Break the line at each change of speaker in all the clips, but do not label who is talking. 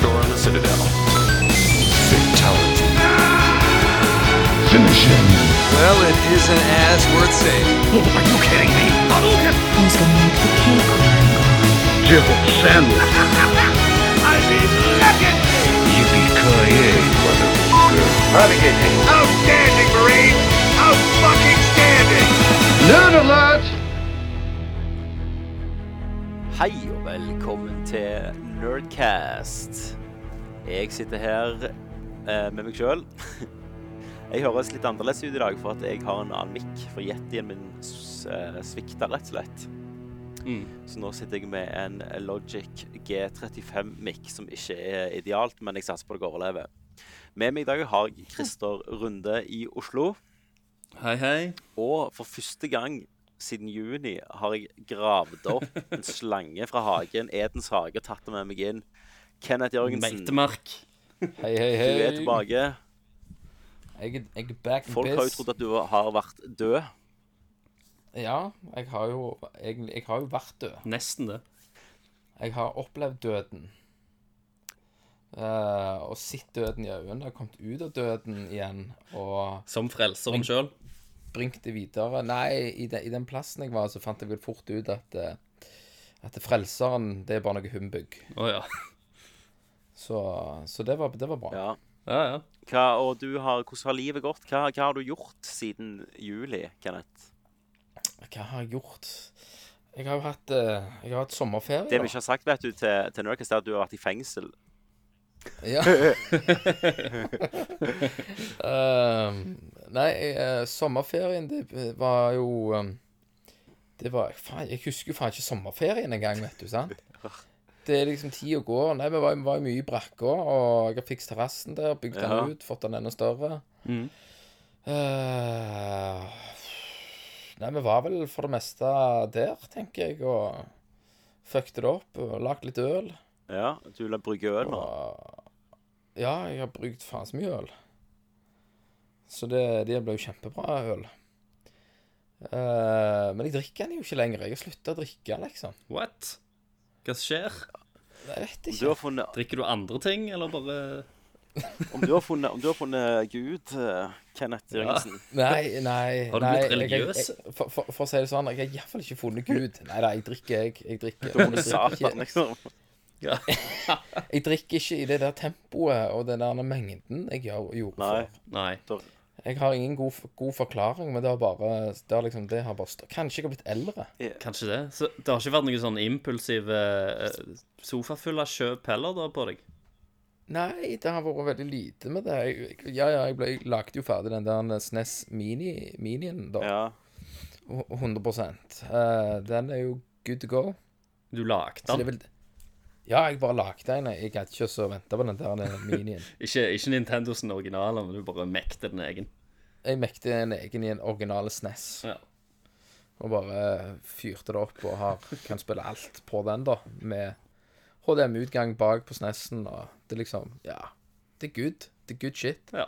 store on the Citadel. Fatality.
Finish him.
Well, it isn't as worth saving.
Who's gonna make the cake?
Jill Sandwich. Yippee-ki-yay, motherfucker.
Outstanding, Marine! Out fucking standing!
Nerd alert!
Hei og velkommen til Nerdcast. Jeg sitter her eh, med meg sjøl. Jeg høres litt annerledes ut i dag for at jeg har en annen mic, for yetien min s- eh, svikta rett og slett. Så nå sitter jeg med en Logic G35-mic som ikke er idealt, men jeg satser på at jeg overlever. Med meg i dag har jeg Christer Runde i Oslo.
Hei, hei.
Og for første gang siden juni har jeg gravd opp en slange fra hagen, Edens hage, og tatt det med meg inn. Kenneth Jørgensen, du
Meitemark.
Hei, hei, hei.
er tilbake.
Jeg, jeg er back in
Folk har jo
biz.
trodd at du har vært død.
Ja, jeg har jo egentlig Jeg har jo vært død.
Nesten det.
Jeg har opplevd døden. Eh, og sett døden i øynene. Har kommet ut av døden igjen og
Som frelseren sjøl.
bringt det videre. Nei, i, de, i den plassen jeg var, så fant jeg vel fort ut at eh, at Frelseren, det er bare noe humbug.
Å ja.
Så, så det, var, det var bra.
Ja.
Ja, ja.
Hva, og du har, hvordan har livet gått? Hva, hva har du gjort siden juli, Kenneth?
Hva har jeg gjort? Jeg har jo hatt, eh, jeg har hatt sommerferie.
Det vi
da.
ikke har sagt vet du, til, til Nurkis, er at du har vært i fengsel.
Ja. Ehm, nei, eh, sommerferien, det eh, var jo ehm, Det var Faen, jeg husker jo faen ikke sommerferien engang, vet du, sant? Det er liksom tida går. Nei, vi var, var jo mye i brakka, og jeg har fikset terrassen der, bygd den
Ja.
ut, fått den enda større. Eh, nei, vi var vel for det meste der, tenker jeg, og fucket det opp, og lagd litt øl.
Ja, Du la brygge øl nå.
Ja, jeg har brukt faen så mye øl. Så det, det ble jo kjempebra øl. Eh, men jeg drikker den jo ikke lenger. Jeg har slutta å drikke, liksom.
What? Hva skjer?
Jeg vet
Om du
ikke.
har funnet,
Drikker du andre ting, eller bare
om du har funnet, om du har funnet Gud, eh, Kenneth Jørgensen
Nei, nei,
Har du
nei,
blitt
jeg-
religiøs?
jeg- For, for, for å si det sånn, jeg har iallfall ikke funnet Gud. Nei da, jeg drikker, jeg. Jeg drikker,
Du har funnet
jeg drikker,
Satan,
ikke,
liksom.
ja.
jeg drikker ikke i det der tempoet og den der mengden jeg gjør, gjorde
Nei.
før.
Nei.
Jeg har ingen god, god forklaring, men det har bare, det har liksom, det har bare stå- Kanskje jeg har blitt eldre.
Kanskje det. Så det har ikke vært noen sånn impulsive eh, sofafulle kjøp heller da på deg?
Nei, det har vært veldig lite med det. Jeg, ja, ja, jeg, ble, jeg lagde jo ferdig den der SNES Mini, Minien, da.
Ja.
100 Eh, Den er jo good to go.
Du lagde
Så det
den?
er vel Ja, jeg bare lagde en. Jeg gadd ikke å vente på den der Minien.
Ikke, ikke Nintendos originale, men du bare mekte den egen.
Jeg mekte en egen i en original E SNES
Ja.
og bare fyrte det opp og har, kan spille alt på den, da. Med HDM-utgang bak på SNES-en og det er liksom Ja. Det er good. Det er good shit.
ja.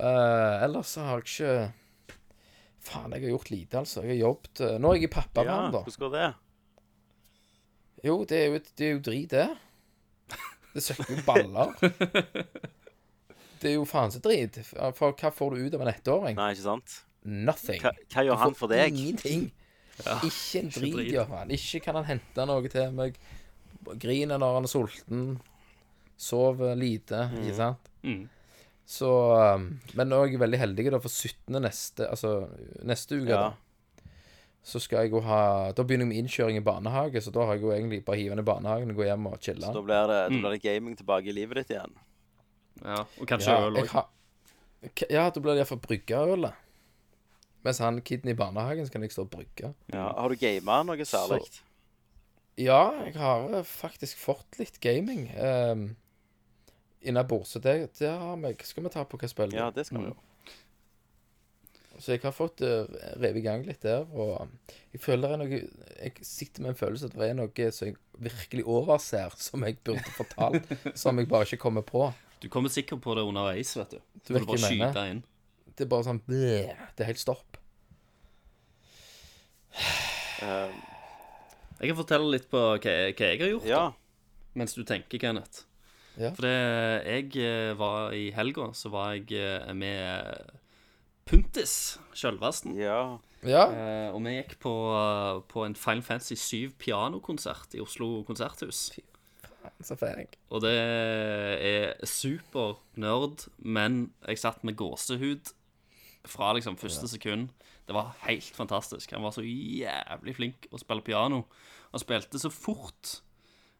Eh, ellers så har jeg ikke Faen, jeg har gjort lite, altså. Jeg har jobbet eh, Nå er jeg i
ja.
pappaperm, da.
Hvordan går det?
Jo, det er jo, et- det er jo drit, det. Det søkker jo baller. Det er jo faen så drit. For hva får du ut av en ettåring?
Nei, ikke sant?
Nothing.
Hva, hva gjør han for deg?
Ingenting. ikke en drit,
drit.
gjør han. Ikke kan han hente noe til meg. Griner når han er sulten. Sover lite, ikke sant?
Mm.
Så um, Men nå er jeg veldig heldig, da, for 17. neste Altså neste uke,
Ja.
da. Så skal jeg jo ha Da begynner jeg med innkjøring i barnehage, så da har jeg jo egentlig bare hivet den i barnehagen og gå hjem og chille.
Da blir, det, da
Mm.
blir det gaming tilbake i livet ditt igjen.
ja. Og kanskje
Ja,
øl
jeg
òg.
har Ja, da blir det iallfall bryggeølet. Mens han kiden i barnehagen, så kan jeg stå og brygge.
Ja.
Mm.
Har du gama noe særlig?
Ja, jeg har eh, faktisk fått litt gaming um, innabords. Så det, det har vi Hva skal vi ta på hva spill?
Ja, det skal vi jo.
Mm. Så jeg har fått uh, revet i gang litt der. Og ehm, jeg føler det er noe Jeg sitter med en følelse at det er noe som jeg virkelig overser, som jeg burde fortalt, som jeg bare ikke kommer på.
Du kommer sikkert på det underveis, vet du.
Du
Du
vet
vil
hva
bare
jeg mener.
skyte inn.
Det er bare sånn bleh, Det er helt stopp.
Eh,
Jeg kan fortelle litt på hva, hva jeg har gjort,
Ja.
mens du tenker, Kenneth.
Ja.
For det, jeg eh, var i helga, så var jeg eh, med Puntis, sjølvesten.
Ja.
Ja.
Eh, og vi gikk på, eh, på en Final Fantasy 7 pianokonsert i Oslo konserthus.
Så fæk.
Og det er super nerd, men jeg satt med gåsehud fra liksom første sekund. Det var helt fantastisk. Han var så jævlig flink å spille piano. Han spilte så fort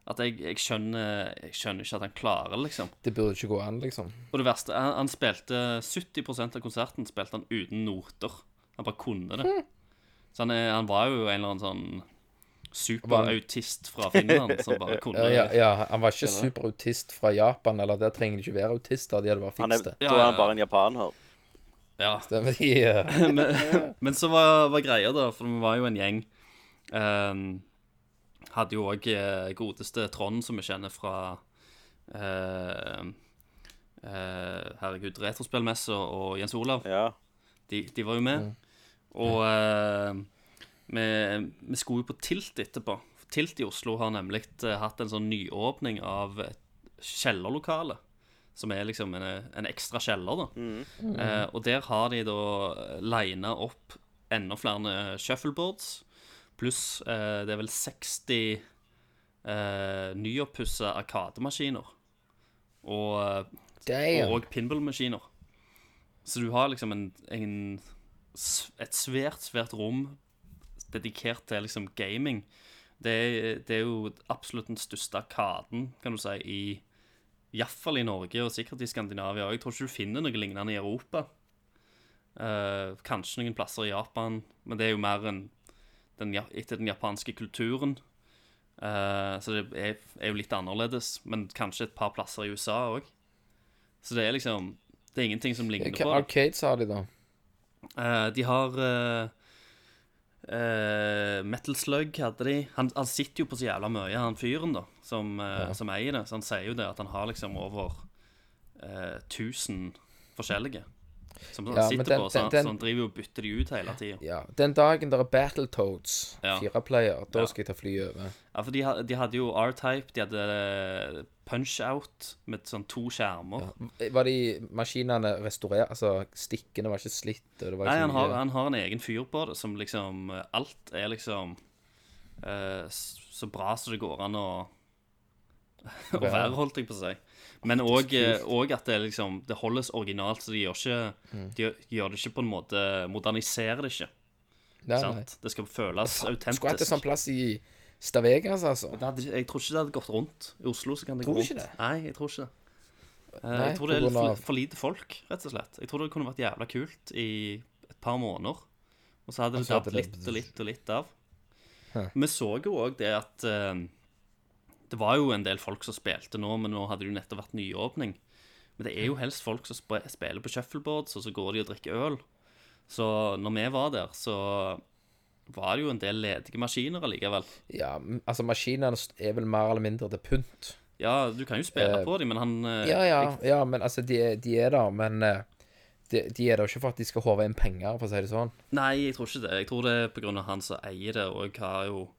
at jeg, jeg, skjønner, jeg skjønner ikke at han klarer, liksom.
Det burde ikke gå an, liksom.
Og det verste, han, han spilte 70 av konserten spilte han uten noter. Han bare kunne det. Så han, er, han var jo en eller annen sånn superautist fra Finland som bare kunne
Ja, Eh, ja,
det.
ja, han var ikke superautist fra Japan, eller der trenger de ikke være autister, de hadde bare
Han er,
fikst det.
Da er han bare en japaner.
Ja,
Det er- ja.
Men så var, var greia, da, for vi var jo en gjeng ehm, Hadde jo òg godeste Trond, som vi kjenner fra eh, eh, Herregud, Retrospillmesse og Jens Olav.
Ja.
De, de var jo med. Og eh, vi, vi skulle jo på Tilt etterpå. Tilt i Oslo har nemlig eh, hatt en sånn nyåpning av et kjellerlokale. Som er liksom en, en ekstra kjeller, da. Eh, og der har de da lina opp enda flere shuffleboards. Pluss eh, det er vel 60 eh, nyoppussa arkademaskiner. Og eh,
Damn.
og pinballmaskiner. Så du har liksom en, en, s- et svært, svært rom dedikert til liksom gaming. Det er, det er jo absolutt den største arkaden, kan du si, i iallfall i Norge, og sikkert i Skandinavia. Og jeg tror ikke du finner noe lignende i Europa. Eh, kanskje noen plasser i Japan, men det er jo mer en, den, ja- etter den japanske kulturen. Eh, så det er, er jo litt annerledes, men kanskje et par plasser i USA òg. Så det er liksom Det er ingenting som ligner
Hvilke
på det.
arcades har de, da?
Eh, de har eh, eh, Metal Slug hadde de. Han, han sitter jo på så jævla mye, han fyren da, som, eh, som eier det. Så han sier jo det at han har liksom over eh, 1000 forskjellige som han
Ja, men
sitter
den-
på. Så,
den-
han-
den-
så han driver jo og bytter de ut hele tida.
Ja, Den dagen der er Battletoads,
Ja.
fireplayer, da
Ja.
skal jeg ta fly over.
Ja, for de, ha- de hadde jo R-Type, de hadde Punch-Out med sånn to skjermer.
Var de maskinene restaurert? Altså, stikkene var ikke slitt? og Det var ikke
Nei, han har,
mye-
han har en egen fyr på det som liksom eh, Alt er liksom eh, s- så bra som det går an å,
Være.
å være, holdt jeg på å si. Men òg at det liksom Det holdes originalt, så de gjør ikke
Mm.
De gjør, gjør det ikke på en måte Moderniserer det ikke.
Nei, nei.
sant? Det skal føles
Skulle hatt en
autentisk.
sånn plass i Stavegas, altså.
Det hadde, jeg tror ikke det hadde gått rundt. I Oslo så kan det
Tror
gå
du
rundt.
ikke det?
Nei, jeg tror ikke det. Eh,
Nei,
jeg tror det
på
er litt
grunn
for,
av-
for lite folk, rett og slett. Jeg tror det kunne vært jævla kult i et par måneder. Og så hadde det
så hadde
datt
det-
litt og litt og litt av. Vi så jo òg det at eh, Det var jo en del folk som spilte nå, men nå hadde det jo nettopp vært nyåpning. Men det er jo helst folk som sp spiller på shuffleboards, og så går de og drikker øl. Så når vi var der, så var det jo en del ledige maskiner allikevel.
Ja, m- altså, maskinene er vel mer eller mindre til pynt.
Ja, du kan jo spille på dem, men han eh,
Ja, ja,
jeg-
ja, men altså, de, er- de er der, men eh, de, de er der jo ikke for at de skal håve inn penger, for å si det sånn.
Nei, jeg tror ikke det. Jeg tror det er pga. han som eier det, og har jo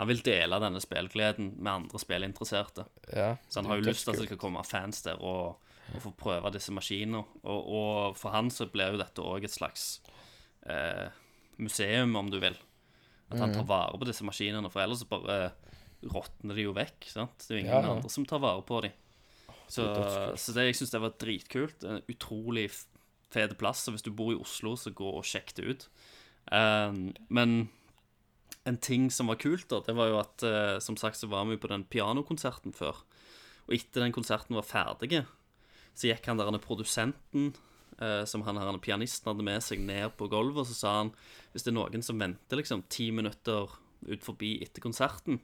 Han vil dele denne spillgleden med andre spillinteresserte.
Ja,
Så han har jo lyst altså. til at det skal komme fans der og, og få prøve disse maskinene. Og, og for han så blir jo dette òg et slags eh, museum, om du vil. At han
Mhm.
tar vare på disse maskinene, for ellers så bare råtner de jo vekk. sant? Det er jo ingen
Ja, ja.
andre som tar vare på dem. Så, så det, jeg syns det var dritkult. En utrolig f- fet plass. Så hvis du bor i Oslo, så gå og sjekk det ut. Um, men en ting som var kult, da, det var jo at eh, som sagt så var vi på den pianokonserten før. Og etter den konserten var ferdig, så gikk han der han er produsenten, eh, som han her han er pianisten hadde med seg, ned på gulvet, og så sa han hvis det er noen som venter liksom ti minutter ut forbi etter konserten,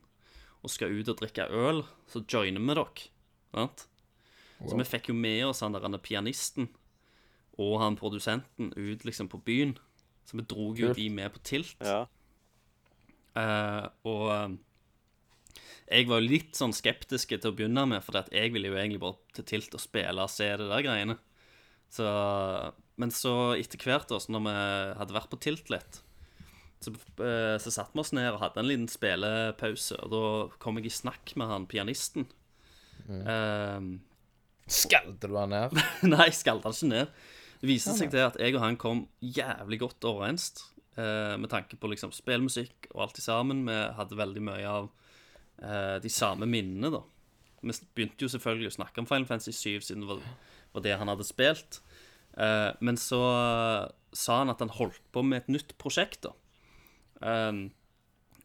og skal ut og drikke øl, så joiner vi dere. Sant? Så vi fikk jo med oss han der han er pianisten og han produsenten ut liksom på byen. Så vi dro jo de med på tilt.
ja.
Eh, og eh, jeg var jo litt sånn skeptisk til å begynne med, for at jeg ville jo egentlig bare til Tilt og spille og se det der greiene. Så, men så etter hvert, da, så når vi hadde vært på Tilt litt, så, eh, så satte vi oss ned og hadde en liten spillepause. Og da kom jeg i snakk med han pianisten, Ehm,
Skalte du han ned?
Nei, jeg skalta det ikke ned. Det viste seg til at jeg og han kom jævlig godt overens eh, med tanke på liksom spillmusikk og alt i sammen. Vi hadde veldig mye av eh, de samme minnene, da. Vi s- begynte jo selvfølgelig å snakke om Final Fantasy 7 siden det var, var det han hadde spilt. Eh, men så eh, sa han at han holdt på med et nytt prosjekt, da. Ehm,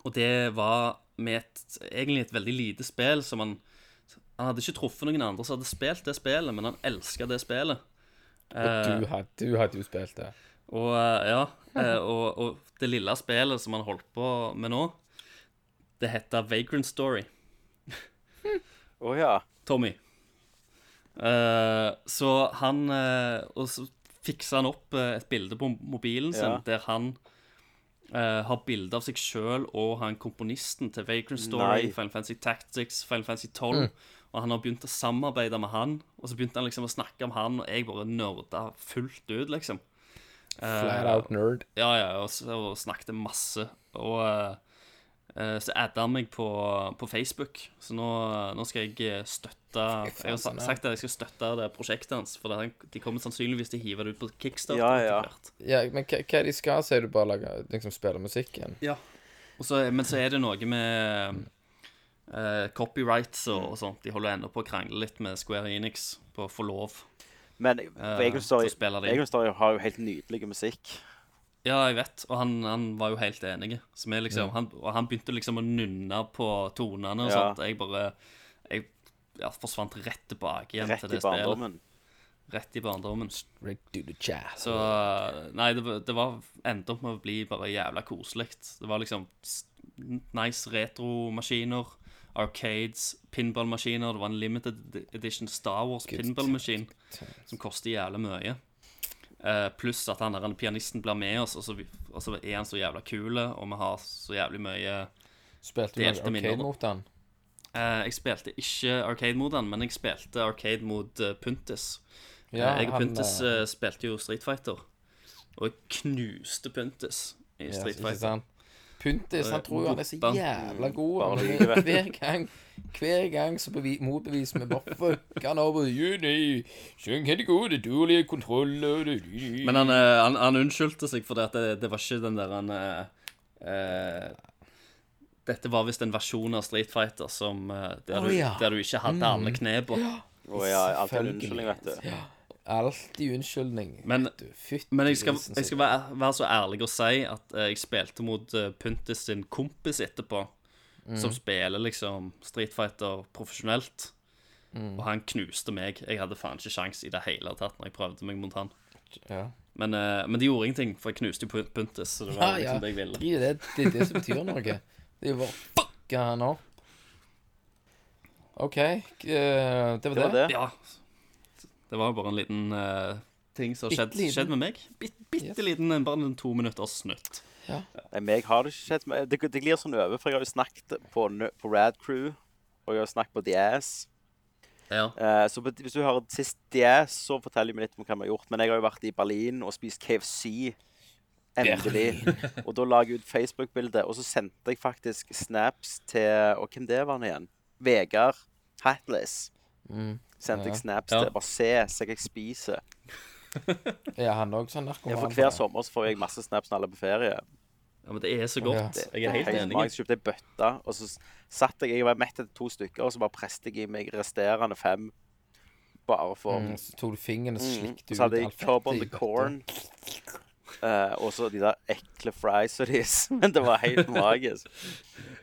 og det var med et, egentlig et veldig lite spill som han han hadde ikke truffet noen andre som hadde spilt det spillet, men han elska det spillet. Eh.
Du hadde, du hadde jo spilt det.
Og eh, ja, eh, og, og det lille spillet som han holdt på med nå, det heter Vagrant Story.
Å ja.
Tommy. Eh, så han eh, Og så fiksa han opp eh, et bilde på mobilen sin
Ja.
der han eh, har bilde av seg sjøl og han komponisten til Vagrant Story,
Nei.
Final Fantasy Tactics, Final Fantasy 12. Og han har begynt å samarbeide med han, og så begynte han liksom å snakke om han, og jeg bare nerda fullt ut, liksom. Eh,
Flat out nerd.
ja, ja, og, s- og snakket masse. Og eh, eh, så adda han meg på, på Facebook, så nå, nå skal jeg eh, støtte Jeg har sa- sagt at jeg skal støtte det prosjektet hans, for det, han- de kommer sannsynligvis til å hive det ut på Kickstarter.
Ja, ja.
etter hvert.
Ja, men hva, hva er de skal, sier du bare lage, liksom spille musikken?
Og så, eh, men så er det noe med eh, copyrights og, og sånt. De holder ennå på å krangle litt med Square Enix på å få lov.
Men for Egon
så
Story,
Eh, spiller de.
Egon Story har jo helt nydelig musikk.
Ja, jeg vet, og han, han var jo helt enig. Som er liksom, han, og han begynte liksom å nynne på tonene og
Ja.
sånt. og Jeg bare Jeg ja, forsvant rett tilbake igjen
Rett
til det
i
spillet.
barndommen.
Rett i barndommen.
Right to the jazz.
Så Nei, det, var- det var endte opp med å bli bare jævla koselig. Det var liksom s- nice retromaskiner, arcades, pinballmaskiner. Det var en limited edition Star Wars pinballmaskin som koster jævla mye. Eh, pluss at han der han pianisten blir med oss, og så, vi- og så er han så jævla kul, og vi har så jævlig mye
Spilte du noe
Delte minner,
arcade
da.
mot han?
Eh, Jeg spilte ikke arcade mot han, men jeg spilte arcade mot eh, Puntis.
Ja,
jeg og
han,
Puntis
eh,
eh, spilte jo Street Fighter, og jeg knuste Puntis i
yes,
Street
ikke
Fighter.
sant? Puntis, han
Eh,
tror jo han er så
Boppa.
jævla god.
Bare
Han,
lyder det.
hver gang Hver gang så bevi, motbeviser vi bare fucker han over. Jo, nei, skjønn hva det gode, dårlige kontroller du, du, du.
Men han, eh, han, han unnskyldte seg for det at det, det var ikke den der han eh, eh, Dette var visst en versjon av Street Fighter som, eh, der,
Å,
du,
ja.
der du ikke hadde alle kne på.
Og ja, alt er
Selvfølgelig.
en unnskyldning, vet du.
Alltid unnskyldning.
Men-
vet du. Fytti
Men jeg skal,
grisen,
jeg
så-
skal være, være så ærlig og si at eh, jeg spilte mot eh, Puntis sin kompis etterpå, som spiller liksom Street Fighter profesjonelt. Og han knuste meg. Jeg hadde faen ikke sjans i det hele tatt når jeg prøvde meg mot han.
ja.
Men, eh, men det gjorde ingenting, for jeg knuste jo Pun- Puntis. Så det
Ja,
var
ja.
liksom det jeg ville.
Drit i det. Det er det som betyr noe. Det er jo bare fucke han opp. OK, eh, det var
Det
det.
var det.
Ja. Det var jo bare en liten eh, ting som har skjedd,
Bitteliten.
skjedd med meg. Bitt, bitte liten, eh, bare en to minutters snutt.
Nei, meg har det ikke skjedd. men Det, det glir sånn over, for jeg har jo snakket på, Nø- på Rad Crew, og jeg har snakket på The Ass.
Ja.
Eh, så bet- hvis du hører sist The Ass, så forteller jeg meg litt om hva vi har gjort. Men jeg har jo vært i Berlin og spist KFC. Endelig. Og da la jeg ut Facebook-bilde, og så sendte jeg faktisk snaps til Og hvem det var nå igjen? Vegard Hatless.
Mm.
Sendte jeg snaps
Ja.
til. Bare se se hva jeg spiser.
Er han òg sånn
Ja,
narkoman?
for hver sommer så får jeg masse snaps når alle er på ferie.
ja, men det er så godt.
Det-
Jeg er helt
Helt
enig.
magisk. Kjøpte ei bøtte, og så s- satt jeg Jeg var mett etter to stykker, og så bare presset jeg i meg resterende fem. Bare for
Mm, Så tok du fingeren og slikte
Mm. Og
ut
så hadde jeg
alt
Cob on
fettet i
the
bøtta.
Corn. eh, og så de der ekle friesa deres. Men det var helt magisk.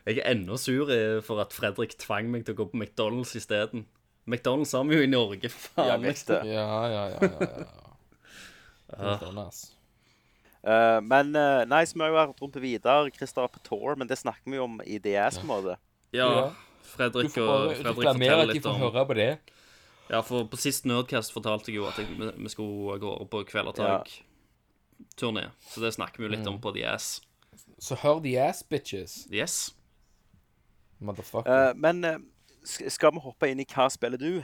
Jeg er ennå sur eh, for at Fredrik tvang meg til å gå på McDonald's isteden. McDonald's har vi jo i Norge, for
Jeg
faen.
vet
liksom.
det.
Ja, ja, ja. ja, ja. Det er sånn, ass.
Eh, men eh, nei, så vi har jo vært rundt på Vidar. Christer er på tour, men det snakker vi jo om i DS-måte.
Ja,
Ja.
Fredrik,
Du får
og,
bare
Fredrik
reklamere
forteller
at de
litt
får
om
høre på det.
Ja, for på sist Nerdcast fortalte jeg jo at jeg, vi vi skulle gå over på Kvelertak-turné. Så det snakker vi jo litt
Mm.
om på The Ass.
Så hør de ass bitches,
Yes.
motherfucker.
Eh, men eh, sk- skal vi hoppe inn i Hva spiller du?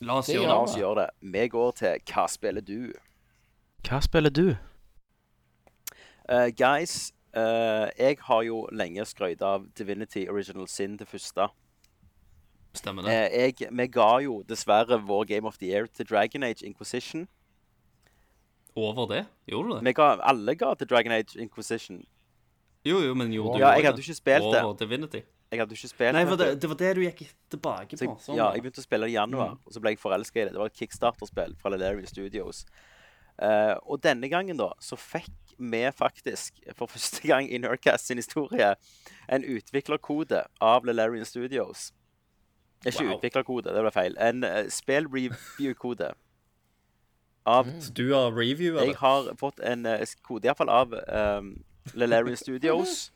La oss
Det
gjøre
gjør
La
det.
oss gjøre det. Vi går til Hva spiller du?
Hva spiller du?
Eh, guys, eh, jeg har jo lenge skrøyt av Divinity Original Sin, det første.
Stemmer det?
Eh, jeg, vi ga jo dessverre vår Game of the Year til Dragon Age Inquisition.
Over det? Gjorde du det?
Vi ga, alle ga til Dragon Age Inquisition.
Jo, jo, men gjorde du
Ja,
også
jeg hadde
det?
ikke spilt det.
Over Divinity?
Jeg hadde ikke spilt
Nei,
den
for det,
før.
det var det du gikk tilbake
Så
på.
jeg,
Sånn,
ja,
var
jeg
det.
begynte å spille det i januar,
Mm.
og så ble jeg forelska i det. Det var et kickstarterspill fra Lelary Studios. Eh, og denne gangen, da, så fikk vi faktisk, for første gang i Nerdcast sin historie, en utviklerkode av Lelarian Studios. Ikke
Wow.
utviklerkode, det ble feil. En uh, spill-review-kode. Av
Mm.
Du har reviewa
Jeg
det.
har fått en eh, kode, iallfall av um, Lelarian Studios,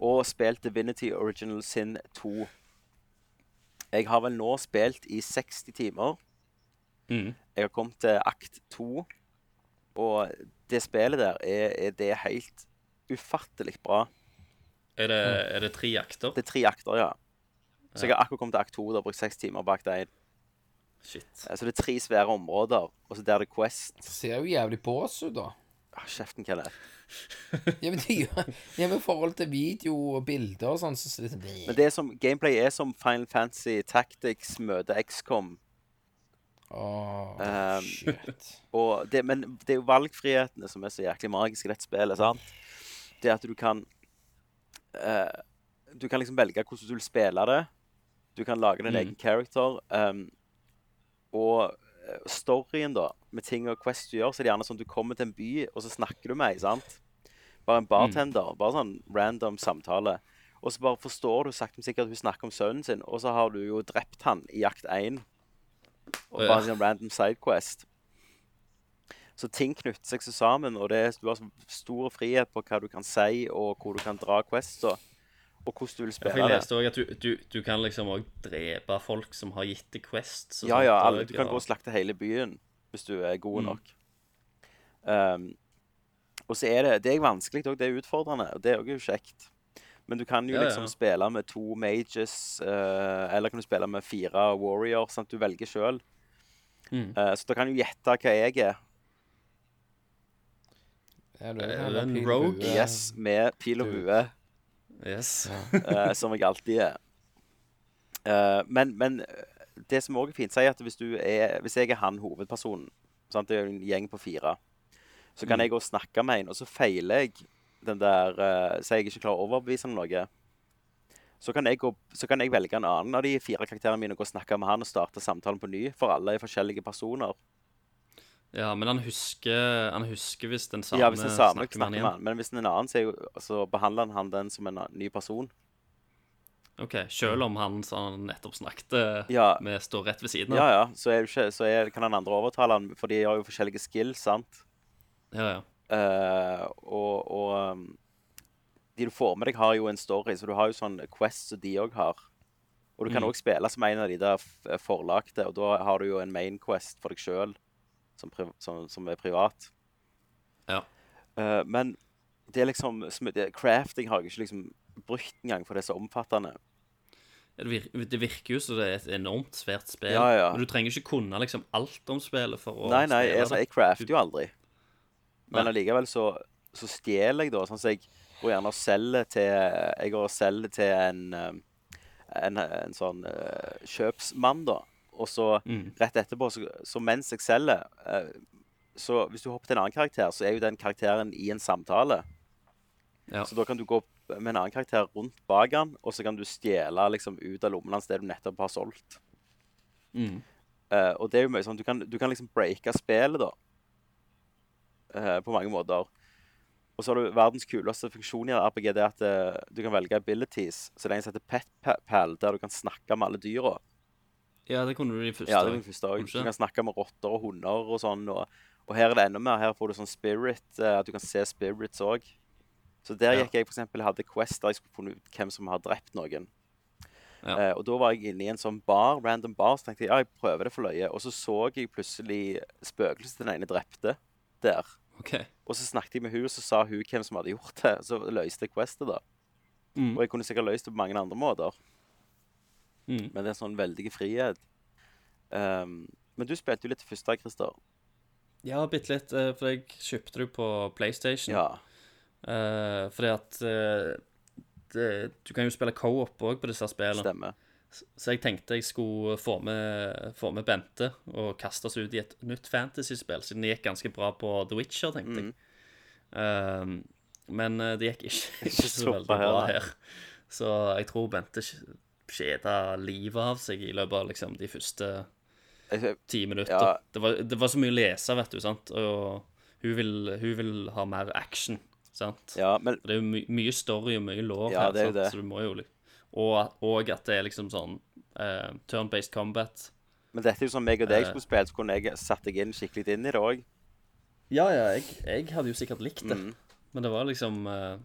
og spilt Divinity Original Sin 2. Jeg har vel nå spilt i 60 timer.
Mm.
Mhm.
Jeg har kommet til akt 2, og det spillet der er, er det er helt ufattelig bra.
Er det, er det tre jakter?
Mm. Det er tre akter, ja. Så jeg har akkurat kommet til akt 2 og brukt seks timer bak deg. Eh,
Shit.
Så det er tre svære områder, og så der er det Quest.
Ser jo jævlig bås ut, da.
Ah, kjeften, Kenneth.
Ja, men det gjør ja, men I forhold til video og bilder og sånn, så ser det
Men
litt
det er som, gameplay er som Final Fantasy Tactics møter XCOM.
Åh,
Ehm,
shit.
Og det, men det er jo valgfrihetene som er så jæklig magiske i dette spillet. sant? Det at du kan eh, Du kan liksom velge hvordan du vil spille det. Du kan lage din egen character. ehm, og eh, storyen, da, med ting og quest du gjør, så er det gjerne sånn at du kommer til en by, og så snakker du med ei, sant? Bare en bartender. Bare sånn random samtale. Og så bare forstår du sakte, men sikkert at hun snakker om sønnen sin, og så har du jo drept han i jakt 1. Og
Å, ja.
bare en sånn random sidequest. Så ting knytter seg så sammen, og det er, du har så stor frihet på hva du kan si, og hvor du kan dra quests, og, og hvordan du vil
Ja, for
spille
Jeg
det.
leste òg at du, du, du kan liksom òg drepe folk som har gitt deg quests. og
Ja,
sånt
sånn
ja,
også, sånn
alle, du kan gå og slakte hele byen hvis du er
Mm.
god nok. Um, og så er det, det er vanskelig òg, det er utfordrende, og det er jo kjekt. Men du kan jo
Ja, ja.
liksom spille med to mages, eh, eller kan du spille med fire warriors, sant? du velger sjøl.
Mm.
så da kan du gjette hva jeg er.
Ja, det
er det en
pil i
rogue?
huet.
Yes, med pil og hue.
Yes.
eh, som jeg alltid er. Eh, men, men det som òg er fint, sier at hvis, du er, hvis jeg er han hovedpersonen sant? Det er jo en gjeng på fire. Så
Mm.
kan jeg gå og snakke med en, og så feiler jeg den der uh, Så jeg ikke klarer å overbevise ham om noe. Så kan, jeg gå, så kan jeg velge en annen av de fire karakterene mine og gå og snakke med han og starte samtalen på ny, for alle er forskjellige personer.
ja, men han husker, han husker hvis den samme,
ja, hvis den samme
snakker med han igjen.
Men hvis den er en annen, så, er jo, så behandler han den som en ny person.
Ok, Selv om han som han nettopp snakket eh,
Ja.
med, står rett ved siden av?
Ja, ja. Så, er det ikke, så er, kan han andre overtale han, for de har jo forskjellige skills, sant?
ja, ja.
Eh, og og um, de du får med deg, har jo en story, så du har jo sånn quest som de òg har. Og du kan
Mm.
òg spille som en av de der f- eh, forlagte, og da har du jo en main quest for deg sjøl som, pri- som, som er privat.
Ja.
Eh, men det er liksom som- det, Crafting har jeg ikke liksom brukt engang, for det er så omfattende.
Det vir- det virker jo som det er et enormt svært spill.
Ja, ja.
Men du trenger ikke kunne liksom alt om spillet for å
Nei, nei,
spille
jeg, altså,
det.
jeg crafter jo aldri. Men
Nei.
allikevel så, så stjeler jeg, da. Sånn som jeg går gjerne og selger til Jeg går og selger til en, eh, en, en sånn eh, kjøpsmann, da. Og så
Mm.
rett etterpå, så, så mens jeg selger eh, Så hvis du hopper til en annen karakter, så er jo den karakteren i en samtale.
Ja.
Så da kan du gå med en annen karakter rundt bak han, og så kan du stjele liksom, ut av lommen hans det du nettopp har solgt.
Mm.
Eh, og det er jo mye sånn, du kan, du kan liksom breake spillet, da. Eh, på mange måter. Og så har du verdens kuleste funksjon i RPG, det er at eh, du kan velge abilities. Så det er en som heter Pet Pa- Pal, der du kan snakke med alle dyra.
ja, det kunne du i første.
Ja, det var den første også.
Kanskje.
Du kan snakke med rotter og hunder og sånn. Og, og her er det enda mer. Her får du sånn spirit, eh, at du kan se spirits òg. Så der
Ja.
gikk jeg for eksempel, hadde Quest der jeg skulle funnet ut hvem som har drept noen.
Ja.
Eh, og da var jeg inne i en sånn bar, random bar, så tenkte jeg ja, jeg prøver det for løye. Og så så jeg plutselig spøkelset til den ene drepte der.
Ok.
Og så snakket jeg med hun, og så sa hun hvem som hadde gjort det. Så løste jeg questet, da.
Mm.
Og jeg kunne sikkert løst det på mange andre måter.
Mm.
Men det er en sånn veldig frihet. Ehm, men du spilte jo litt først da, Christer.
Ja, bitte litt, eh, for jeg kjøpte det på PlayStation.
Ja.
Eh, fordi at eh, det, Du kan jo spille co-op òg på disse spillene.
Stemmer.
Så jeg tenkte jeg skulle få med, få med Bente og kaste oss ut i et nytt fantasyspill, siden det gikk ganske bra på The Witcher, tenkte jeg. Ehm, men eh, det gikk ikke, ikke så
Mm. så
veldig
bra
bra
her,
her. Så jeg tror Bente kj- kjeda livet av seg i løpet av liksom, de første
Jeg-
ti minutter.
Ja.
Det, var, det var så mye å lese, vet du, sant? og hun vil, hun vil ha mer action, sant?
Ja, men
Det er jo my mye story og mye lår
Ja,
her,
det er jo
sant?
det.
så du må jo li- og, og at det er liksom sånn eh, turn-based combat.
Men dette er jo som meg og deg
Eh.
skulle spille, så kunne jeg satt deg inn skikkelig inn i det òg.
Ja, ja, jeg, jeg hadde jo sikkert likt det,
Mm.
men det var liksom eh,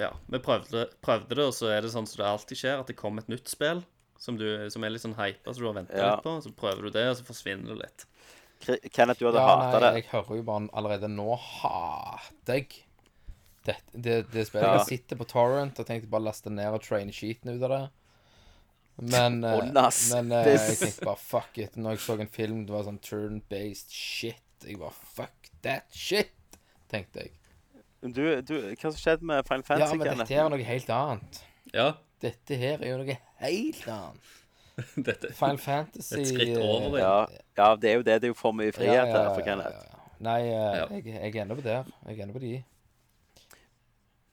Ja, vi prøvde, prøvde det, og så er det sånn som det alltid skjer, at det kommer et nytt spill som, du, som er litt sånn hypa, som du har venta
Ja.
litt på, så prøver du det, og så forsvinner det litt.
Kenneth, du hadde
Ja, nei,
hatet det.
jeg hører jo bare allerede nå hater jeg det, det, det spillet.
Ja.
Jeg sitter på Torrent og tenkte bare laste ned og traine skiten ut av det. Men, eh,
Ånd, ass.
men eh,
Det er-
jeg tenkte bare fuck it. Når jeg så en film, det var sånn turn-based shit. Jeg bare fuck that shit, tenkte jeg.
Men Du, du, hva som skjedde med Final
Ja,
Fantasy,
men dette her
Kenneth?
er noe helt annet.
Ja,
Dette her er jo noe helt annet.
dette
Final Fantasy
Et skritt over det.
Ja, ja, det er jo det. Det er jo for mye
eh, ja,
frihet
ja,
der for
ja,
Kenneth.
ja, ja. Nei, eh,
Ja.
jeg, jeg er ennå på der. Jeg er ennå på de.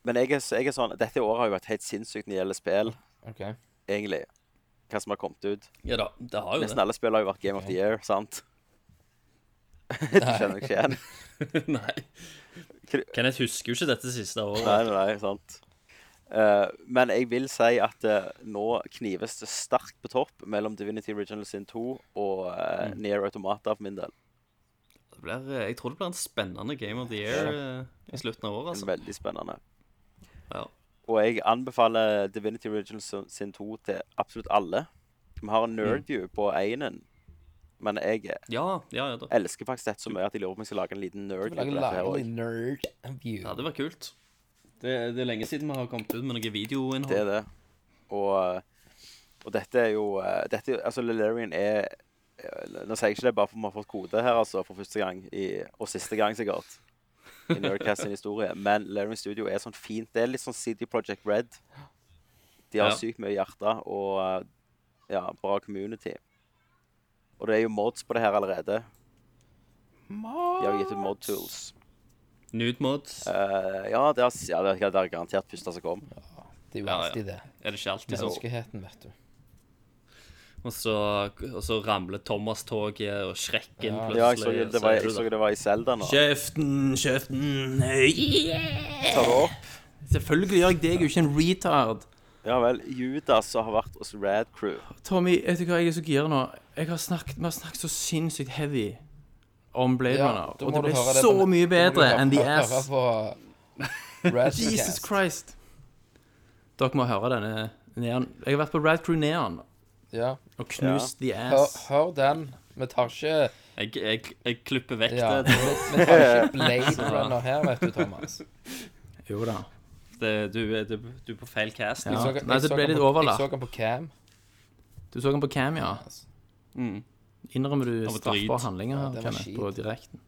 Men jeg er, s- jeg er sånn Dette året har jo vært helt sinnssykt når det gjelder spill,
OK.
egentlig. Hva som har kommet ut.
Ja da, det har jo
Nesten alle spill har jo vært Game of the Year, sant? Du kjenner deg ikke igjen?
det. Nei. Kenneth husker jo ikke dette siste
Nei,
året.
nei, nei, sant. Eh, men jeg vil si at eh, nå knives det sterkt på topp mellom Divinity Original Sin 2 og uh, Near Automata for min del.
Det blir, eh, jeg tror det blir en spennende Game of the Year eh, i slutten av året, altså.
Veldig spennende.
Ja.
Og jeg anbefaler Divinity Original Sin- Sin 2 til absolutt alle. Vi har en nerdview på einen, men jeg
Ja, ja, ja da.
elsker faktisk dette så mye at jeg lurer på om jeg skal lage en liten nerdview.
Lage
på dette her
latterlig
også.
nerd view.
Ja, det var kult. Det, det er lenge siden vi har kommet ut med noe videoinnhold.
Det er det. Og, og dette er jo eh, dette, er- Altså, Lelarian er eh, Nå sier jeg ikke det bare for vi har fått kode her, altså, for første gang, i, og siste gang sikkert, i Nerdcast sin historie, men Lelarian Studio er sånn fint. Det er litt sånn CD Project Red. De har
Ja.
sykt mye hjerte og eh, ja, bra community. Og det er jo mods på det her allerede. De har jo gitt ut mod tools.
Nude mods.
Eh, ja, det er, ja, det er, det er garantert første som kom.
Det er jo
Ja, ja.
alltid det.
Er det ikke alltid sånn?
Menneskeheten, vet du.
Og så, og så ramler Thomas-toget og Shrek inn plutselig.
Ja, jeg så, det var,
er
jeg
du
så
der.
det var i Zelda nå.
Kjeften, kjeften yeah!
Tar det opp.
Selvfølgelig gjør jeg deg jo ikke en retard.
Ja vel. Judas som har vært hos Rad Crew.
Tommy, vet du hva jeg er så gira nå? Jeg har snakket, Vi har snakket så sinnssykt heavy om Blade
Ja,
Runner,
da må
og det
du
ble
høre
så
på- da
mye
må du
bedre
høre-
enn The
høre
Ass.
på
Jesus
Radcast.
Christ. Dere må høre denne neon. Jeg har vært på Rad Crew Neon
Ja.
og knust The
Hør,
Ass.
hør den. Vi tar ikke
Jeg, jeg, jeg klipper vekk
ja, vi,
det.
vi tar ikke Blade Runner her, vet du, Thomas.
Jo da.
det du, er- du, du er på feil cast. liksom.
Ja.
Jeg så- jeg
Nei, det
så
ble
den
litt
på-
overlatt.
Jeg så den på cam.
Du så den på Cam, ja.
Mm.
Innrømmer du
var
straffbare
drit.
handlinger
Ja,
her,
det var
Kenneth,
skit.
på direkten?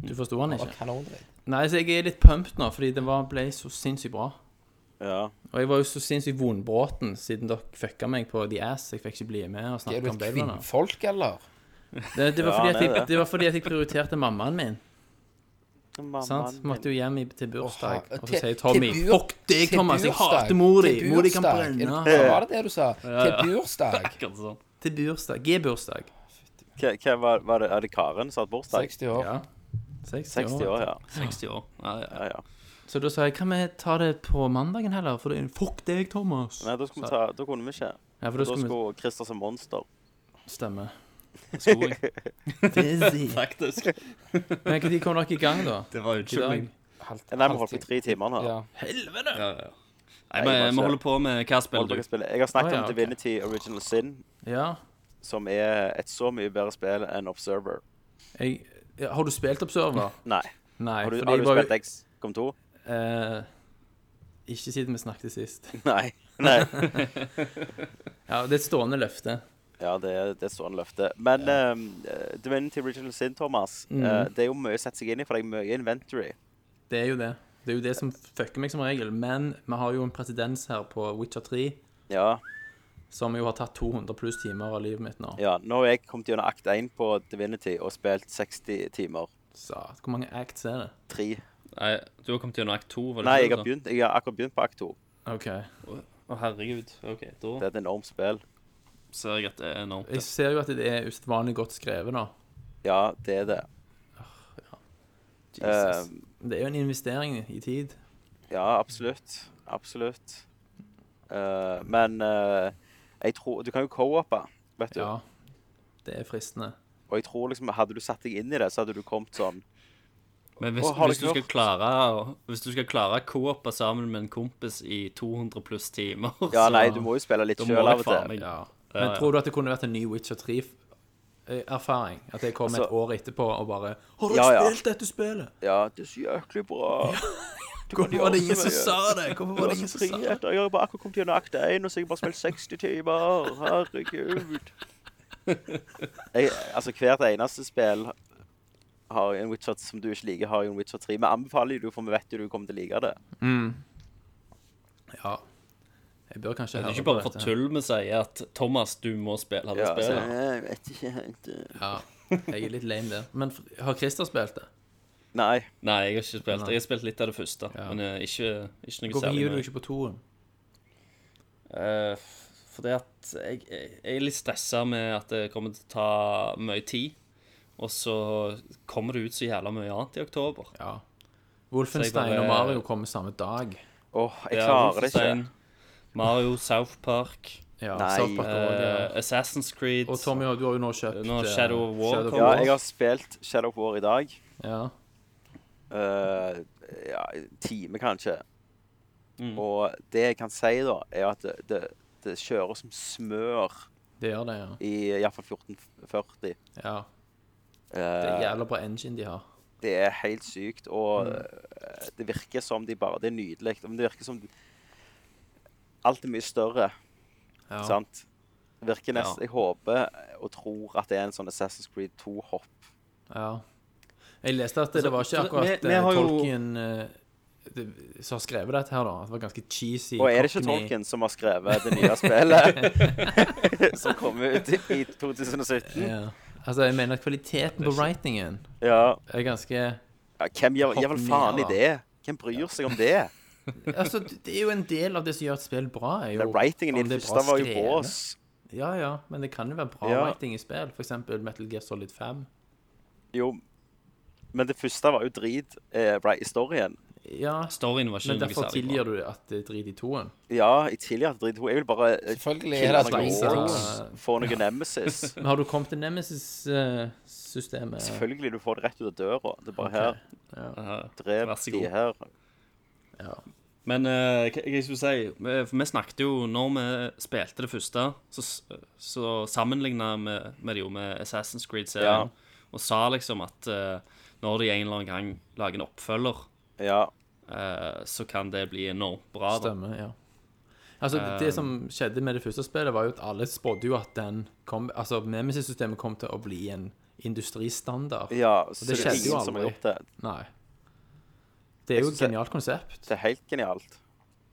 Du forsto han
Det var
ikke?
kanondritt.
Nei, så jeg er litt pumped nå, fordi den var- ble så sinnssykt bra.
Ja.
Og jeg var jo så sinnssykt vondbråten siden dere fucka meg på The Ass. Jeg fikk ikke bli med og
Er
snakke
du
om
et
Blade Runner.
kvinnfolk, eller?
Det, det, var
Ja,
fordi
han
at
er
jeg,
det.
det var fordi at jeg prioriterte mammaen min.
Mammaen
sant?
min.
Måtte jo hjem i, til
Åh,
bursdag.
her-
Og
til-
så sier Tommy
til bur-
Fuck deg,
Til
Thomas! Jeg
bursdag.
hater mor di!
Til
Mor di kan
bursdag.
brenne!
Er det- Var det det du sa?
ja.
Til bursdag.
Akkurat sånn.
Til bursdag. G-bursdag.
Hva, hva var, var det, er det Karen som har hatt bursdag?
60 år.
Ja. 60,
60
år.
år, ja.
60 år. Ja, ja.
ja, ja.
Så da sa jeg kan vi ta det på mandagen heller? For det er Fuck deg, Thomas!
Nei, da, skulle vi ta, da kunne vi ikke.
Ja, for
Da
da skal vi
skulle Christer som monster.
stemme.
Sko, jeg.
Dizzy.
Faktisk.
Men når kom dere i gang, da?
Det var
I dag?
unnskyldning.
Halvt-
Nei, vi holdt på i
halvtid.
tre timer nå.
Ja.
Ja, ja.
Nei,
Nei, vi-
jeg
vi
bare
holder på med hva
Holdt
spiller
på å
du?
spille. Jeg har snakket
Å, ja,
om
ok.
Divinity Original Sin,
Ja.
som er et så mye bedre spill enn Observer.
Jeg, ja, har du spilt Observer?
Nei.
Nei.
Har du,
fordi
har
jeg
du
var jo-
spilt XCOM 2?
Eh, ikke siden vi snakket sist.
Nei. Nei.
Ja, Det er et stående løfte.
Ja, det, er- det er stående løfte. Men eh, Divinity Original Sin, Thomas,
Mm.
eh, det er jo mye å sette seg inn i, for det er mye inventory.
Det er jo det. Det er jo det som fucker meg som regel. Men vi har jo en presedens her på Witcher 3,
Ja.
Som jo har tatt 200 pluss timer av livet mitt nå.
Ja, nå har jeg kommet gjennom akt 1 på Divinity og spilt 60 timer.
Så, hvor mange acts er det?
Tre.
Nei, du har kommet gjennom akt to? var det
Nei,
ikke
jeg har,
det du sa?
begynt, jeg har akkurat begynt på akt 2.
OK.
Å, herregud. OK,
Det er
da
et enormt spill.
ser jeg at det er enormt.
Jeg ser jo at det er usedvanlig godt skrevet, da.
Ja, det er det.
Jesus.
Eh,
Det er jo en investering i tid.
ja, absolutt. Absolutt. Eh, men eh, jeg tror Du kan jo co-oppe, vet du.
Ja. Det er fristende.
Og jeg tror liksom, hadde du satt deg inn i det, så hadde du kommet sånn
Men hvis,
Å, har
hvis,
det
du skal
klart.
klare, å- hvis du skal klare å co-oppe sammen med en kompis i 200 pluss timer
Ja,
så-
nei, du må jo spille litt
Altså, da må
sjøl av og
jeg
til.
faen meg
Ja.
Ja,
Men
ja.
tror du at det kunne vært en ny Witcher 3-erfaring? At jeg kom
Altså-
et år etterpå og bare 'Har du
Ja, ja.
spilt dette spillet?'
Ja, det er så jæklig bra. Du kan
Hvorfor var det
gjøre
ingen
så
som
mye.
sa det? Hvorfor var det ingen som sa det?
frihet, og jeg har bare akkurat kommet gjennom akt 1, og så har jeg bare spilt 60 timer. Herregud. Jeg, altså, hvert eneste spill har en Witcher som du ikke liker, har jo en Witcher 3. Vi anbefaler jo det, for vi vet jo du kommer til å like det.
Ja. Jeg bør kanskje
Det er
høre
ikke
på
bare for
dette.
tull vi sier at Thomas, du må spille det
Ja, så,
spillet.
jeg vet ikke helt eh.
Ja. Jeg er litt lame der. Men f- har Christer spilt det?
Nei.
Nei, jeg har ikke spilt Jeg har spilt litt av det første, men eh, ikke, ikke noe
Hvorfor
særlig.
hiver du
mer.
ikke på toen?
Eh, f- Fordi at jeg, jeg jeg er litt stressa med at det kommer til å ta mye tid. Og så kommer det ut så jævla mye annet i oktober.
Ja.
Så jeg
Wolfenstein
bare-
og Mario kommer samme dag.
Åh, jeg
Ja,
klarer det ikke.
Wolfenstein, Mario, South Park,
Ja,
Nei,
South Park også,
eh,
ja.
Assassin's Creed
Og Tommy, du har jo nå kjøpt
Nå
eh,
Shadow of War
Shadow of
kommer.
Ja, jeg har spilt Shadow of War i dag.
Ja.
eh, ja, en time kanskje. Og det jeg kan si da, er at det, det, det kjører som smør
Det gjør det, ja.
i iallfall 1440.
ja. Det er
Eh,
jævla bra engine de har.
det er helt sykt, og
Mm.
eh, det virker som de bare Det er nydelig. Men det virker som Alt er mye større,
Ja.
sant? Det virker nesten
Ja.
Jeg håper og tror at det er en sånn Assassin's Creed 2-hopp.
Ja. Jeg leste at det,
Altså,
var ikke
for det-
akkurat
vi- vi har
eh,
jo-
Tolkien eh, det- som har skrevet dette her, da. Det var ganske cheesy.
Og er det ikke
cockney-
Tolkien som har skrevet det nye spillet som kom ut i 2017?
Ja. Altså, jeg mener at kvaliteten på writingen
Ja.
er ganske
ja hvem gjør, gjør vel
Hopp
faen i
ned, da.
det? Hvem bryr seg om det?
Altså, det er jo en del av det som gjør et spill bra, er jo
Den writingen i
om
det
det er bra
første var jo
skrevet.
bås.
Ja, ja, men det kan jo være bra
Ja.
writing i spill. For eksempel Metal Gear Solid 5.
Jo, men det første var jo drit, eh, right, historien.
Ja,
Storyen var ikke
men
noe
derfor
særlig bra.
tilgir du at det er drit i toen.
Ja, i tidligere hadde drit. Jeg vil bare eh,
Selvfølgelig
kille
er det
noen
drit i
orcs,
toen.
få noen nemesis.
Men har du kommet til Nemesis-systemet?
Selvfølgelig, du får det rett ut av døra. Det er bare
Ja.
her. Drep
Vær så
de
god.
her.
Men eh, hva hva jeg skulle si vi, For vi snakket jo Når vi spilte det første, så, s- så sammenligna vi vi det jo med Assassin's Creed-serien. Og sa liksom at eh, når de en eller annen gang lager en oppfølger,
Ja.
eh, så kan det bli enormt bra. Da.
Stemmer, ja. Altså, det, det
Um.
som skjedde med det første spillet, var jo at alle spådde jo at den kom Altså, Nemesis-systemet kom til å bli en industristandard.
ja så
det
det, er
skjedde jo
ingen som har
aldri.
gjort det.
Nei. Det er jo
synes
et
det-
genialt konsept.
Det er helt genialt.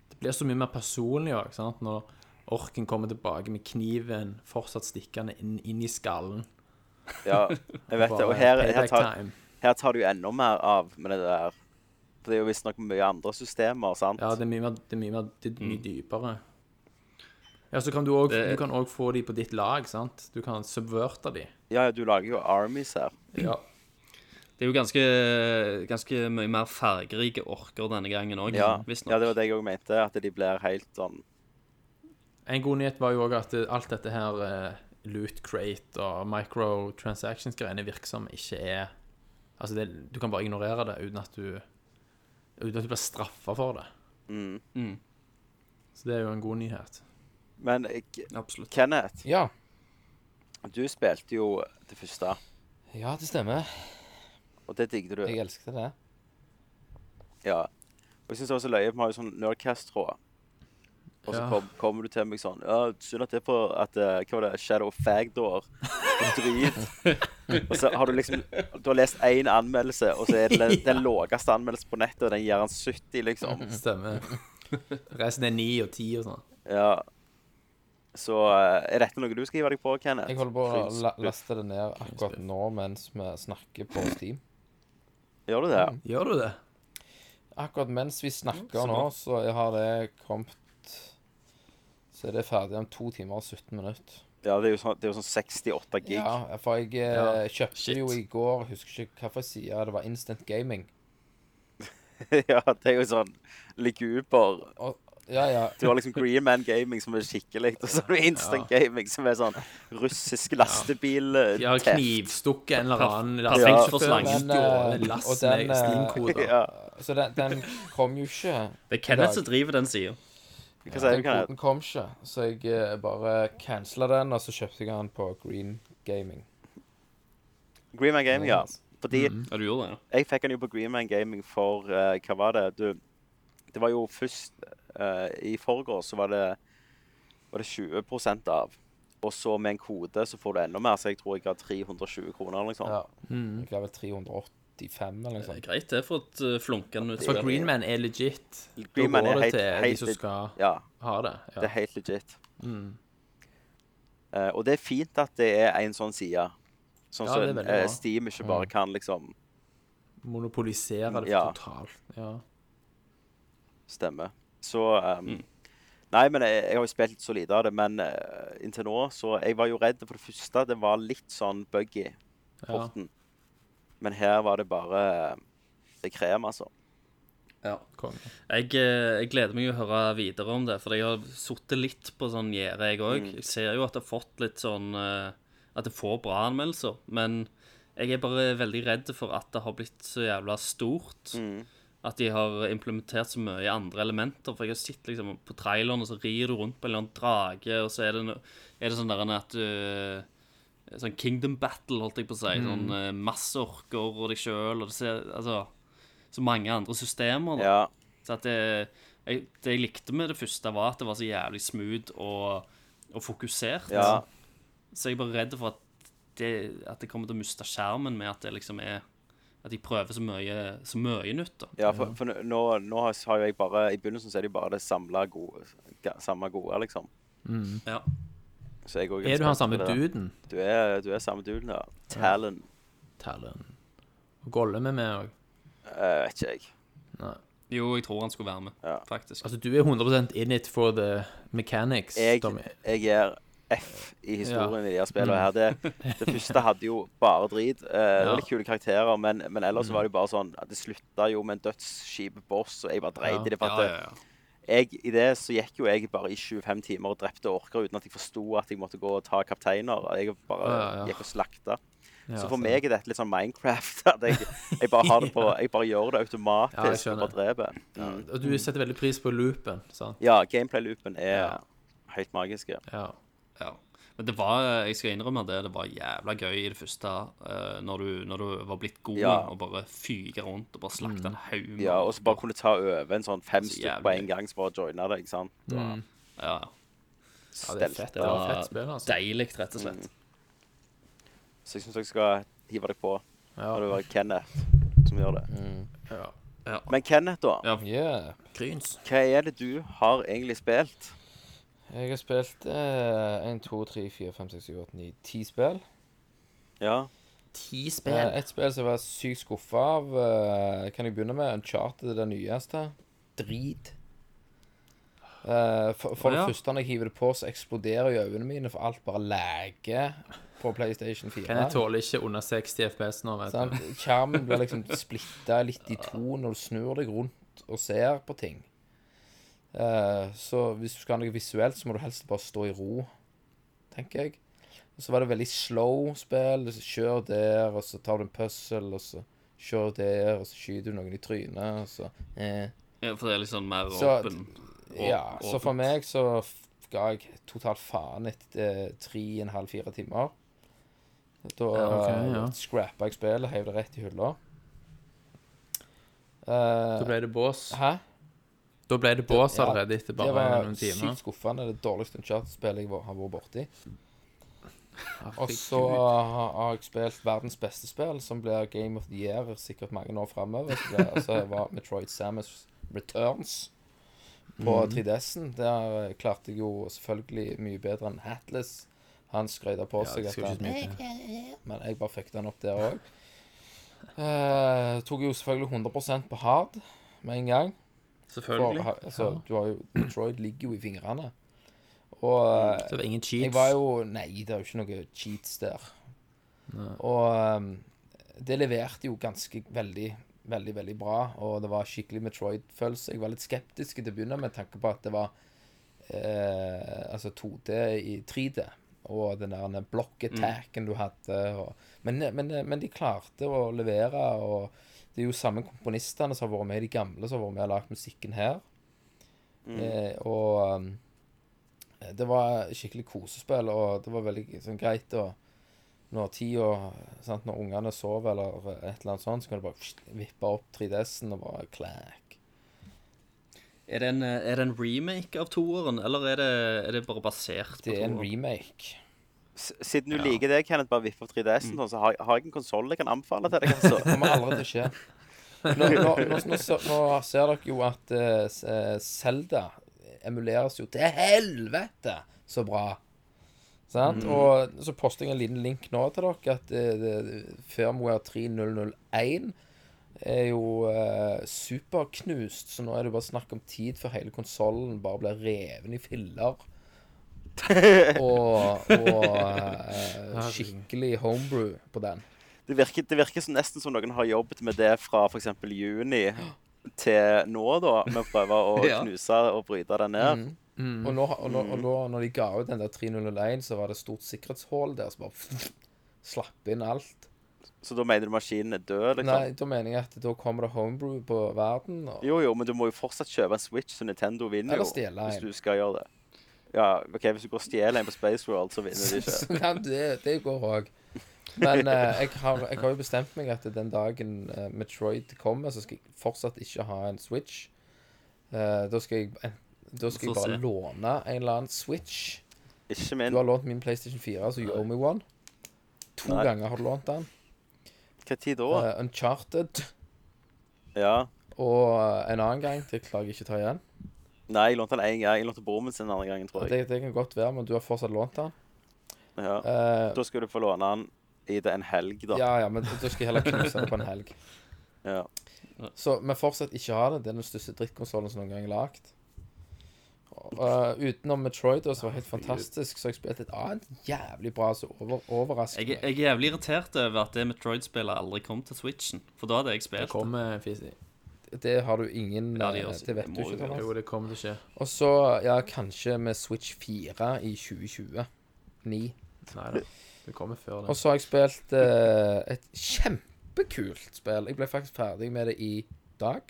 Det blir så mye mer personlig òg, sant, når orken kommer tilbake med kniven fortsatt stikkende inn, inn i skallen.
Ja, jeg vet det. Og
Bare
her, her,
payback
tar,
time.
her tar du jo enda mer av med det der. For det er jo visstnok mye andre systemer, sant?
Ja, det er mye mer, det er mye, mer, det er mye
Mm.
dypere. Ja, så kan du òg
Det-
du kan også få de på ditt lag, sant. Du kan subverte de.
Ja, ja, du lager jo armies her.
Ja.
Det er jo ganske, ganske mye mer fargerike orker denne gangen òg,
Ja, ja det
visstnok.
var det jeg òg mente. At de blir helt sånn
En god nyhet var jo òg at eh, alt dette her eh, loot crate og microtransactions-greiene virker som ikke er Altså, det, du kan bare ignorere det uten at du Uten at du blir straffa for det.
mm.
Så det er jo en god nyhet.
Men eh,
Absolutt.
Kenneth,
Ja.
du spilte jo det første,
ja, det stemmer.
og det digget du.
Jeg elsket det.
Ja. Og jeg syns også løye, vi har jo sånn Nerdcast-tråd. Og så
Ja.
kom, kommer du til meg sånn Ja, synd at det er på at eh, Hva var det? Shadow of Fagdoor. Og Drit. og så har du liksom Du har lest én anmeldelse, og så er det den, den lågeste anmeldelsen på nettet, og den gir han
Mhm.
70, liksom.
Stemmer. Resten er 9 og 10 og sånn.
Ja. Så eh, er dette noe du skal hive deg på, Kenneth?
Jeg holder på å la laste det ned akkurat nå mens vi snakker på Steam.
Gjør du det?
Mm.
Gjør du det?
Akkurat mens vi snakker nå, så har det kommet Så er det ferdig om to timer og 17 minutter.
Ja, det er jo sånn, det er jo sånn 68 gig.
Ja, for jeg eh, kjøpte
Shit.
jo i går Husker ikke hvilken side det var. Instant Gaming.
ja, det er jo sånn liguber.
Og, ja, ja.
Du har liksom Green Man Gaming, som er skikkelig, og så har du Instant Gaming, som er sånn russisk lastebil eh,
De har
test.
knivstukket en eller annen
Perfekt for slangen.
Men, eh, og den, eh,
Steam-koder.
Ja.
Så den, den kom jo ikke.
Det er Kenneth som driver den sida.
Hva sier
Den
du, Kenneth?
koden kom ikke, så jeg eh, bare cancela den, og så kjøpte jeg den på Green Gaming.
Green Man Gaming, ja. Fordi
Mm.
Ja, du gjorde det, ja.
jeg fikk den jo på Green Man Gaming for eh, Hva var det? Du, det var jo først eh, I forgårs så var det, var det 20 av. Og så med en kode så får du enda mer, så jeg tror jeg ga 320 kroner eller noe sånt.
Ja. Jeg ga vel 385 eller noe
Mm. Det
sånt.
er greit, det, for et uh, flunkende
For
utspill.
Greenman er legit. Da
Green Man er
går det
helt-
til de
helt
som
leg-
skal
Ja,
ha det.
det
Ja. Mm.
er helt legit. Eh, og det er fint at det er en sånn side. Sånn
Ja,
som
det er veldig bra. Mm.
eh, Steam ikke bare kan liksom
Monopolisere det
Ja.
totalt. Ja.
Stemmer. Så ehm,
Mm.
Nei, men jeg, jeg har jo spilt litt så lite av det, men eh, inntil nå så Jeg var jo redd for det første. Det var litt sånn buggy,
ja.
porten. Men her var det bare eh, Det er krem, altså.
Konge.
Jeg, eh, jeg gleder meg jo å høre videre om det, for jeg har sittet litt på sånn gjerde, jeg òg. Jeg ser jo at det har fått litt sånn eh, At det får bra anmeldelser, men jeg er bare veldig redd for at det har blitt så jævla stort. At de har implementert så mye andre elementer. For jeg har sett liksom på traileren, og så rir du rundt på en eller annen drage, og så er det, no er det sånn der en at du Sånn Kingdom Battle, holdt jeg på å si. Sånn eh, masse orker og deg sjøl, og det ser Altså Så mange andre systemer, da.
Ja.
Så at det, jeg, det jeg likte med det første, var at det var så jævlig smooth og, og fokusert.
ja.
Så jeg er bare redd for at det, at det kommer til å miste skjermen med at det liksom er At de prøver så mye, så mye nytt, da.
Ja, for, for nå, nå har har jo jeg bare I begynnelsen så er det jo bare det samla gode, ga- samme gode, liksom.
Ja.
Så jeg òg
Er du han samme duden?
Du er, du er samme duden, ja. Talon.
Talon. Gollum er med òg.
Eh, vet ikke jeg.
Jo, jeg tror han skulle være med,
Ja.
faktisk.
Altså, du er 100 in it for the mechanics. Tommy.
jeg, jeg gir F i historien i de her spillene her. Det, det første hadde jo bare drit. Eh, det var litt kule karakterer, men, men ellers så var det jo bare sånn at Det slutta jo med en dødsskip boss, og jeg bare dreit i det. For
Ja,
at
ja, ja.
Jeg, I det så gikk jo jeg bare i 25 timer og drepte orker uten at jeg forsto at jeg måtte gå og ta kapteiner. Jeg bare
Ja, ja.
gikk og slakta.
Ja, altså.
så for
så-
meg er dette litt sånn Minecraft. At jeg, jeg bare har det på Jeg bare gjør det
Ja, jeg
automatisk og
skjønner.
bare dreper. Mm.
Og du setter veldig pris på loopen, sant?
Ja, gameplay-loopen er
Ja.
helt magisk. ja.
Ja.
Ja. Men det var, jeg skal innrømme det, det var jævla gøy i det første, eh, når du, når du var blitt god
Ja. Mm.
og bare fyker rundt og bare slakter en haug med
Ja, og så bare kunne ta over en sånn fem
Så
stykker på
jævlig.
en gang, så bare joina det, ikke sant? Og
ja,
ja, det er fett. Det
stelte.
var fett spill, altså.
Deilig, rett og
Mm.
slett.
Så jeg syns dere skal hive dere på.
Ja.
Og det var Kenneth som gjør det.
Ja.
Men Kenneth, da.
Ja.
Yeah.
Kryns.
Hva er det du har egentlig spilt?
Jeg har spilt eh, 1, 2, 3, 4, 5, 6, 7, 8, 9, 10 spill.
Ja.
Ti
Eh,
spill.
et spill som jeg var sykt skuffa av, eh, kan jeg begynne med? Uncharted, det nyeste. Drit. Eh, for for
Å, ja.
det første, når jeg hiver det på, så eksploderer jo øynene mine, for alt bare lager på PlayStation 4.
Kan jeg tåle ikke under 60 FPS nå, vet
Sant?
du.
Skjermen blir liksom splitta litt i to når du snur deg rundt og ser på ting. Eh, så hvis du skal ha noe visuelt, så må du helst bare stå i ro, tenker jeg. Og så var det veldig slow spill. Så kjør der, og så tar du en puzzle, og så kjør der, og så skyter du noen i trynet, og så eh.
Ja, for det er litt sånn mer
Så-
åpen. Å-
Ja, så for
åpent.
meg så f- ga jeg totalt faen etter eh, tre og en halv, fire timer. Da
ok, ja.
eh, scrappa jeg spillet, heiv det rett i hylla. Eh,
Da ble det bås.
Hæ?
Da ble det bås
Ja,
allerede etter
Det
bare
var
noen timer.
sykt skuffende. Det dårligste Uncharted-spillet jeg var- har vært borti. Og
Herregud.
så har har jeg spilt verdens beste spill, som blir Game of the Year sikkert mange år framover. Altså det var Metroid Samus Returns. på
Mhm.
3DS-en. Der eh, klarte jeg jo selvfølgelig mye bedre enn Hatless. Han skrøyta på seg at han Men jeg bare fucka han opp der òg. Eh, tok jo selvfølgelig 100 på hard med en gang. For,
Selvfølgelig.
ha- altså, du har jo Detroit ligger jo i fingrene. Og eh,
Så det var ingen
jeg
cheats.
var jo Nei, det er jo ikke noe cheats der. Og ehm, det leverte jo ganske veldig, veldig, veldig bra. Og det var skikkelig Metroid-følelse. Jeg var litt skeptisk til å begynne med tanke på at det var eh, altså 2D i 3D. Og den der den block-attacken du hadde. Og, men, men, men de klarte å levere. Og det er jo samme komponistene som har vært med i de gamle, som har vært med og lagd musikken her. Eh, og ehm, det var skikkelig kosespill, og det var veldig sånn, greit å Når tida sant, Når ungene sover eller et eller annet sånt, så kan du bare pst, vippe opp 3DS-en og bare klæk.
Er det, en, eh, er det en remake av toeren, eller er det, er det bare basert på
Det er en
toeren?
remake.
S- Siden du liker det, Kenneth, bare vipp opp 3DS-en, sånn, så har, har jeg en konsoll jeg kan anbefale til deg.
Det
altså.
kommer aldri til å skje. Nå, nå, nå, nå, så- nå ser dere jo at eh, s- eh, Zelda emuleres jo til helvete så bra. Sant? Og så poster jeg en liten link nå til dere at eh, det- Firmware 3001 er jo eh, superknust, så nå er det bare snakk om tid før hele konsollen bare blir reven i filler. og og eh, skikkelig homebrew på den.
Det virker, det virker som nesten som noen har jobbet med det fra f.eks. juni til nå, da, med å prøve å
Ja.
knuse og bryte det ned.
Og, nå, og, nå,
Mm.
og nå, når de ga ut den der 301, så var det stort sikkerhetshull der som bare slapp inn alt.
Så da mener du maskinen er død, liksom?
Nei, da mener jeg at da kommer det homebrew på verden. Og,
Jo, jo, men du må jo fortsatt kjøpe en Switch, så Nintendo vinner
Eller
jo.
stjele en.
Hvis du skal gjøre det. Ja, OK, hvis du går og stjeler en på Space World, så vinner de ikke.
så kan det, det går òg. Men eh, jeg, har, jeg har jo bestemt meg at den dagen eh, Metroid kommer, så skal jeg fortsatt ikke ha en Switch. Eh, da skal jeg, eh, da skal jeg
Få
bare
se.
låne en eller annen Switch.
Ikke
Du
min.
har lånt min PlayStation 4, så you owe me one. To
Nei.
ganger har du lånt den.
Hva tid da?
Eh, Uncharted.
Ja.
Og eh, en annen gang, det klarer jeg ikke å ta igjen.
Nei, jeg lånte den én gang. Jeg lånte broren min sin den andre gangen, tror jeg.
Det, det kan godt være, men du har fortsatt lånt den.
Ja.
Eh,
Da skal du få låne den i det en helg, da.
ja, ja, men da skal jeg heller knuse den på en helg.
Ja.
Så, men fortsatt ikke ha det. Det er den største drittkonsollen som noen gang er lagd. Eh, utenom Metroid, da, som var helt fantastisk, så har jeg spilt et annet jævlig bra som over, overrasker
Jeg,
meg.
jeg er jævlig irritert over at det Metroid-spillet aldri kom til Switchen, for da hadde jeg
Det
spilt. det.
kommer fis-
Det har du ingen
Ja, de
eh,
også-
Det vet
det
du ikke,
må jo-
Thomas.
Jo, det kommer til å skje.
Og så, ja, kanskje med Switch 4 i 2020. 9.
Nei da. Det kommer før
Og
det.
så har jeg spilt eh, et kjempekult spill. Jeg ble faktisk ferdig med det i dag.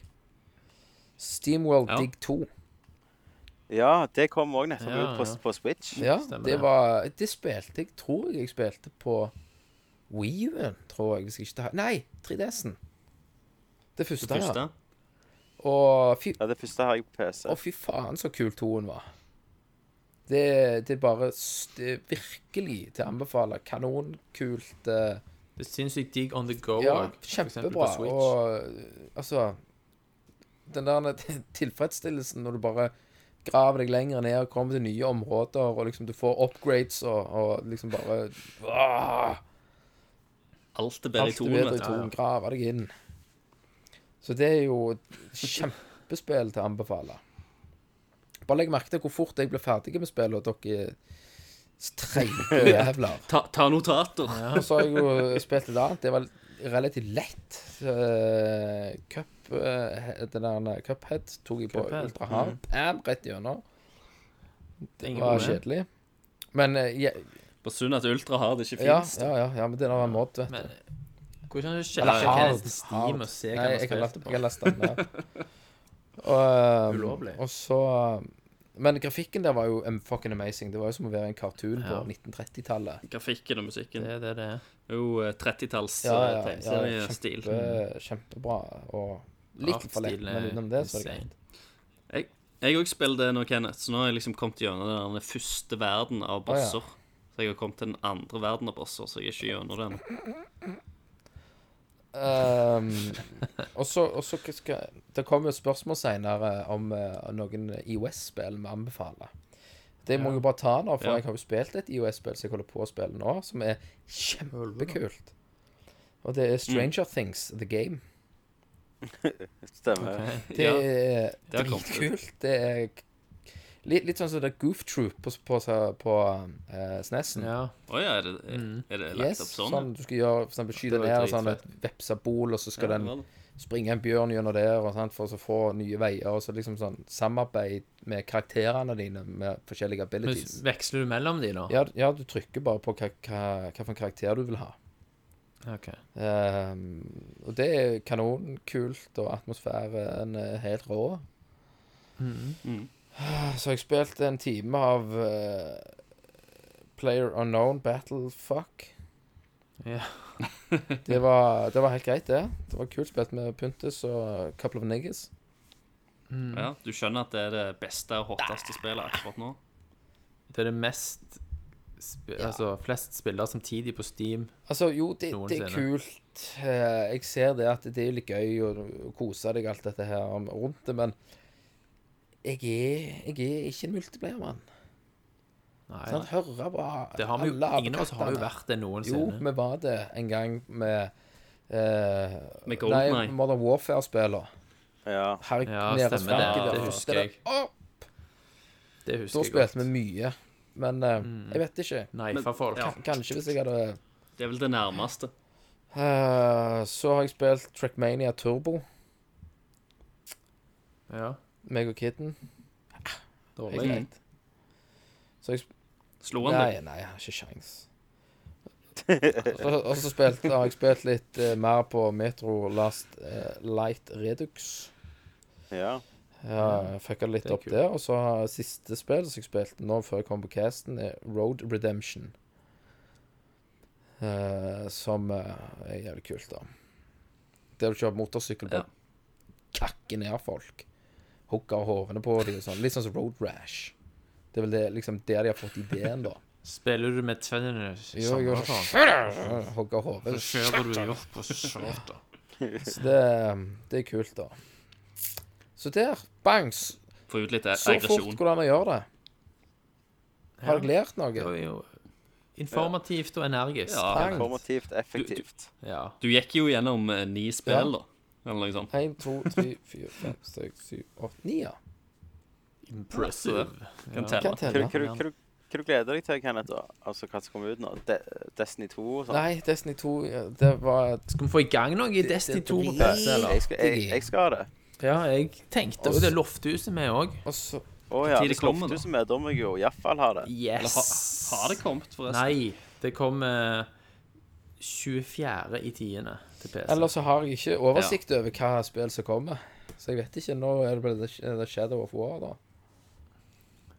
Steamworld
Ja.
Dig 2.
ja, det kom òg nettopp
Ja,
ut på,
ja.
på Switch.
Ja,
Stemmer
det
det.
var Det spilte jeg, tror jeg jeg spilte på Wii-en, tror jeg. Hvis jeg ikke tar Nei, 3DS-en. Det første, ja.
Første.
Og fy,
Ja, det første har jeg på PC.
å, fy faen, så kul toen var. Det, det er bare s- det er virkelig til å anbefale. Kanonkult. eh,
Det er sinnssykt digg on the go
Ja,
òg.
kjempebra. Og uh, altså Den der tilfredsstillelsen når du bare graver deg lenger ned og kommer til nye områder, og liksom du får upgrades og, og liksom bare ah,
Alt er bedre i
Alt er
toen,
bedre i
vet du.
toen. Grave deg inn. Så det er jo et kjempespill til å anbefale. Bare legg merke til hvor fort jeg ble ferdig med spillet, og dere streike jævler.
Ta, ta notater.
Og så har jeg jo spilt et annet. Det var relativt lett. Eh, cup, eh, den der Cuphead tok jeg på
Cuphead,
ultra hard. Bam, rett gjennom. Det
Ingen
var
problem.
kjedelig. Men eh, ja,
På synd at Ultra har det ikke
ja,
fins.
ja, ja, ja, men det er en mod, vet du.
Men hvordan er det
Eller
sjekke
hard,
Kenneths Steam og se hva
Nei,
han
jeg
har
kan
spilt
laste
på?
jeg kan laste den ned. Og, eh,
Ulovlig.
og så eh, Men grafikken der var jo um, fucking amazing. Det var jo som å være en kartoon på
Ja.
1930-tallet.
Grafikken og musikken.
Det er det det er.
Jo, eh, 30-talls
Ja, ja,
Sånn
ja,
tegneseriestil.
kjempe, kjempebra. Og litt for lett,
Artstilen
men
er
utenom det så var det
insane.
greit.
Jeg òg spiller det nå, Kenneth, så nå har jeg liksom kommet gjennom den der første verden av
ja.
bosser. Så jeg har kommet til den andre verden av bosser, så jeg er ikke gjennom den.
Ehm, og så og så skal Det kommer jo et spørsmål seinere om eh, noen IOS-spill vi anbefaler. Det må jeg jo bare ta nå, for
Ja.
jeg har jo spilt et IOS-spill som jeg holder på å spille nå, som er kjempekult. Og det er
Mm.
Stranger Things The Game.
Stemmer.
Det
Ja.
er
Det har kommet ut.
dritkult. Det er litt, litt sånn som det er Goof Troop på, på, på eh, SNES-en.
Ja.
Å ja, er det, er, er det lagt
Mm. Yes,
opp sånn?
sånn du skal gjøre, for eksempel skyte
Det var
ned
dritfett.
sånn et vepsabol, og så skal
Ja,
den
vel.
springe en bjørn gjennom der, og sant, for å så få nye veier, og så liksom sånn samarbeid med karakterene dine med forskjellige
Men
abilities.
veksler du mellom de, da?
Ja, ja, du trykker bare på hva, hva, hva for en karakter du vil ha.
Ok.
Ehm, og det er kanonkult, og atmosfæren er helt rå. Ah, Så jeg spilte en time av eh, Player Unknown Battlefuck.
Ja.
det, var, det var helt greit, det. Det var kult spilt med Puntis og Couple of Niggas.
Ja, du skjønner at det er det beste og hotteste spillet akkurat nå?
Det er det mest sp Altså flest spillere samtidig på Steam.
Altså, jo, det, det er
Noensinne.
kult. Eh, Jeg ser det at det er litt gøy å, å kose deg alt dette her om- rundt det, men jeg er, jeg er ikke en multiplayer-mann.
Nei,
Sant? Høre hva
det har vi jo,
alle
ingen av oss har jo
apekattene-
vært det
Jo,
noensinne.
vi var det en gang med eh,
Med
Nei,
GoldenEye.
Modern Warfare-spiller.
Ja.
Herregud,
Ja,
nede
stemmer det.
stanken der.
Det husker jeg.
Å,
Det
Da
husker jeg
spilte
godt. Mm.
vi mye. Men eh, jeg vet ikke.
Neifa folk.
Ja.
Kanskje hvis jeg hadde
Det er vel det nærmeste.
Eh, Så har jeg spilt Trackmania Turbo,
Ja.
meg og kidden.
Dårlig.
Helt greit. Så jeg sp-
Slo han deg?
Nei, nei, jeg har ikke sjans. Og og så spilte, har jeg spilt litt eh, mer på Metro Last eh, Light Redux.
ja.
Ja, jeg fucka litt
det er
opp
kult.
der. Og så har siste spill som jeg spilte nå før jeg kom på casten, er Road Redemption. Eh, som eh, er jævlig kult, da. Der du kjører motorsykkel på
Ja.
kakker ned folk. Hugger hovene på dem og sånn. Litt sånn som Road Rash. Det er vel det, liksom der de har fått ideen, da.
Spiller du med tennene
Jo,
sammen?
jo.
sånn?
Hogger hodet.
Så kjører du jo på skjorta.
Så det, eh, det er kult, da. Så der. Bangs.
Få ut litt
Så fort går
aggresjon.
det an å gjøre det. Har jeg lært
Det
noe?
var jo informativt og energisk.
Ja.
Bang.
Formativt, effektivt.
Ja.
Du gikk jo gjennom eh, ni spill, da. Eller noe sånt.
1, 2, 3, 4, 5, 6, 7, 8, 9, ja.
Impressive.
Kan
Kan
telle.
Hva
telle.
hva- hva- hva du gleder deg til, Kenneth? da? Altså hva som kommer ut nå? De Destiny 2 og sånn?
Nei, Destiny 2, ja, det var et
Skal vi få i gang noe i Destiny
det
2
blir-
på PC, eller?
Jeg skal, jeg, jeg skal ha det.
Ja, jeg tenkte jo
Oss-
det er Lofthuset vi òg.
Og så
Å ja.
tid det
Hvis
kommer,
Loftus
da?
er med, da må jeg jo iallfall ha det.
Eller
Yes.
ha, har det kommet, forresten?
Nei, det kommer 24. i tiende til PC.
Eller så har jeg ikke oversikt over hva spill som kommer. Så jeg vet ikke. Nå er det bare The- The Shadow of War, da.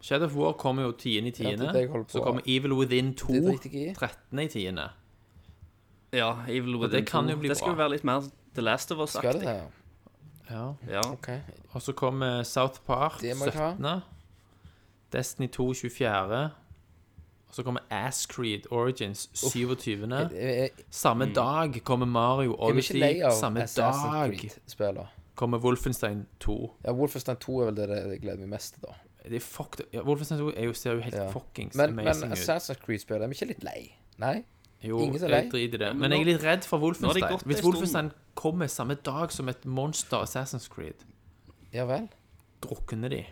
Shadow of War kommer jo 10. i
Ja, det
tiende.
er det jeg holder på.
så kommer Evil Within 2
Det driter jeg i.
13. i tiende.
Ja, Evil Within
det kan jo
2.
bli
Det skal
bra.
jo være litt mer The Last of
Skal det
Us-aktig.
det? ja?
Ja.
Ja.
OK.
Og så kommer South Park
Det må jeg
17. Destiny 2 24. Og så kommer Ass Creed Origins 27.
Jeg, jeg, jeg,
Samme dag kommer Mario
jeg Mm. er ikke
Odyssey.
lei av
Samme
Assassin's
dag
Creed-spillene.
kommer Wolfenstein 2.
Ja, Wolfenstein 2 er vel det jeg gleder meg mest til, da.
Det er fuck, ja, Wolfenstein 2 er jo, ser jo helt
Ja.
fuckings
Men, men
amazing ut.
Assassin's Creed-spillene er vi ikke litt lei? Nei?
Jo,
ingen som er
jeg
lei.
driter i
men
det. Men jeg er
nå-
litt redd for
nå har de
Wolfenstein.
gått
Hvis
en stund.
Wolfenstein kommer samme dag som et monster Assassin's Creed,
Ja vel?
drukner de.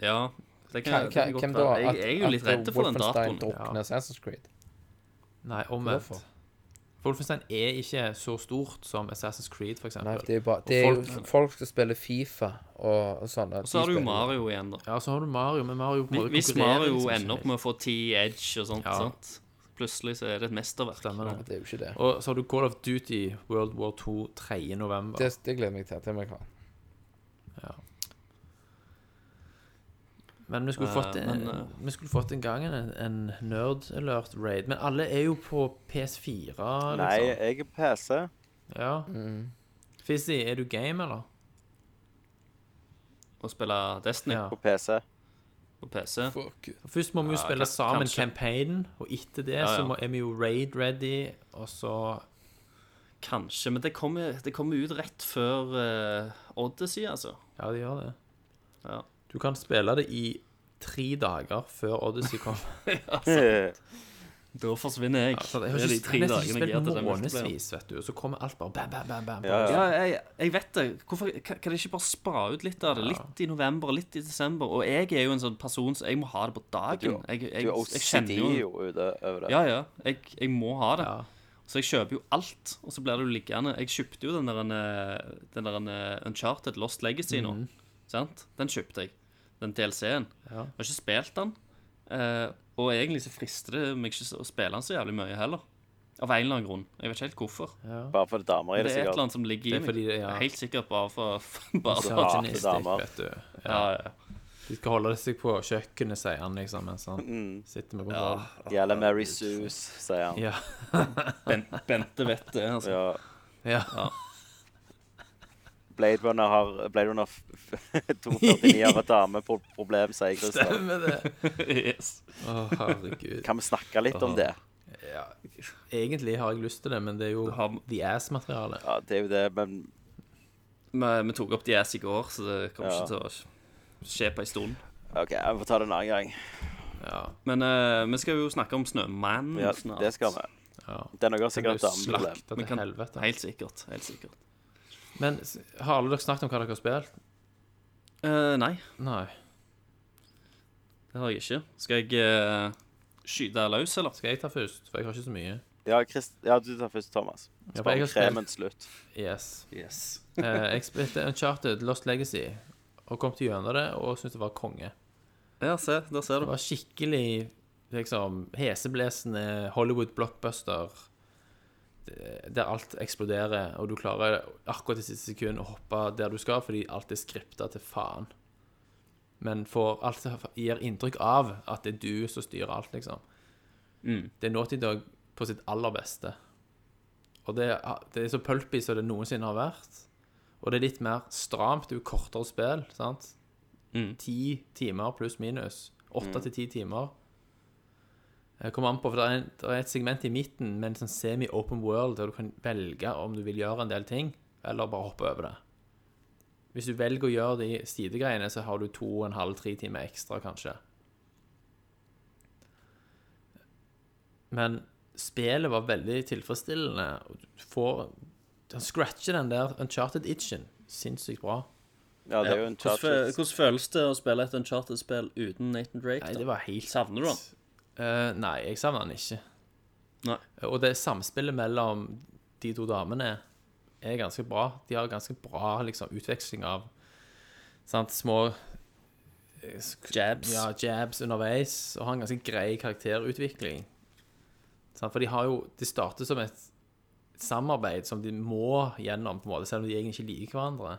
ja. Det
Hva-
kan, det
hva-
kan
Hvem
godt
da?
være. Jeg,
At-
jeg er jo
at
litt redd for den
Wolfenstein
datoen.
drukner Assassin's Creed?
Nei, omvendt.
Hvorfor?
Wolfenstein er ikke så stort som Assassin's Creed, for
Nei,
eksempel.
det er jo bare det er
Og
folk, jo, folk som spiller Fifa og, sånn, og sånne.
Og så har du jo Mario igjen, da.
Ja, så har du Mario, men Mario på en måte
Hvis
konkurrerer
Mario
liksom ikke
ender opp med å få ti edge og sånt,
Ja.
sant? plutselig så er det et mesterverk.
Stemmer det.
Det er jo ikke det.
Og så har du Call of Duty World War 2 3. november.
Det, det gleder jeg meg til. Det må jeg ha.
Men vi skulle fått,
Eh, men,
en-
eh,
vi skulle fått en gang en, en nerd alert raid. Men alle er jo på PS4, liksom.
Nei, jeg er PC.
Ja.
Mm.
Fizzy, er du game, eller?
Å spille Destiny
Ja.
På PC.
på PC.
Først må vi jo
Ja,
spille
kan-
sammen
kanskje.
campaignen, og etter det
Ja, ja.
så må, er vi jo raid ready, og så
Kanskje, men det kommer, det kommer ut rett før eh, Odyssey, altså.
Ja, de gjør det.
Ja.
Du kan spille det i tre dager før Odyssey kommer.
Da forsvinner jeg.
Så jeg har
Det er
ikke,
de tre
jeg har nesten
dagene jeg
ikke
er til
spilt
den multiplayeren.
månedsvis, vet du. Og så kommer alt bare bam, bam, bam. bam.
Ja, ja.
Ja, jeg, jeg vet det. Hvorfor kan, kan de ikke bare spa ut litt av det? Litt i november, litt i desember. Og jeg er jo en sånn person som jeg må ha det på
Du,
dagen. Jeg, jeg,
du er
jeg,
OCD
kjenner jo
jo ute over det.
Ja, ja. Jeg, jeg må ha det.
Ja.
Så jeg kjøper jo alt, og så blir det jo liggende. Jeg kjøpte jo den der, eh, den der eh, Uncharted Lost Legacy nå. Sant? Den kjøpte jeg. Den DLC-en.
Mhm. Ja.
Har ikke spilt den. Eh, og egentlig så frister det meg ikke så- å spille den så jævlig mye heller. Av en eller annen grunn. Jeg vet ikke helt hvorfor.
Bare for damer er
Det
det
er et eller
sikkert.
annet som ligger
Det
i
er
meg.
fordi det- ja.
Helt sikkert bare for, bare for
Ja,
Misogynistisk,
damer.
vet du.
ja, ja.
De skal holde seg på kjøkkenet, sier han liksom, mens han sitter med kontroll.
Gjelder Mary Sus, sier han.
Ja.
Ben, Bente vet det. Altså.
Ja.
Ja.
Blade Runner har Blade Runner f- f- 249 har et dameproblem, sier Christer.
Stemmer det.
Yes.
Å, herregud.
Kan vi snakke litt om det?
Egentlig har jeg lyst til det, men det er jo
har-
the ass-materiale.
Ja, det er jo det, men
Vi, vi tok opp DS i går, så det kommer
Ja.
ikke til å skje på en stund.
OK, jeg får ta det en annen gang.
Ja.
Men eh, vi skal jo snakke om Snømann
Ja,
snart.
det skal vi.
Ja.
Den har
Det er
sikkert et
jo
dameproblem.
slakta
Vi
til
kan-
helvete.
Helt sikkert. helt sikkert.
Men s- har alle dere snakket om hva dere har spilt?
Eh, nei,
Nei.
det har jeg ikke. Skal jeg eh, skyte løs, eller?
Skal jeg ta først? For jeg har ikke så mye.
Ja, Christ, ja, du tar først, Thomas.
Ja, for
Spør
jeg
om
har spilt
kremen til slutt.
Yes.
Yes.
Eh, jeg spilte Uncharted Lost Legacy og kom til gjennom det og syntes det var konge.
Ja, se. Der ser
Det
du.
var skikkelig liksom heseblesende Hollywood-blockbuster det- der alt eksploderer, og du klarer akkurat i siste sekund å hoppe der du skal fordi alt er skripta til faen. Men får alt gir inntrykk av at det er du som styrer alt, liksom.
Mm.
Det er Naughty Dog på sitt aller beste. Og det, er- det er så pulpy som det noensinne har vært. Og det er litt mer stramt, det er jo kortere spill, sant? Ti timer pluss minus. Åtte til ti timer. Jeg kommer an på, for det er, en, det er et segment i midten med en sånn semi-open world, der du kan velge om du vil gjøre en del ting, eller bare hoppe over det. Hvis du velger å gjøre de sidegreiene, så har du to og en halv, tre timer ekstra, kanskje. Men spillet var veldig tilfredsstillende. og Du får Han scratcher den der Uncharted Itchen. Sinnssykt bra.
Ja, det er jo en
Hvordan, fø- hvordan føles det å spille et Uncharted-spill uten Nathan Drake?
Nei,
da?
det var helt
Savner du han?
Eh, nei, jeg savner han ikke.
Nei.
Og det samspillet mellom de to damene er ganske bra. De har ganske bra liksom, utveksling av sant, små eh, sk-
Jabs.
Ja, jabs underveis, og har en ganske grei karakterutvikling. Sant, for de har jo Det starter som et samarbeid som de må gjennom, på en måte, selv om de egentlig ikke liker hverandre.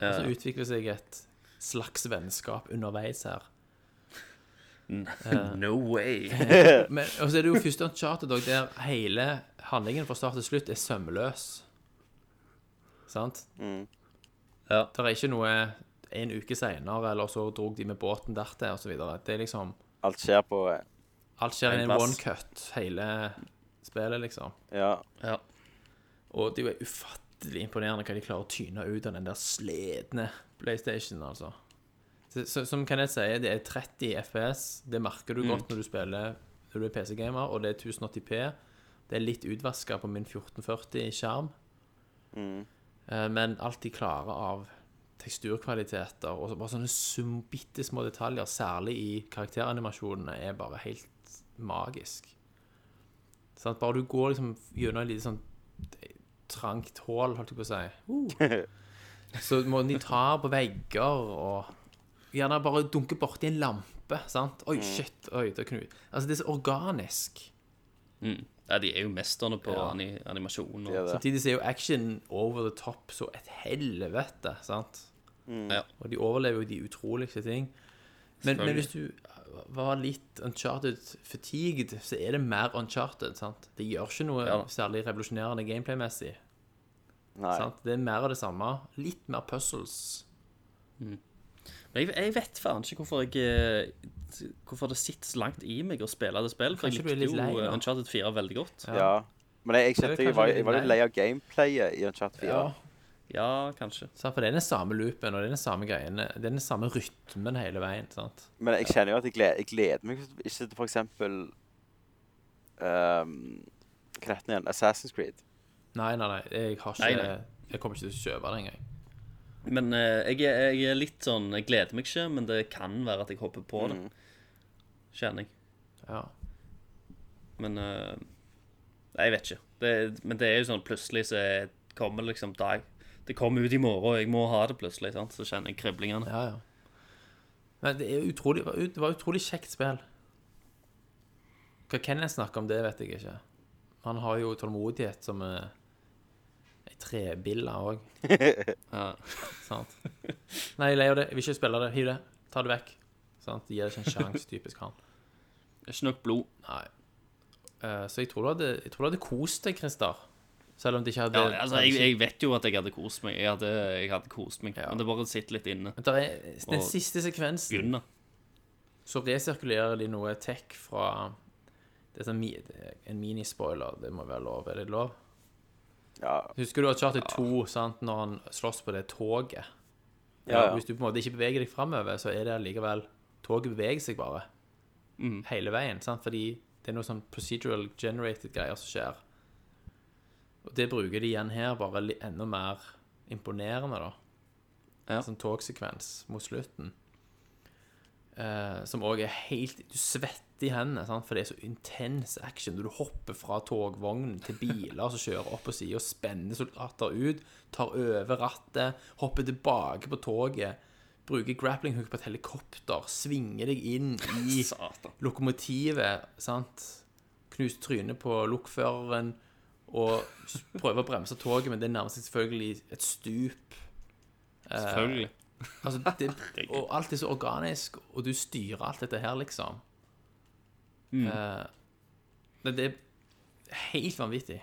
Og så utvikler seg et slags vennskap underveis her.
No way.
Men og så er det jo første Uncharted også, der hele handlingen fra start til slutt er sømløs. Sant?
Ja.
Det er ikke noe en uke seinere, eller så drog de med båten dertil, osv. Det er liksom
Alt skjer på eh,
Alt skjer i
En
en
plass.
one cut, hele spillet, liksom.
Ja.
ja.
Og det er jo ufattelig imponerende hva de klarer å tyne ut av den der sledne PlayStation, altså. Så, så, som Kenneth sier, det er 30 FPS. Det merker du godt når du spiller når du er PC-gamer, og det er 1080P. Det er litt utvaska på min 1440-skjerm. Eh, Men alt de klarer av teksturkvaliteter og så- bare sånne sum, bitte små detaljer, særlig i karakteranimasjonene, er bare helt magisk. Sånn at bare du går liksom gjennom et lite sånn trangt hål, holdt jeg på å si. Så må de ta på vegger og gjerne bare dunke borti en lampe, sant? Oi, shit, oi, det er knut. Altså, det er så organisk.
Mm. ja, de er jo mesterne på ani animasjon. Og...
Det er det.
Samtidig så er jo action over the top så et helvete, sant?
Ja.
Og de overlever jo de utroligste ting. Men, men hvis du var litt uncharted-fatigued, så er det mer uncharted, sant? Det gjør ikke noe
Ja.
særlig revolusjonerende gameplay-messig.
Nei.
Sant? Det er mer av det samme. Litt mer puzzles.
Men jeg, jeg vet faen ikke hvorfor jeg eh, Hvorfor det sitter så langt i meg å spille det spillet. For
Kanskje
jeg
du er
likte jo
litt lei,
eh,
da?
Uncharted 4 veldig godt.
Ja. Men jeg, jeg
Det er
kjente jeg
kanskje
var,
litt
jeg var litt
lei.
lei av gameplayet i Uncharted 4.
Ja.
Ja, kanskje.
Sant, for det er den samme loopen, og det er den samme greiene. Det er den samme rytmen hele veien. sant?
Men jeg kjenner jo at jeg gleder, jeg gleder meg ikke til for eksempel um, Hva heter den igjen? Assassin's Creed.
Nei, nei, nei. Jeg har ikke
Nei, nei.
Jeg kommer ikke til å kjøpe det engang.
Men eh, jeg, er, jeg er litt sånn Jeg gleder meg ikke, men det kan være at jeg hopper på det. Kjenner jeg.
Ja.
Men eh, Nei, jeg vet ikke. Det, men det er jo sånn plutselig så er- kommer liksom dag Det kommer ut i morgen, og jeg må ha det plutselig. sant? Så kjenner jeg kriblingene.
ja, ja. Men det er jo utrolig Det var et utrolig kjekt spill. Hva Kenneth snakker om, det vet jeg ikke. Han har jo tålmodighet som eh, ei trebille òg.
Ja.
Sant? Nei, jeg er lei av det. Jeg vil ikke spille det. Hiv det. Ta det vekk. Sant? Gir det ikke en sjanse, typisk han.
Ikke nok blod.
Nei. Eh, så jeg tror, du hadde, jeg tror du hadde kost deg, Christer. Selv om det ikke hadde
Ja, altså, jeg, jeg vet jo at jeg hadde kost meg. Jeg hadde, jeg hadde kost meg, Men det bare sitter litt inne.
Men der er, den
Og-
siste sekvensen,
Gunnar.
så resirkulerer de noe tech fra det er sånn, mi- det er En minispoiler, det må være lov. Er det lov?
Ja.
Husker du at Charter 2, sant, når han slåss på det toget
Ja,
Hvis du på en måte ikke beveger deg framover, så er det allikevel Toget beveger seg bare
Mm.
hele veien, sant? fordi det er noe sånn procedural generated greier som skjer. Og det bruker de igjen her, bare li- enda mer imponerende, da.
Ja.
Sånn togsekvens mot slutten. Eh, som òg er helt Du svetter i hendene, sant? for det er så intens action. Du hopper fra togvognen til biler som kjører opp på sida, spenner soldater ut, tar over rattet, hopper tilbake på toget, bruker grappling hook på et helikopter, svinger deg inn i
Satan.
lokomotivet, sant? Knust trynet på lokføreren og prøver å bremse toget, men det nærmer seg selvfølgelig et stup.
Selvfølgelig.
Altså, det, og alt er så organisk, og du styrer alt dette her, liksom. Eh, men det er helt vanvittig.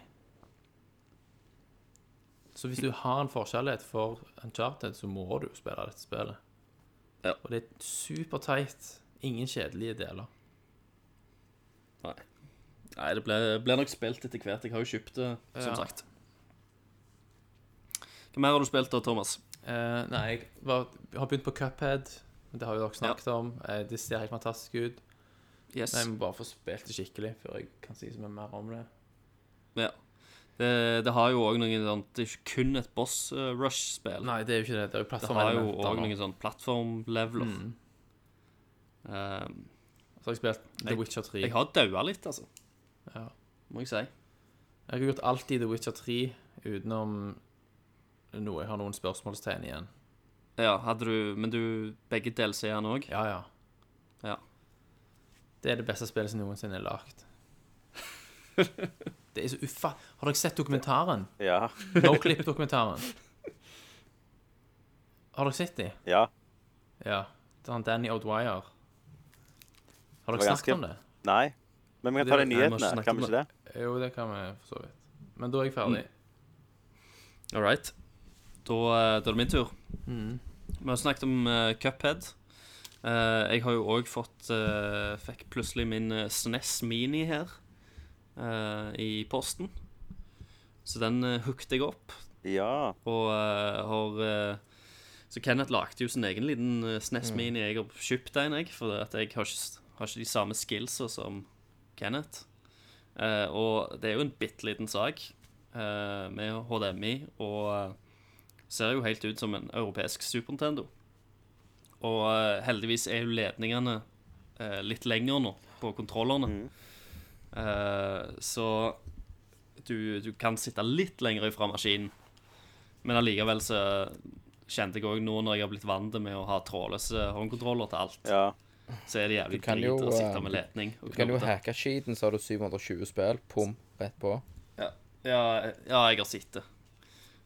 Så hvis du har en forkjærlighet for Uncharted, så må du jo spille dette spillet.
Ja.
Og det er superteit. Ingen kjedelige deler.
Nei. Nei, det blir, blir nok spilt etter hvert. Jeg har jo kjøpt det, som
Ja.
sagt. Hva mer har du spilt da, Thomas?
Eh, nei, jeg var, har begynt på Cuphead. Det har jo dere snakket om. Eh, det ser helt fantastisk ut.
Yes.
Nei, jeg må bare få spilt det skikkelig før jeg kan si så mye mer om det.
Ja. Det, det har jo òg noe sånt Det er ikke kun et boss eh, rush-spill.
Nei, det er jo ikke det. Det
det har
er jo
jo
plattformelementer
òg
nå.
noen sånn plattform-leveler.
Mm.
Um,
Så har jeg spilt The
Jeg-
Witcher 3.
jeg har daua litt, altså.
Ja.
Må jeg si.
Jeg har gjort alt i The Witcher 3 utenom noe jeg har noen spørsmålstegn igjen.
Ja, hadde du Men du begge delseerne òg?
Ja, ja.
Ja.
Det er det beste spillet som noensinne er lagd. Det er så uffa... Har dere sett dokumentaren?
ja.
Noclip-dokumentaren? Har dere sett de?
ja.
Ja. Det er han Danny O'Dwyer. Har
var
dere snakket
ganske-
om det?
Nei. Men vi kan
Det-
ta de
nei,
vi må ikke
nyhetene,
snakke
kan
om
vi ikke det?
Jo, det kan vi for så vidt. Men da er jeg ferdig.
All right. Da, eh, da er det min tur.
Mm.
Vi har snakket om eh, Cuphead. Eh, jeg har jo òg fått eh, Fikk plutselig min eh, SNES Mini her eh, i posten. Så den uh, hooked jeg opp.
Ja.
Og eh, har eh, Så Kenneth lagde jo sin egen liten eh, SNES Mini. Jeg har kjøpt en, jeg, for at jeg har ikke, har ikke de samme skillsa som Kenneth. Eh, og det er jo en bitte liten sak eh, med HDMI, og eh, ser jo helt ut som en europeisk Super Nintendo. Og eh, heldigvis er jo ledningene eh, litt lenger nå på kontrollerne. Eh, så du, du kan sitte litt lenger ifra maskinen. Men allikevel så kjente jeg òg nå når jeg har blitt vant med å ha trådløse håndkontroller til alt,
ja.
så er det jævlig
Du kan
drit
jo,
å sitte
eh,
med ledning. og
Du kan jo
knoter.
hacke skiten, så har du 720 spill. Pum, rett på.
Ja, ja, ja jeg har sett det.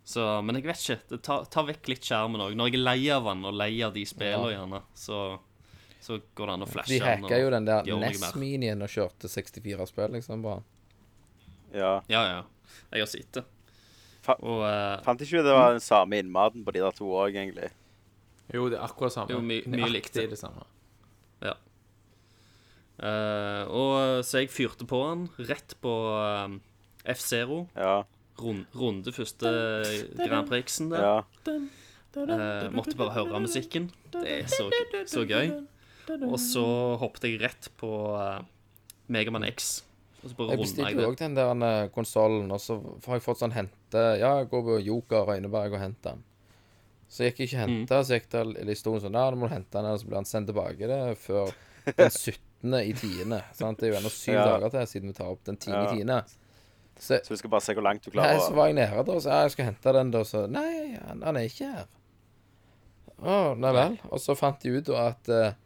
Så, men jeg vet ikke. Det tar, tar vekk litt skjermen òg. Når jeg er lei av den, og lei av de spillene, gjerne, så, så går det an å flashe
De hacka jo den der
gjør noe mer.
NES-minien og kjørte 64 spill, liksom, bare.
ja.
Ja, ja. Jeg har sett det.
Fa-
Og eh,
Fant ikke du det var den samme innmaten på de der to òg, egentlig?
Jo, det er akkurat samme.
Jo, my- mye
Nøyaktig
likt det.
det samme.
Ja. Eh, og så jeg fyrte på han rett på eh, F-Zero.
Ja.
Rund, runde første Grand Prixen der.
ja.
Eh, måtte bare høre musikken. Det er så, så gøy. Og så hoppet jeg rett på eh, Mega Megaman X. Og så bare
Jeg
runda
bestilte
jeg
jo
det.
òg den der eh, konsollen, og så har jeg fått sånn hente Ja, jeg går på Joker Røyneberg og henter den. Så gikk jeg ikke og henta, så gikk det en stund sånn Ja, du må du hente den, her», og så ble han sendt tilbake det før den 17. i tiende. Sant? Det er jo ennå syv
Ja.
dager til siden vi tar opp den 10. i tiende. Så,
Så du skal bare se hvor langt du
nei,
klarer
så var jeg nede, da, og så ja, jeg skal hente den, da, så Nei, han, han er ikke her. Å, nei vel. Og så fant de ut da at eh,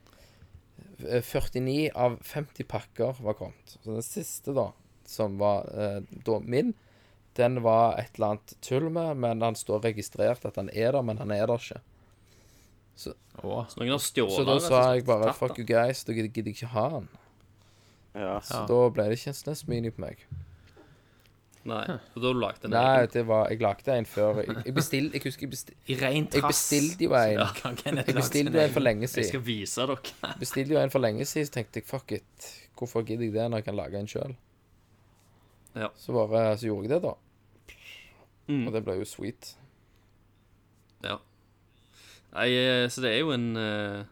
49 av 50 pakker var kommet. Så den siste, da, som var eh, da min, den var et eller annet tull med, men han står registrert at han er der, men han er der ikke.
Så noen har
Så
stjålet
da
det,
sa jeg bare
tatt
fuck
den.
you guys, da gidder gidder jeg ikke ha han.
å ja.
Så da ble det ikke en SNES Mini på meg.
Nei, og da lagde jeg
Nei,
den.
det var Jeg lagde en før Jeg, jeg bestilte Jeg husker jeg bestilte
I ren
Jeg
trass.
bestilte jo en.
Kan Kenneth
Jeg
lage sin
bestilte jo en
egen?
for lenge
Jeg
siden.
skal vise dere.
Bestilte jo en for lenge siden, så tenkte jeg fuck it. Hvorfor gidder jeg det når jeg kan lage en sjøl?
Ja.
Så bare Så gjorde jeg det, da.
Mm.
Og det ble jo sweet.
Ja. Nei, eh, så det er jo en eh,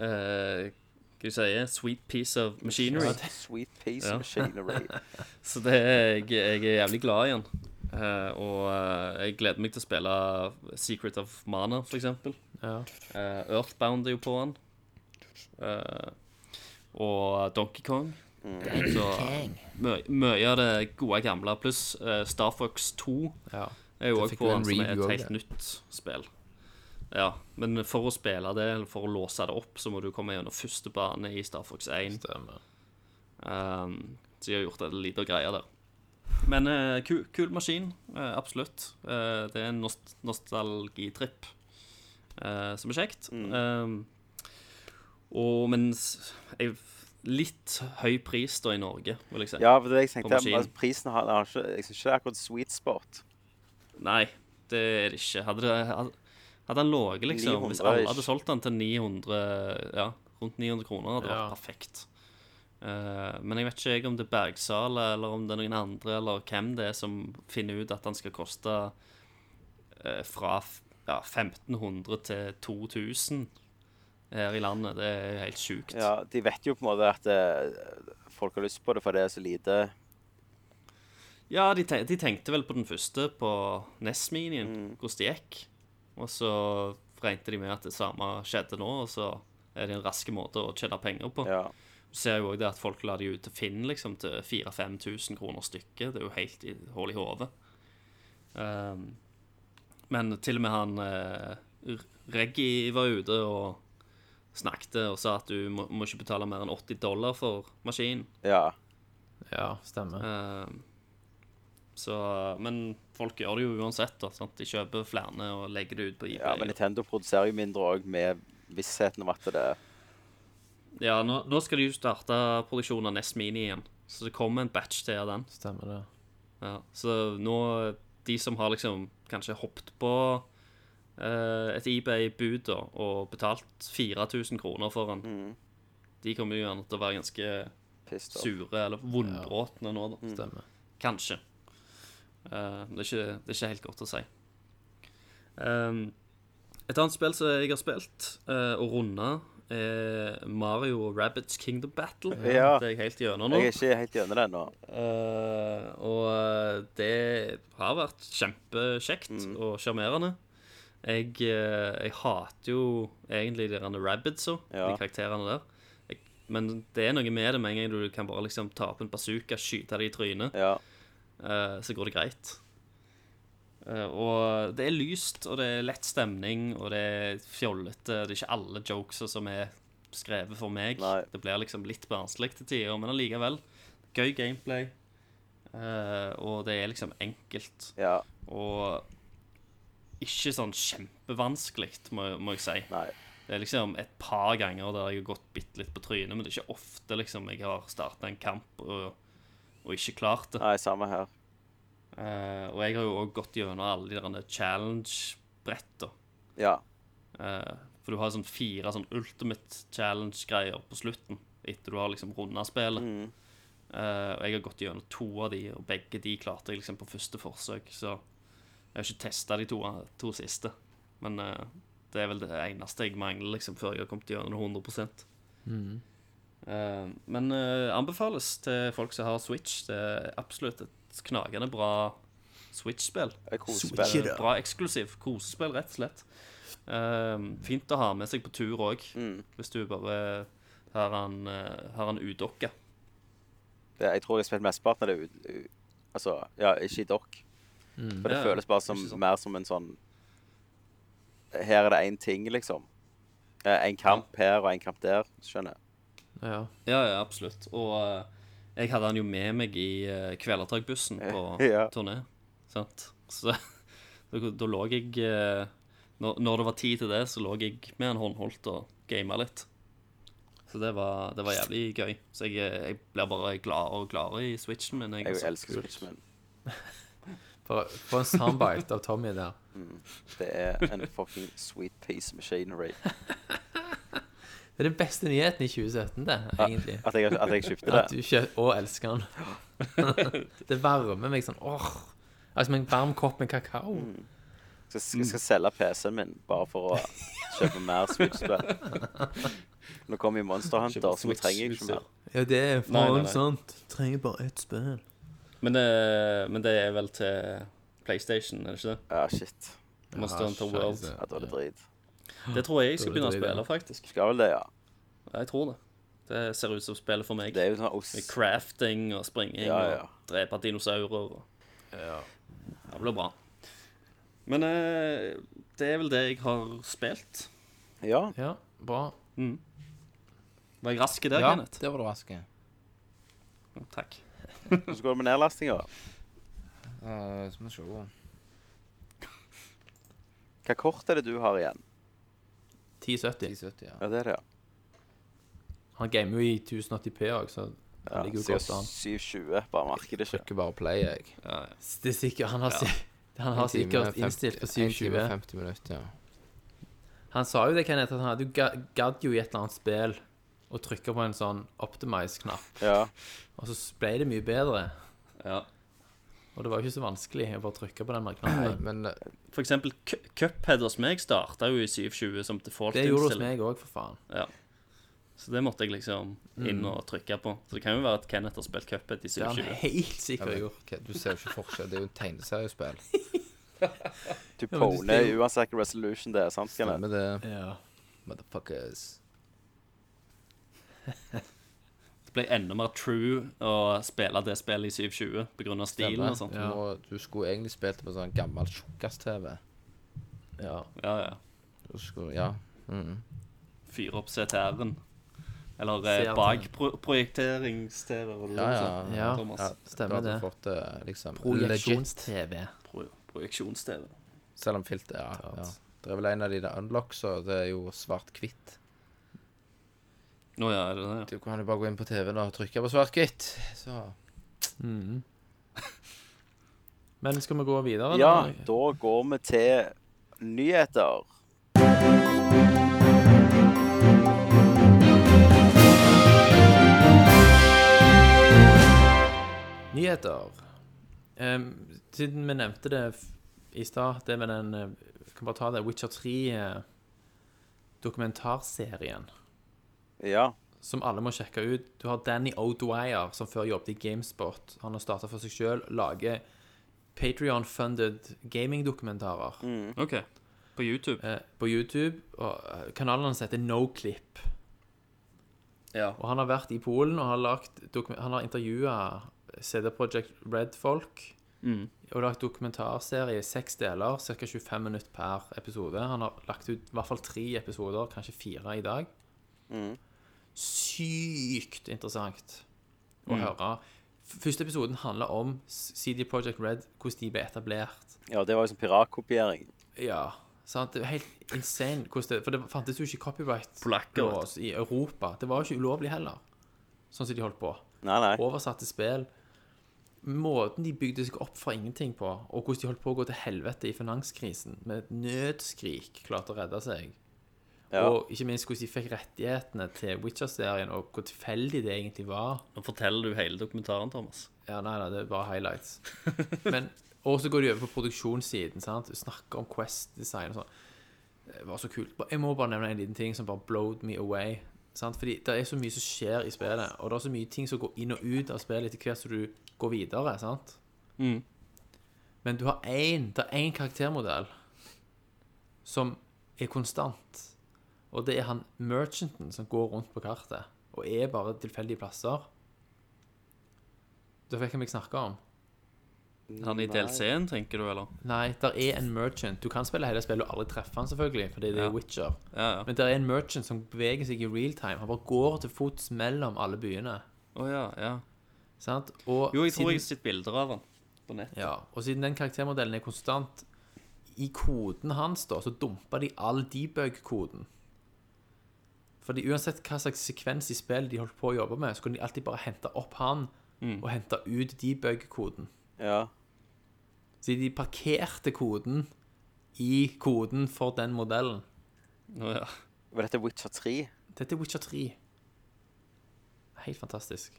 eh, Hva skal jeg si Sweet piece of machinery.
Sweet piece
Ja.
of machinery.
Så det er, jeg, jeg er jævlig glad i den. Eh, og eh, jeg gleder meg til å spille Secret of Mana, for eksempel.
Ja.
Eh, Earthbound er jo på den. Eh, og Donkey Kong.
Mm.
Så mø- mye av det gode gamle, pluss eh, Star Fox 2
Ja.
er jo
Det
òg
fikk
på
jo en
den, som er
review
et
også,
helt nytt spill. Ja, men for å spille det, eller for å låse det opp, så må du komme gjennom første bane i Star Fox 1.
Stemmer.
Um, så jeg har gjort en liten greie der. Men eh, ku, kul maskin, eh, absolutt. Eh, det er en nost nostalgitripp eh, som er kjekt. Um, og mens jeg, Litt høy pris da i Norge, vil jeg si.
Ja, for det jeg tenkte,
På maskin.
altså, prisen har, har ikke, jeg synes ikke det er akkurat sweet spot.
Nei, det er det ikke. Hadde, det, hadde, hadde han ligget, liksom Hvis
900
alle
-ish.
hadde solgt den til 900 Ja, rundt 900 kroner, hadde det
Ja.
vært perfekt. Eh, men jeg vet ikke jeg om det er Bergsala, eller om det er noen andre, eller hvem det er som finner ut at den skal koste eh, fra f- ja, 1500 til 2000 her i landet. Det er helt sjukt.
Ja, de vet jo på en måte at eh, folk har lyst på det, for det er så lite.
Ja, de, te de tenkte vel på den første, på NES-minien, hvordan det gikk. Og så regnet de med at det samme skjedde nå, og så er det en raske måte å tjene penger på.
Ja.
Du ser jo òg det at folk la de ut til Finn liksom, til 4000-5000 kroner stykket. Det er jo helt i hull i hodet. Ehm, men til og med han eh, Reggie var ute og snakket og sa at du må, må ikke betale mer enn 80 dollar for maskinen.
ja.
Ja, stemmer.
Ehm, Så, men folk gjør det jo uansett. da, sant? De kjøper flere og legger det ut på
Ja, men
eBay. Ja,
Nintendo produserer jo mindre òg, med vissheten om at det er
nå, nå skal de jo starte produksjonen av NES Mini igjen, så det kommer en batch til av den.
Stemmer det.
Ja, så nå De som har liksom kanskje hoppet på eh, et eBay-bud da, og betalt 4000 kroner for den,
Mm.
de kommer jo gjerne til å være ganske
pissed off.
sure eller vondbråtne nå, da.
Stemmer.
Kanskje. Eh, men det, er ikke, det er ikke helt godt å si. Ehm, et annet spill som jeg har spilt eh, og runda, er Mario og Rabbits Kingdom Battle.
Ja.
Det er jeg helt gjennom nå.
Jeg er ikke helt gjennom det ennå.
Eh, og eh, det har vært kjempekjekt og sjarmerende. Jeg, eh, jeg hater jo egentlig de der rabbitsa,
Ja.
de karakterene der. Jeg, men det er noe med det med en gang du kan bare liksom ta opp en bazooka, skyte det i trynet.
Ja.
Eh, så går det greit. Eh, og det er lyst, og det er lett stemning, og det er fjollete. Det er ikke alle jokesa som er skrevet for meg.
Nei.
Det blir liksom litt barnslig til tider, men allikevel. Gøy gameplay. Eh, og det er liksom enkelt.
ja.
Og ikke sånn kjempevanskelig, må, må jeg si.
Nei.
Det er liksom et par ganger der jeg har gått bitte litt på trynet, men det er ikke ofte liksom jeg har starta en kamp og, og ikke klart det.
Nei, samme her.
Eh, og jeg har jo òg gått gjennom alle de der eh, challenge-bretta.
Ja.
Eh, for du har sånn fire sånn ultimate challenge-greier på slutten, etter du har liksom runda spillet. Eh, og jeg har gått gjennom to av de, og begge de klarte jeg liksom på første forsøk. Så jeg har ikke testa de to, to siste. Men eh, det er vel det eneste jeg mangler liksom før jeg har kommet gjennom det 100 Eh, Men eh, anbefales til folk som har Switch. Det er absolutt et knagende bra Switch-spill.
Jeg koser meg.
Eh, Bra eksklusiv kosespill, rett og slett. Eh, fint å ha med seg på tur òg,
Mm.
hvis du bare har han, eh, har han udokka.
Det- Jeg tror jeg har spilt mesteparten av det ut, u- Altså, ja, ikke i dokk. For det
Ja, ja.
føles bare som,
Ikke sant.
mer som en sånn Her er det én ting, liksom. Eh, En kamp her og en kamp der. Skjønner. jeg.
Ja.
Ja, ja, absolutt. Og eh, jeg hadde han jo med meg i uh, Kvelertakbussen på
Ja.
turné. Sant? Så da, da lå jeg eh, når, når det var tid til det, så lå jeg med han håndholdt og gama litt. Så det var, det var jævlig gøy. Så jeg, eh, jeg blir bare gladere og gladere i switchen min. Jeg,
Jeg
altså.
elsker Switch, men
For, for en soundbite av Tommy der.
det er en fucking sweet piece machinery.
Det er den beste nyheten i 2017, det, egentlig.
At jeg, at jeg kjøpte
At
det.
du kjø og elsker den. det varmer meg sånn åh. Det er som en varm kopp med kakao.
Jeg skal, jeg skal selge PC-en min bare for å kjøpe mer Switch-spill. Nå kommer jo Monster Hunter, så jeg trenger ikke mer.
Ja, det er
Nei, nei,
faen sånn.
nei.
sant. Trenger bare ett spill.
Men, det- men det er vel til PlayStation, er det ikke det?
Ja, Ah, shit.
Monster Hunter World.
Ja, da er det drit.
Det tror jeg jeg skal
Da er
begynne å
det drit, ja.
spille, faktisk.
Skal vel det, ja.
Jeg tror det. Det ser ut som spillet for meg.
Det er jo sånn ost...
Med crafting og springing
Ja, ja.
og drepe dinosaurer og Det blir bra. Men eh, det er vel det jeg har spilt.
Ja.
Ja, bra.
Var jeg rask i det,
Ja,
Kenneth?
det var du rask. i.
Takk.
Hvordan går det med nedlastinga?
Eh, så må vi se.
Hva kort er det du har igjen?
1070.
1070, ja.
Ja, det er det, ja.
Han gamer jo i 1080p òg, så
ja
han ligger jo
så jeg
godt an.
720, bare merker det ikke.
Trykker bare play, jeg.
Det er sikkert, han har, si- han har
En time og
sikkert
fem-
innstilt på
en time og
720.
50 minutter, ja.
Han sa jo det, Kenneth, at han hadde jo ga- gadd jo i et eller annet spill å trykke på en sånn optimize-knapp,
Ja.
og så ble det mye bedre.
Ja.
Og det var jo ikke så vanskelig å bare trykke på den der
Nei,
knappen.
men eh,
For eksempel cu- Cuphead hos meg starta jo i 720 som
Det gjorde det hos
default-innstilling.
meg òg, for faen.
Så det måtte jeg liksom inn og trykke på. Så det kan jo være at Kenneth har spilt Cuphead i
Det har han
720.
helt
ja,
sikkert
men,
gjort.
ok, du ser jo ikke forskjell. Det er jo en tegneseriespill.
Du
Ja, men du
poner
ser jo-
uansett hva resolution det er, sant, Kenneth?
Stemmer det,
Ja.
motherfuckers.
Det ble enda mer true å spille det spillet i 720 pga. stilen og sånt.
Du, må, du skulle egentlig spilt det på sånn gammel tjukkas-TV.
ja.
Ja, ja.
Du skulle- Ja. Mm.
Fyre opp CTR-en. Eller eh,
CRT.
bakprojekterings-TV. var det
Ja,
du
ja.
sa?
Ja,
Thomas.
ja
stemmer
da hadde
det.
du fått det liksom legit,
Projeksjons-TV.
Pro Projeksjons-TV.
selv om filter ja, ja.
Klart.
Det er vel en av de der unlocks, og det er jo svart-hvitt.
Nå ja, er det det, ja.
Du kan jo bare gå inn på TV-en og trykke på svart-hvitt. Så
Mhm. Men skal vi gå videre?
Ja,
eller?
da går vi til nyheter.
Nyheter. Ehm, siden vi nevnte det f- i stad, det med den eh, Vi kan bare ta det. Witcher eh, 3-dokumentarserien
Ja.
som alle må sjekke ut. Du har Danny O'Dwyer, som før jobbet i Gamespot. Han har starta for seg sjøl. Lager Patrion-funded gamingdokumentarer
OK. På YouTube.
eh, på YouTube. Og eh, kanalen hans heter Noclip.
Ja.
Og han har vært i Polen og har, lagt dokumen- han har intervjua CD Projekt Red-folk.
Mm.
Og lagt dokumentarserie i seks deler, ca. 25 minutter per episode. Han har lagt ut i hvert fall tre episoder, kanskje fire i dag.
Mm.
Sykt interessant å
Mm.
høre. F- Første episoden handler om s- CD Projekt Red, hvordan de ble etablert.
ja, det var jo sånn piratkopiering.
Ja, sant? Det er helt insane hvordan det For det fantes jo ikke copyright
Polakker, vet du.
laws i Europa. Det var jo ikke ulovlig heller, sånn som de holdt på.
Nei, nei.
Oversatte spill. Måten de bygde seg opp fra ingenting på, og hvordan de holdt på å gå til helvete i finanskrisen, med et nødskrik klarte å redde seg.
Ja.
Og ikke minst hvordan de fikk rettighetene til Witcher-serien, og hvor tilfeldig det egentlig var.
Nå forteller du hele dokumentaren, Thomas.
Ja, nei, nei, det er bare highlights. Men, og så går de over på produksjonssiden. sant? Snakker om Quest-design og sånn. Det var så kult. Jeg må bare nevne en liten ting som bare blowed me away. sant? Fordi det er så mye som skjer i spillet, og det er så mye ting som går inn og ut av spillet etter hvert som du går videre. sant? Men du har én Det er én karaktermodell som er konstant. Og det er han merchanten som går rundt på kartet og er bare tilfeldige plasser. Det fikk jeg meg snakke om.
Han i DLC-en, tenker du, eller?
Nei, der er en merchant. Du kan spille hele spillet og aldri treffe han selvfølgelig, fordi det er
Ja.
Witcher.
Ja, ja.
Men der er en merchant som beveger seg i real time. Han bare går til fots mellom alle byene.
Å ja, ja.
Sant? Og
Jo, jeg tror
siden-
jeg har sett bilder av han på nett.
Ja, og siden den karaktermodellen er konstant i koden hans, da, så dumper de all debug-koden. Fordi uansett hva slags sekvens i spillet de holdt på å jobbe med, så kunne de alltid bare hente opp han
Mm.
og hente ut debug-koden.
Ja.
Så de parkerte koden i koden for den modellen.
Å ja.
Var dette Witcher 3?
Dette er Witcher 3. Helt fantastisk.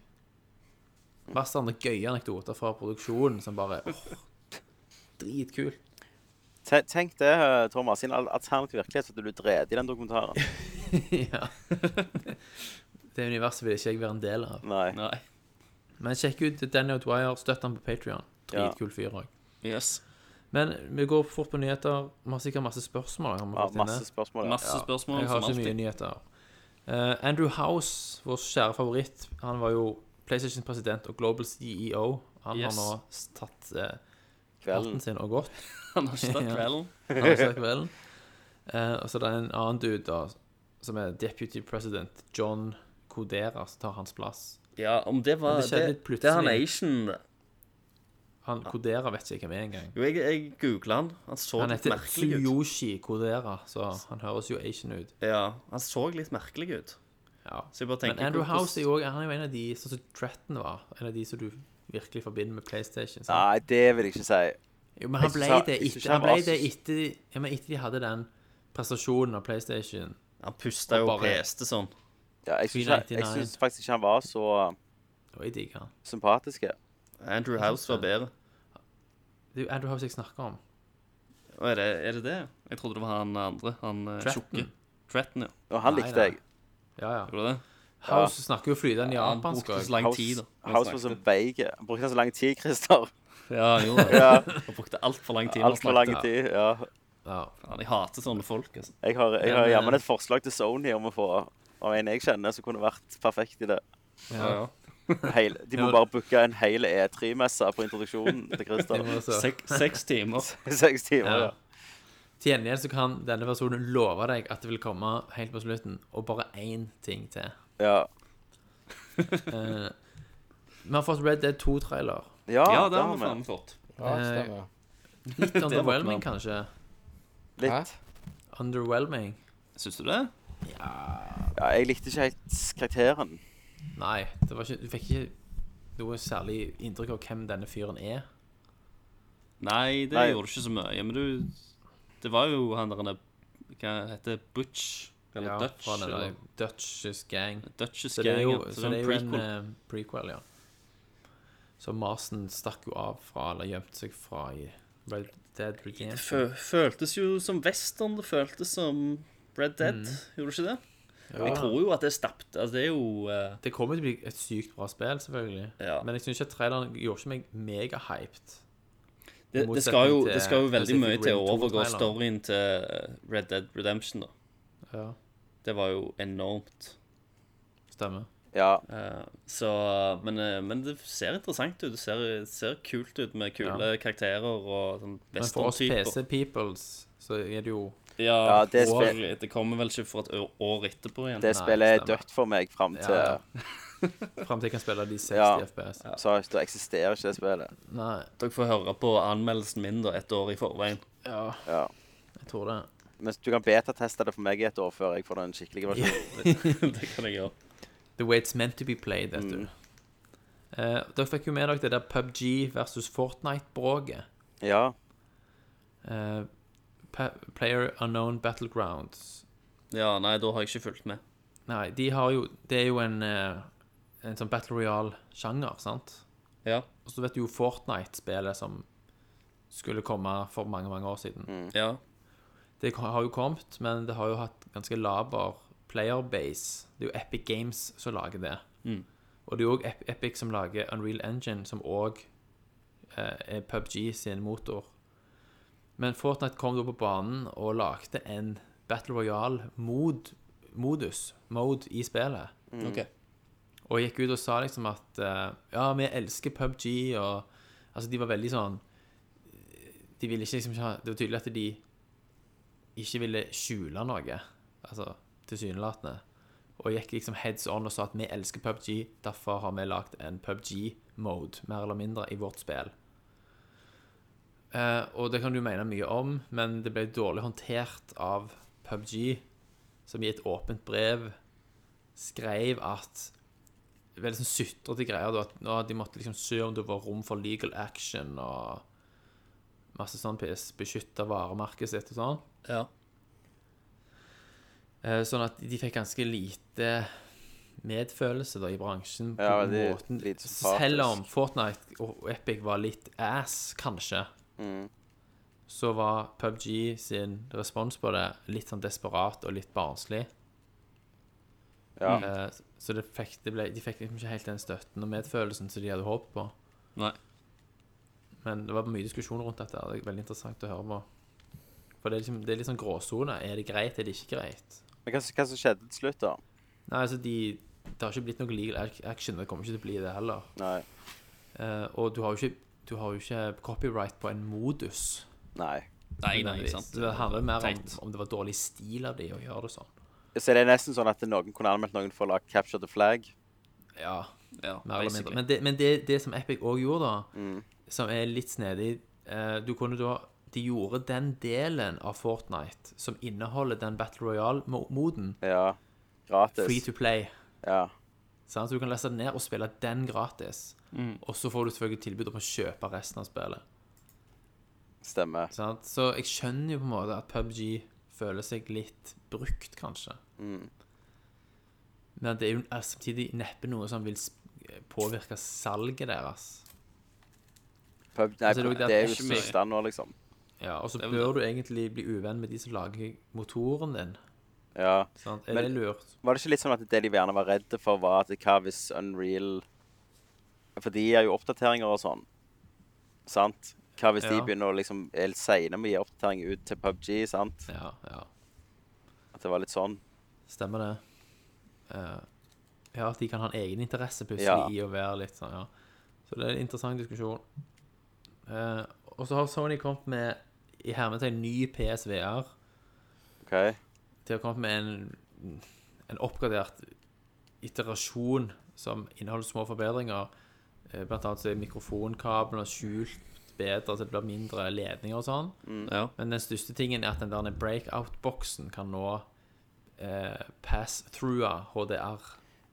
Masse andre gøye anekdoter fra produksjonen som bare åh, Dritkult.
Te- Tenk det, Thomas. I en al- alternativ virkelighet så hadde du drevet i den dokumentaren.
ja. Det universet vil ikke jeg være en del av.
Nei.
Nei.
Men sjekk ut Daniel Dwyer. Støtt han på Patrion.
Ja.
Dritkul fyr òg.
Yes.
Men vi går fort på nyheter. Vi har sikkert masse spørsmål. Har vi
Ja,
fått inne.
masse spørsmål. Ja.
Masse spørsmål,
Jeg har
som
ikke mye
alltid.
nyheter. Eh, Andrew House, vår kjære favoritt, han var jo PlayStation-president og global CEO. Han
Yes.
har nå tatt
Kvelden.
eh, parten sin og gått.
Han har ikke tatt
Ja.
kvelden.
Han har sagt kvelden. Eh, og så er det en annen dude, da, som er deputy president, John Kodera, som tar hans plass.
Ja, om det var
Men det skjedde litt
Det, det er han
plutselig.
Asian.
Han Kodera vet ikke hvem er engang.
Jo, jeg, jeg googla han. Han så
Han
litt
heter
merkelig ut.
Tsuyoshi Kodera, så han høres jo Asian ut.
Ja, han så litt merkelig ut.
Ja.
Så jeg bare
Men
tenker
Andrew
hvordan-
House er jo, også- han er jo en av de sånn som Tretton var. En av de som du virkelig forbinder med PlayStation. sant?
Nei, det vil jeg ikke si.
Jo, men han
Jeg synes
ble det
han- jeg synes
etter,
han
han
var
ble det
så-
etter, ja, men etter de hadde den prestasjonen av PlayStation.
Han pusta jo
Og
og
bare-
peste sånn.
Ja, jeg syns ikke- jeg
399.
syns faktisk ikke han var så
Og jeg digger han.
sympatisk. ja.
Andrew House var bedre.
Det er jo Andrew House jeg snakker om.
Å, er, det, er det det? Jeg trodde det var han andre. Han eh,
Tretton.
tjukke. Tretton, ja.
Og han
Nei,
likte
nei.
jeg.
Ja, ja.
Gjorde det?
House snakker jo flytende
Han
japansk
brukte
også.
så lang
House,
tid. da. Han
House var så
snakket.
veig. Han brukte så lang tid, Christer.
Ja, han gjorde det.
Ja,
Han brukte altfor lang tid.
Altfor lang
tid.
tid. ja.
Ja.
Jeg hater sånne folk. altså.
Jeg har, jeg
Men,
har
eh,
jammen et forslag til Sony om å få av en jeg kjenner som kunne vært perfekt i det.
Ja, ja.
Heil, de må
Ja.
bare booke en hel E3-messe på introduksjonen til Christer.
Og så-
Sek, seks timer.
Seks timer.
Ja.
Ja.
Til gjengjeld så kan denne personen love deg at det vil komme helt på slutten, og bare én ting til.
Ja,
Eh, vi har fått Red Dead 2-trailer.
ja,
Ja, det
det
har vi faen fått.
Ja,
Eh,
stemmer.
Litt underwhelming,
våkner
kanskje.
Hæ?
Litt.
Underwhelming?
Syns du det?
Ja, jeg likte ikke helt karakteren.
Nei, det var ikke, du fikk ikke noe særlig inntrykk av hvem denne fyren er.
Nei, det
Nei.
gjorde du ikke så mye. Men du Det var jo han der Hva heter det? Butch? Eller Dutch?
fra den der
eller
Dutch's gang.
Dutch's
Så det er
gang,
jo,
ja. Sånn
så det er jo en
prequel.
eh, prequel, ja. Så Marsen stakk jo av fra, eller gjemte seg fra, i Red Dead
Det
Redemption.
fø føltes jo som western. Det føltes som Red Dead.
Mm.
Gjorde det ikke det? Jeg tror jo at det er stapt. Altså, det er jo eh,
Det kommer til å bli et sykt bra spill, selvfølgelig.
Ja.
Men jeg syns ikke at traileren gjorde ikke meg megahyped.
det, det,
Motsetning
skal jo,
til
det skal jo veldig
Pacific
mye til å
Rim 2
overgå
traileren.
storyen til eh, Red Dead Redemption, da.
Ja.
Det var jo enormt.
Stemmer.
Ja,
Eh, så Men, eh, men det ser interessant ut. Det ser, det ser kult ut med kule karakterer og sånn
Men for oss
western-typer.
PC-peoples så er det jo
Ja,
Ja, det er
og
spil-
det kommer vel ikke for et ø- år etterpå igjen.
det spillet er
stemmer.
dødt for meg fram til
Ja. Fram til jeg kan spille de 60
Ja.
FPS.
Så da eksisterer ikke det spillet.
Nei,
Dere får høre på anmeldelsen min da, et år i forveien.
Ja.
jeg tror det.
Men du kan betateste det for meg i et år før jeg får den skikkelige versjonen.
det kan jeg gjøre.
The way it's meant to be played, vet du. Eh, dere fikk jo med dere det der PubG versus Fortnite-bråket.
Ja.
Eh, Pa- Player Unknown Battlegrounds
Ja, nei, da har jeg ikke fulgt med.
Nei, de har jo Det er jo en, eh, en sånn Battle Royale-sjanger, sant?
Ja.
Og så vet du jo Fortnite-spillet som skulle komme for mange, mange år siden.
mm.
Ja.
Det har jo kommet, men det har jo hatt ganske laber playerbase. Det er jo Epic Games som lager det. Og det er jo òg Epic som lager Unreal Engine, som òg eh, er PubG sin motor. Men Fortnite kom da på banen og lagde en Battle Royale-modus mode i spillet.
OK.
Og gikk ut og sa liksom at eh, Ja, vi elsker PubG og Altså, de var veldig sånn De ville ikke liksom ikke ha Det var tydelig at de ikke ville skjule noe. Altså tilsynelatende. Og gikk liksom heads on og sa at vi elsker PubG, derfor har vi lagd en PubG-mode, mer eller mindre, i vårt spill. Eh, og det kan du mene mye om, men det ble dårlig håndtert av PubG, som i et åpent brev skrev at veldig sånn sutrete greier. Da, at nå, de måtte liksom se om det var rom for legal action og masse sånn piss. Beskytte varemerket sitt og sånn.
Ja.
Eh, sånn at de fikk ganske lite medfølelse da i bransjen. på
Ja, veldig
måten.
lite sympatisk.
Selv om Fortnite og Epic var litt ass, kanskje,
Mm.
så var PubG sin respons på det litt sånn desperat og litt barnslig.
Ja.
Eh, Så det fikk, det ble, de fikk liksom ikke helt den støtten og medfølelsen som de hadde håpet på.
Nei.
Men det var mye diskusjon rundt dette. og Det er veldig interessant å høre på. For det er, liksom, det er litt sånn gråsone. Er det greit, er det ikke greit?
Men hva, hva som skjedde til slutt, da?
Nei, altså de, Det har ikke blitt noe legal ac- action. Det kommer ikke til å bli det heller.
Nei.
Eh, og du har, jo ikke, du har jo ikke copyright på en modus.
Nei.
Nei, nei,
nødvendigvis.
ikke sant.
Det handler mer om,
Teit.
om det var dårlig stil av de å gjøre det sånn.
Så det er nesten sånn at noen kunne anmeldt noen for å lage Capture the Flag.
Ja,
Ja,
Mer eller mindre.
basically.
Men det, men det, det som Epic òg gjorde, da, som er litt snedig eh, Du kunne da De gjorde den delen av Fortnite som inneholder den Battle Royale-moden,
Ja. Gratis.
free to play.
Ja.
Sant? Så du kan lese den ned og spille den gratis.
Mm.
Og så får du selvfølgelig tilbud om å kjøpe resten av spillet.
Stemmer.
Sant? Så jeg skjønner jo på en måte at PubG føler seg litt brukt, kanskje. Men det er jo er samtidig neppe noe som vil sp- eh, påvirke salget deres.
Pub, nei,
Altså, det er jo
det,
det at
er jo
det er ikke mye-
stand nå, liksom.
Ja, og så
er vel
bør du egentlig bli uvenn med de som lager motoren din.
Ja.
Sant? Er
Men-
det lurt?
Var det ikke litt sånn at det de gjerne var redde for, var at hva hvis Unreal For de gir jo oppdateringer og sånn, sant? Hva hvis de
Ja.
begynner å liksom er litt seine med å gi oppdatering ut til PubG, sant?
Ja, ja.
At det var litt sånn.
Stemmer det. Eh, ja, at de kan ha en egen interesse plutselig
Ja.
i å være litt sånn, ja. Så det er en interessant diskusjon. Eh, og så har Sony kommet med i hermetegn ny PSVR.
OK?
De har kommet med en, en oppgradert iterasjon som inneholder små forbedringer. Eh, Blant annet så er mikrofonkablene skjult bedre, så det blir mindre ledninger og sånn.
Ja.
Men den største tingen er at den der breakout-boksen kan nå eh, pass through HDR.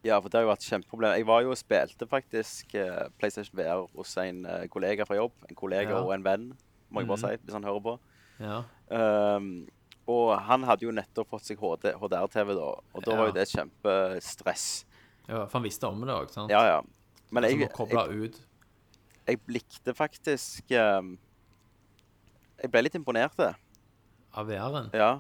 Ja, for det har jo vært et kjempeproblem. Jeg var jo og spilte faktisk eh, PlayStation VR hos en eh, kollega fra jobb. En kollega
Ja. Mhm.
og en venn, må jeg bare si, hvis han hører på.
Ja.
Ehm, og han hadde jo nettopp fått seg HD, HDR-TV, da. Og da var
Ja.
jo det et kjempestress.
ja, for han visste om det òg, sant?
Ja, ja. Men
Som
jeg,
å koble ut.
jeg likte faktisk ehm, Jeg ble litt imponert, det.
Av VR-en.
Ja.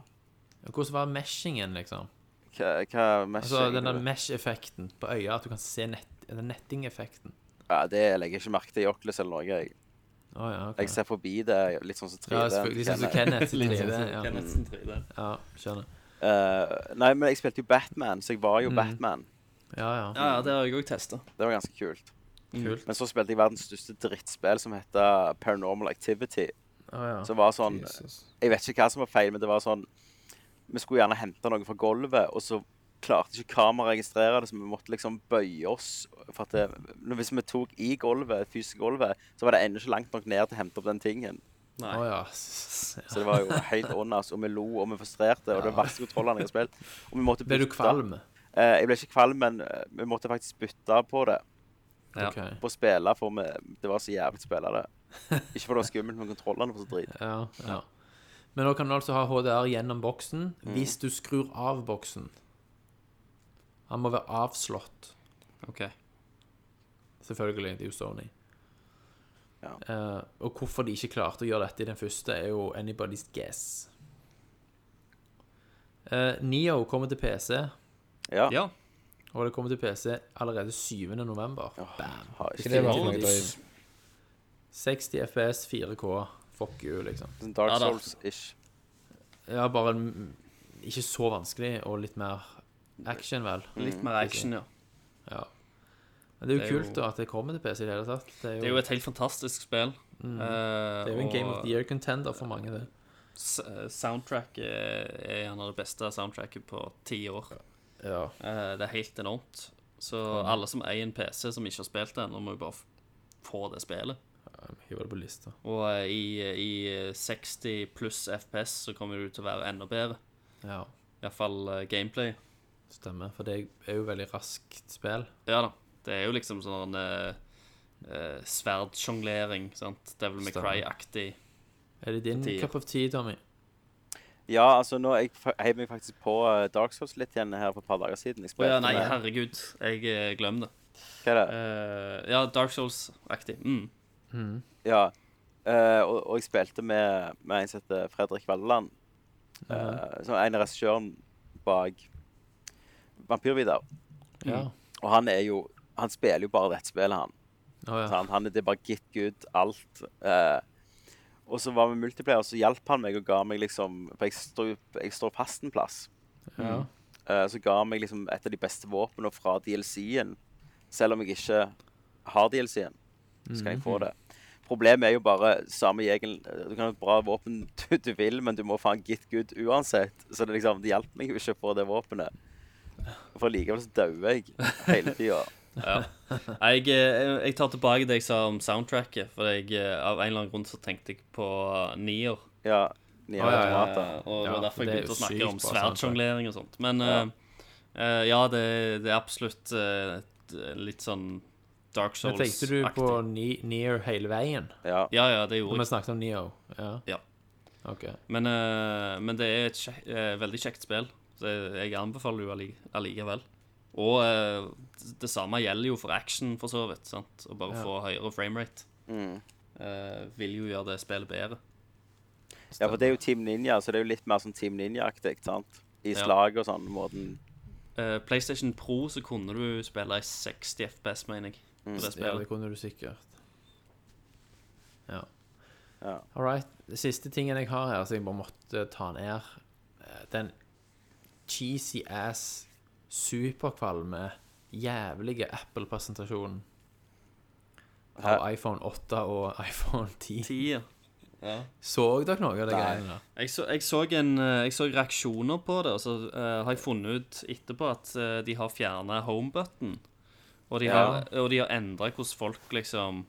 Hvordan var meshingen, liksom?
Hva, hva mest
Altså den der mesh-effekten på øya, at du kan se nett, den netting-effekten.
ja, Det legger jeg ikke merke til i Oculus eller noe. Jeg,
Å ja, ok.
jeg ser forbi det litt sånn som 3D.
Ja, selvfølgelig. Sånn som Kenneth sitt
Litt sånn
liv.
som
Ja. Mm.
Kenneth sin 3D.
ja, skjønner.
Eh, nei, men jeg spilte jo Batman, så jeg var
Mm.
jo Batman.
Ja, ja.
Ja, ja, det har jeg Mm. òg testa.
Det var ganske kult.
Kult.
Men så spilte jeg verdens største drittspill som heter Paranormal Activity.
Å ja.
Som var sånn Jeg vet ikke hva som var feil, men det var sånn Vi skulle gjerne hente noe fra gulvet, og så klarte ikke kameraet å registrere det, så vi måtte liksom bøye oss. For at det, når- hvis vi tok i gulvet, fysisk gulvet, så var det ennå ikke langt nok ned til å hente opp den tingen.
Nei.
Å ja. s-
Så det var jo helt åndas, og vi lo, og vi frustrerte, og det var verste kontrollene jeg har spilt. Og vi måtte
Ble du
bytte.
kvalm?
Eh, jeg ble ikke kvalm, men eh, vi måtte faktisk bytte på det.
Ja.
Ok.
På å spille, for vi, det var så jævlig å spille det. Ikke fordi det var skummelt med kontrollene, for så drit.
Ja, ja. Men nå kan du altså ha HDR gjennom boksen hvis du skrur av boksen. Han må være avslått,
OK.
selvfølgelig. Det er jo Sony.
Ja.
Eh, og hvorfor de ikke klarte å gjøre dette i den første, er jo anybody's guess. Eh, Neo kommer til PC,
Ja.
Ja.
og det kommer til PC allerede 7. november. Bam!
Har ikke
Ikke det vært
Holy
noe drøyt?
60 FPS, 4K. Fuck you, liksom.
sånn Dark
Ja da.
Souls-ish.
Ja, bare mm, ikke så vanskelig, og litt mer action, vel.
Litt mer action, ja.
Ja. Men det er jo
Det er jo-
kult da at det kommer til PC i det hele tatt. Det er jo, Mm.
Det er jo et helt fantastisk spill. Eh,
det er jo en
og
Game of the Year contender for mange, det.
s- eh, Soundtracket er gjerne det beste soundtracket på ti år.
Ja.
Eh, Det er helt enormt. Så alle som eier en PC som ikke har spilt det ennå, må jo bare f- få det spillet.
Hiver det på lista.
Og eh, i, i 60 pluss FPS så kommer det jo til å være enda bedre.
Ja,
Iallfall eh, gameplay.
stemmer. For det er jo veldig raskt spill.
Ja da. Det er jo liksom sånn eh, eh, sverdsjonglering, sant. Devil May
Stemmer.
Cry-aktig.
Er det din
Ti, ja.
cup of tea, Tommy?
Ja, altså, nå jeg fa- heiv meg faktisk på eh, Dark Souls litt igjen her for et par dager siden. Jeg
Å ja,
spilte
nei,
med-
herregud. Jeg eh, glemmer det.
Hva er det?
Eh, ja, Dark Souls-aktig. Mm.
Ja. eh, og, og jeg spilte med, med en som heter Fredrik Valleland.
Mhm.
eh, som er en av regissøren bak Vampyr-Vidar.
Ja.
Og han er jo Han spiller jo bare dette spillet, han.
Å ja.
Sant? Han er det er bare git good, alt. eh. og så var vi multiplayer, og så hjalp han meg og ga meg liksom For jeg, stod, jeg står fast en plass.
ja.
Mm.
Eh, så ga han meg liksom et av de beste våpnene fra DLC-en. Selv om jeg ikke har DLC-en, så kan jeg
Mhm.
få det. Problemet er jo bare samme jegeren Du kan ha et bra våpen du, du vil, men du må faen git good uansett. Så det liksom, det hjalp meg jo ikke å få det våpenet. For likevel så dauer jeg hele tida.
Jeg, eh, jeg tar tilbake det jeg sa om soundtracket, for jeg, eh, av en eller annen grunn så tenkte jeg på Nier.
Ja. Nye
Å, ja, ja,
Eh,
automater.
Og det
Ja,
var derfor jeg
det er
begynte å
jo
snakke
sykt
om
bra soundtrack.
sverdsjonglering og sånt. Men ja, ja det, det er absolutt eh, et- litt sånn Dark
Men tenkte du på
Souls-aktig.
Ni- Nier hele veien?
Ja.
Ja, ja, det
Når
gjorde
vi
jeg.
snakket om Neo? Ja.
Ja.
Ok.
Men, eh, men det er et kjek- eh, veldig kjekt spill. Så jeg anbefaler jo alli- allikevel. Og eh, det samme gjelder jo for action, for så vidt. sant? Å bare
Ja.
få høyere framerate
Mm.
eh, vil jo gjøre det spillet bedre.
ja, for det er jo Team Ninja, så det er jo litt mer sånn Team Ninja-aktig, sant? I
Ja.
slag og sånn måten.
Eh, PlayStation Pro så kunne du spille i 60 FPS, mener jeg. på det
Ja,
spillet.
det kunne du sikkert. Ja.
Ja.
All right. Det siste tingen jeg har her, som jeg bare måtte ta ned eh, Den cheesy ass, superkvalme, jævlige Apple-presentasjonen av
Hæ?
iPhone 8 og iPhone 10.
Ti, ja.
Så dere noe av de greiene der?
Jeg så, jeg, så en, eh, jeg så reaksjoner på det, og så eh, har jeg funnet ut etterpå at eh, de har fjerna homebutton. Og de har, og de har endra hvordan folk liksom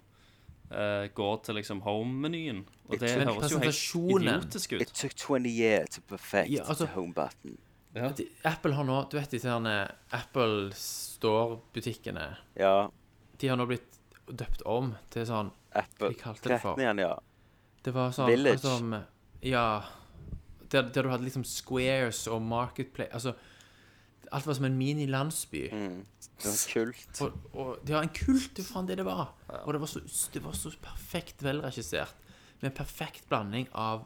eh, går til liksom home-menyen. Og det
Men
høres jo helt
presentasjonen-
idiotisk ut.
It took 20 years to perfect
Ja, altså-
the home button.
De- Apple har nå Du vet disse herne Apple Store-butikkene?
Ja,
De har nå blitt døpt om til sånn
Apple.
De kalte det for-
Kretten igjen, ja.
Det var sånn
Village.
akkurat som- ja. Der, der du hadde liksom squares og marketplace Altså, alt var som en mini-landsby.
Det var kult.
Og, og de har en kult, hva faen det det var. Og det var så, det var så perfekt velregissert. Med en perfekt blanding av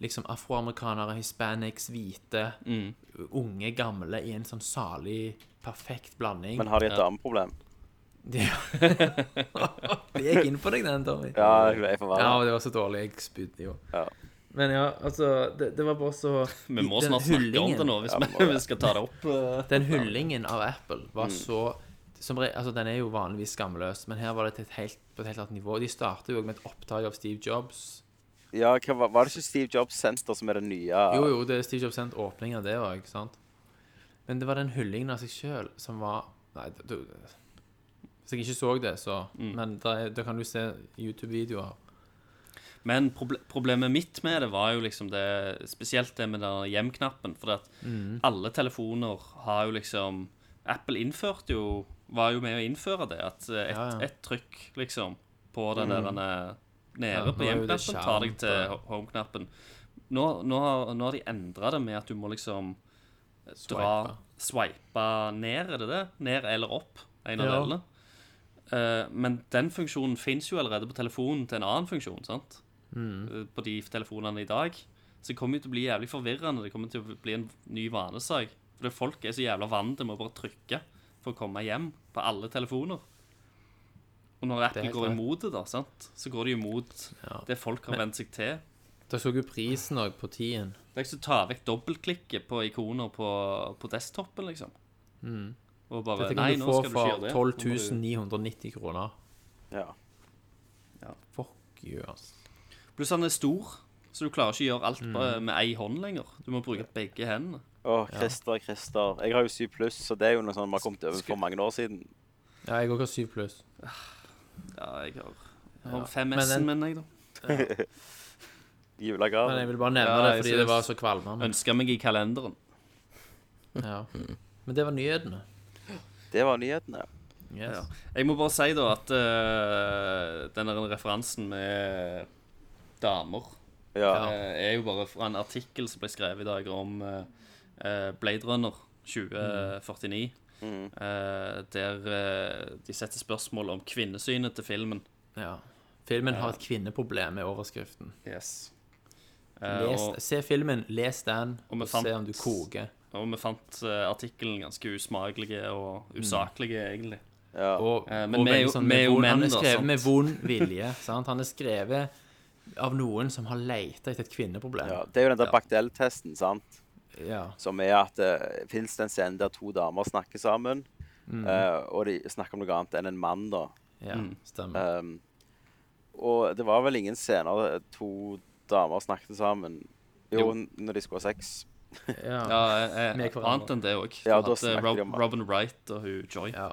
liksom afroamerikanere, hispanics, hvite,
Mm.
unge, gamle i en sånn salig, perfekt blanding.
Men har de et dameproblem?
det, det gikk inn på deg, den, Tommy.
Ja, jeg får være
Ja,
det.
det var så dårlig. Jeg spydde jo.
Ja.
Men ja, altså Det, det var bare så
Vi må
den
snart snakke om
hyllingen-
det nå, hvis
Ja, må
vi, vi skal ta det opp. eh.
Den hyllingen av Apple var
Mm.
så som, re- altså, Den er jo vanligvis skamløs, men her var det til et helt, på et helt annet nivå. De startet jo med et opptak av Steve Jobs.
Ja, hva, var- var det ikke Steve Jobs Center som er det nye?
Jo, jo, det er Steve Jobs sendt åpning av det òg, ikke sant? Men det var den hyllingen av seg sjøl som var Nei, du- du Hvis jeg ikke så det, så
Mm.
Men da er- da kan du se YouTube-videoer.
Men proble problemet mitt med det var jo liksom det Spesielt det med den hjem-knappen. For at
Mm.
alle telefoner har jo liksom Apple innførte jo Var jo med å innføre det. At eh, et,
Ja, ja.
et trykk, liksom, på den der derne nede
Ja,
på
nå er jo det
hjem-knappen tar deg
skjerm
til
på-
ho- home-knappen. nå, nå, har, nå har de endra det med at du må liksom dra Sveipe ned, er det det? Ned eller opp. En av
Ja.
delene. Eh, men den funksjonen fins jo allerede på telefonen til en annen funksjon. sant?
Mm.
Eh, På de telefonene i dag. Så det kommer jo til å bli jævlig forvirrende. Det kommer til å bli en ny vanesak. Fordi folk er så jævla vant til å bare trykke for å komme hjem på alle telefoner. Og når
Det er
appen
helt
går
rett.
imot det, da, sant? så går det jo imot
Ja.
det folk har vent seg til.
Dere så jo prisen òg på tiden.
Det er ikke så å ta vekk dobbeltklikket på ikoner på, på desktopen, liksom. Og bare
Mm. Dette
Nei,
kan du
nå
få
skal du ikke
for
gjøre det.
12 990 kroner.
Ja.
Fuck you, ass.
Pluss han er stor, så du klarer ikke å gjøre alt
Mm.
bare med ei hånd lenger. Du må bruke begge hendene.
Å, Christer, Christer. Jeg har jo 7 pluss, så det er jo noe sånn vi har kommet over for mange år siden.
Ja, jeg òg har 7 pluss.
Ja, jeg har, jeg har
Men
5S-en
en-
min, jeg, da.
Men jeg
Julegave.
vil bare nevne
Ja,
det
jeg
fordi
synes-
det var så kvalmende.
Ønska meg i kalenderen.
Ja.
Mm.
Men det var nyhetene.
Det var nyhetene.
Yes.
Ja. Jeg må bare si, da, at eh, den der referansen med damer
Ja.
eh, er jo bare fra en artikkel som ble skrevet i dag om eh, eh, Blade Runner 2049.
Mm.
eh, der eh, de setter spørsmål om kvinnesynet til filmen.
Ja. Filmen har et kvinneproblem, er overskriften.
Yes.
Les,
Eh, og,
se filmen, les den,
Og vi
og se
fant-
om du koker.
og vi fant eh, artikkelen ganske usmakelig og
Mm.
usaklig, egentlig.
ja.
Og,
Eh, men
og
vi er
veldig
jo- vi er
sånn med
jo
vond-
menn,
Han er
da,
skrevet
sant?
med vond vilje. sant? Han er skrevet av noen som har leita etter et kvinneproblem.
ja. Det er jo den der
Ja.
Bachdel-testen, sant,
Ja.
som er at uh, fins det en scene der to damer snakker sammen,
Mhm.
eh, og de snakker om noe annet enn en mann, da.
ja
Mm.
stemmer.
Um, og det var vel ingen scener der to damer snakket sammen. Jo,
Jo.
n- når de skulle ha sex.
Ja.
Ja, eh,
Med
eh,
hverandre.
annet enn det òg.
Ja, da snakker de om-
eh, Robin Wright og hun Joy.
ja.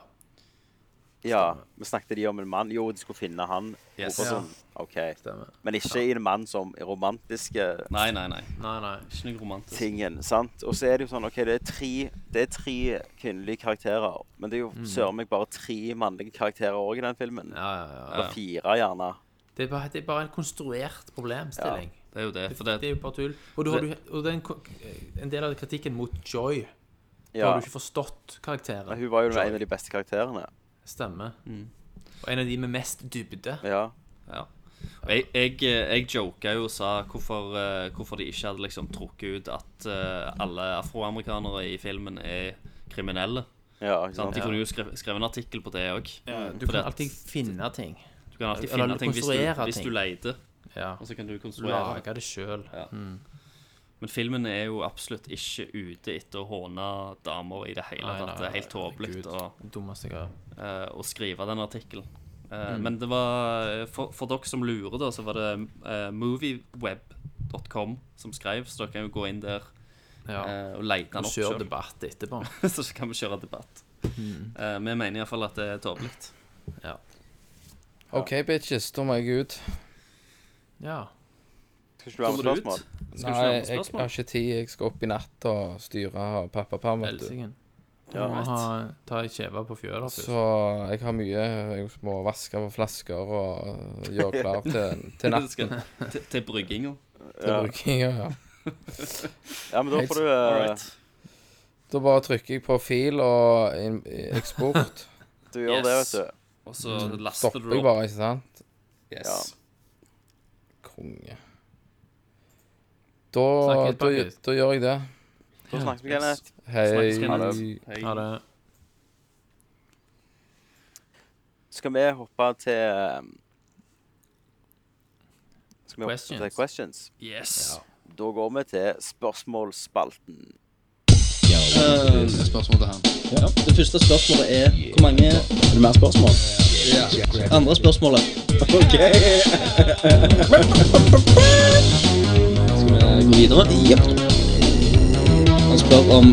Ja, men snakket de om en mann? Jo, de skulle finne han.
Yes.
Hvorfor sånn? OK.
Stemmer.
Men ikke i en mann som er romantiske
Nei, nei, nei.
Nei, nei.
Ikke noe romantisk.
tingen, sant? Og så er det jo sånn, ok, det er tre, det er tre kvinnelige karakterer, men det er jo søren meg bare tre mannlige karakterer også i den filmen.
Mhm. Ja, ja, ja.
Eller fire, gjerne.
Det, er bare, det er bare en konstruert problemstilling.
Det er jo det.
Det,
For det,
det er jo bare tull. Og, da har du, og den, ko- en del av kritikken mot Joy Da
Ja.
har du ikke forstått karakteren.
Hun var jo en av de beste karakterene.
Stemmer. Og en av de med mest dybde.
Ja.
Ja. Og jeg, jeg, eh, jeg joka jo og sa hvorfor, eh, hvorfor de ikke hadde liksom trukket ut at eh, alle afroamerikanere i filmen er kriminelle.
Ja, ikke
Sant?
sant?
Sånn, De kunne jo skrevet skrevet en artikkel på det òg.
Du kan alltid finne ting.
du kan alltid
eller
finne ting hvis du,
konstruere
hvis du
ting.
leter.
Ja.
Og så kan du konstruere.
Lage det sjøl.
Men filmen er jo absolutt ikke ute etter å håne damer i det hele
Nei, nei,
tatt. Det er helt
nei,
tåpelig
Gud.
å,
Dummeste greia.
eh, å skrive den artikkelen. Eh,
Mm.
Men det var eh, for, for dere som lurer, da, så var det eh, movieweb.com som skrev, så dere kan jo gå inn der
Ja.
eh, og leite den
Og
opp selv.
kjør debatt etterpå.
så kan vi kjøre debatt.
Hmm.
Eh, vi mener iallfall at det er tåpelig.
OK, bitches, da må jeg ut.
Ja.
Skal ikke du være med spørsmål?
Skal du
Nei,
ikke ha noen
jeg
spørsmål?
har ikke tid. Jeg skal opp i natt og styre og pappaperm, vet du.
Helsingen. Du
Ja.
må ha, ta ei kjeve på fjøla først.
Så jeg har mye Jeg må vaske på flasker og gjøre klar til, til
Det
natten.
skal, til til brygginga.
Til bruking, ja, ja.
Ja, men da får du... eh,
Da bare trykker jeg på fil og in- eksport.
Du gjør det,
Yes.
vet du.
Og så laster
Stopper
du
Mm. jeg
opp.
bare, ikke sant?
Ja.
Yes.
Konge. Da,
Snakkes,
da,
snakkes.
da gjør jeg det.
Da snakkes vi, Kenneth.
Hei.
Snakkes, Kenneth.
Ha
Hei.
det.
Skal vi hoppe til... eh, Skal vi hoppe
Questions.
til questions?
Yes.
Da går vi til spørsmålsspalten.
Det første spørsmålet er Hvor mange Er det mer spørsmål? Andre spørsmålet Ok Skal vi gå videre? Jep Han spør om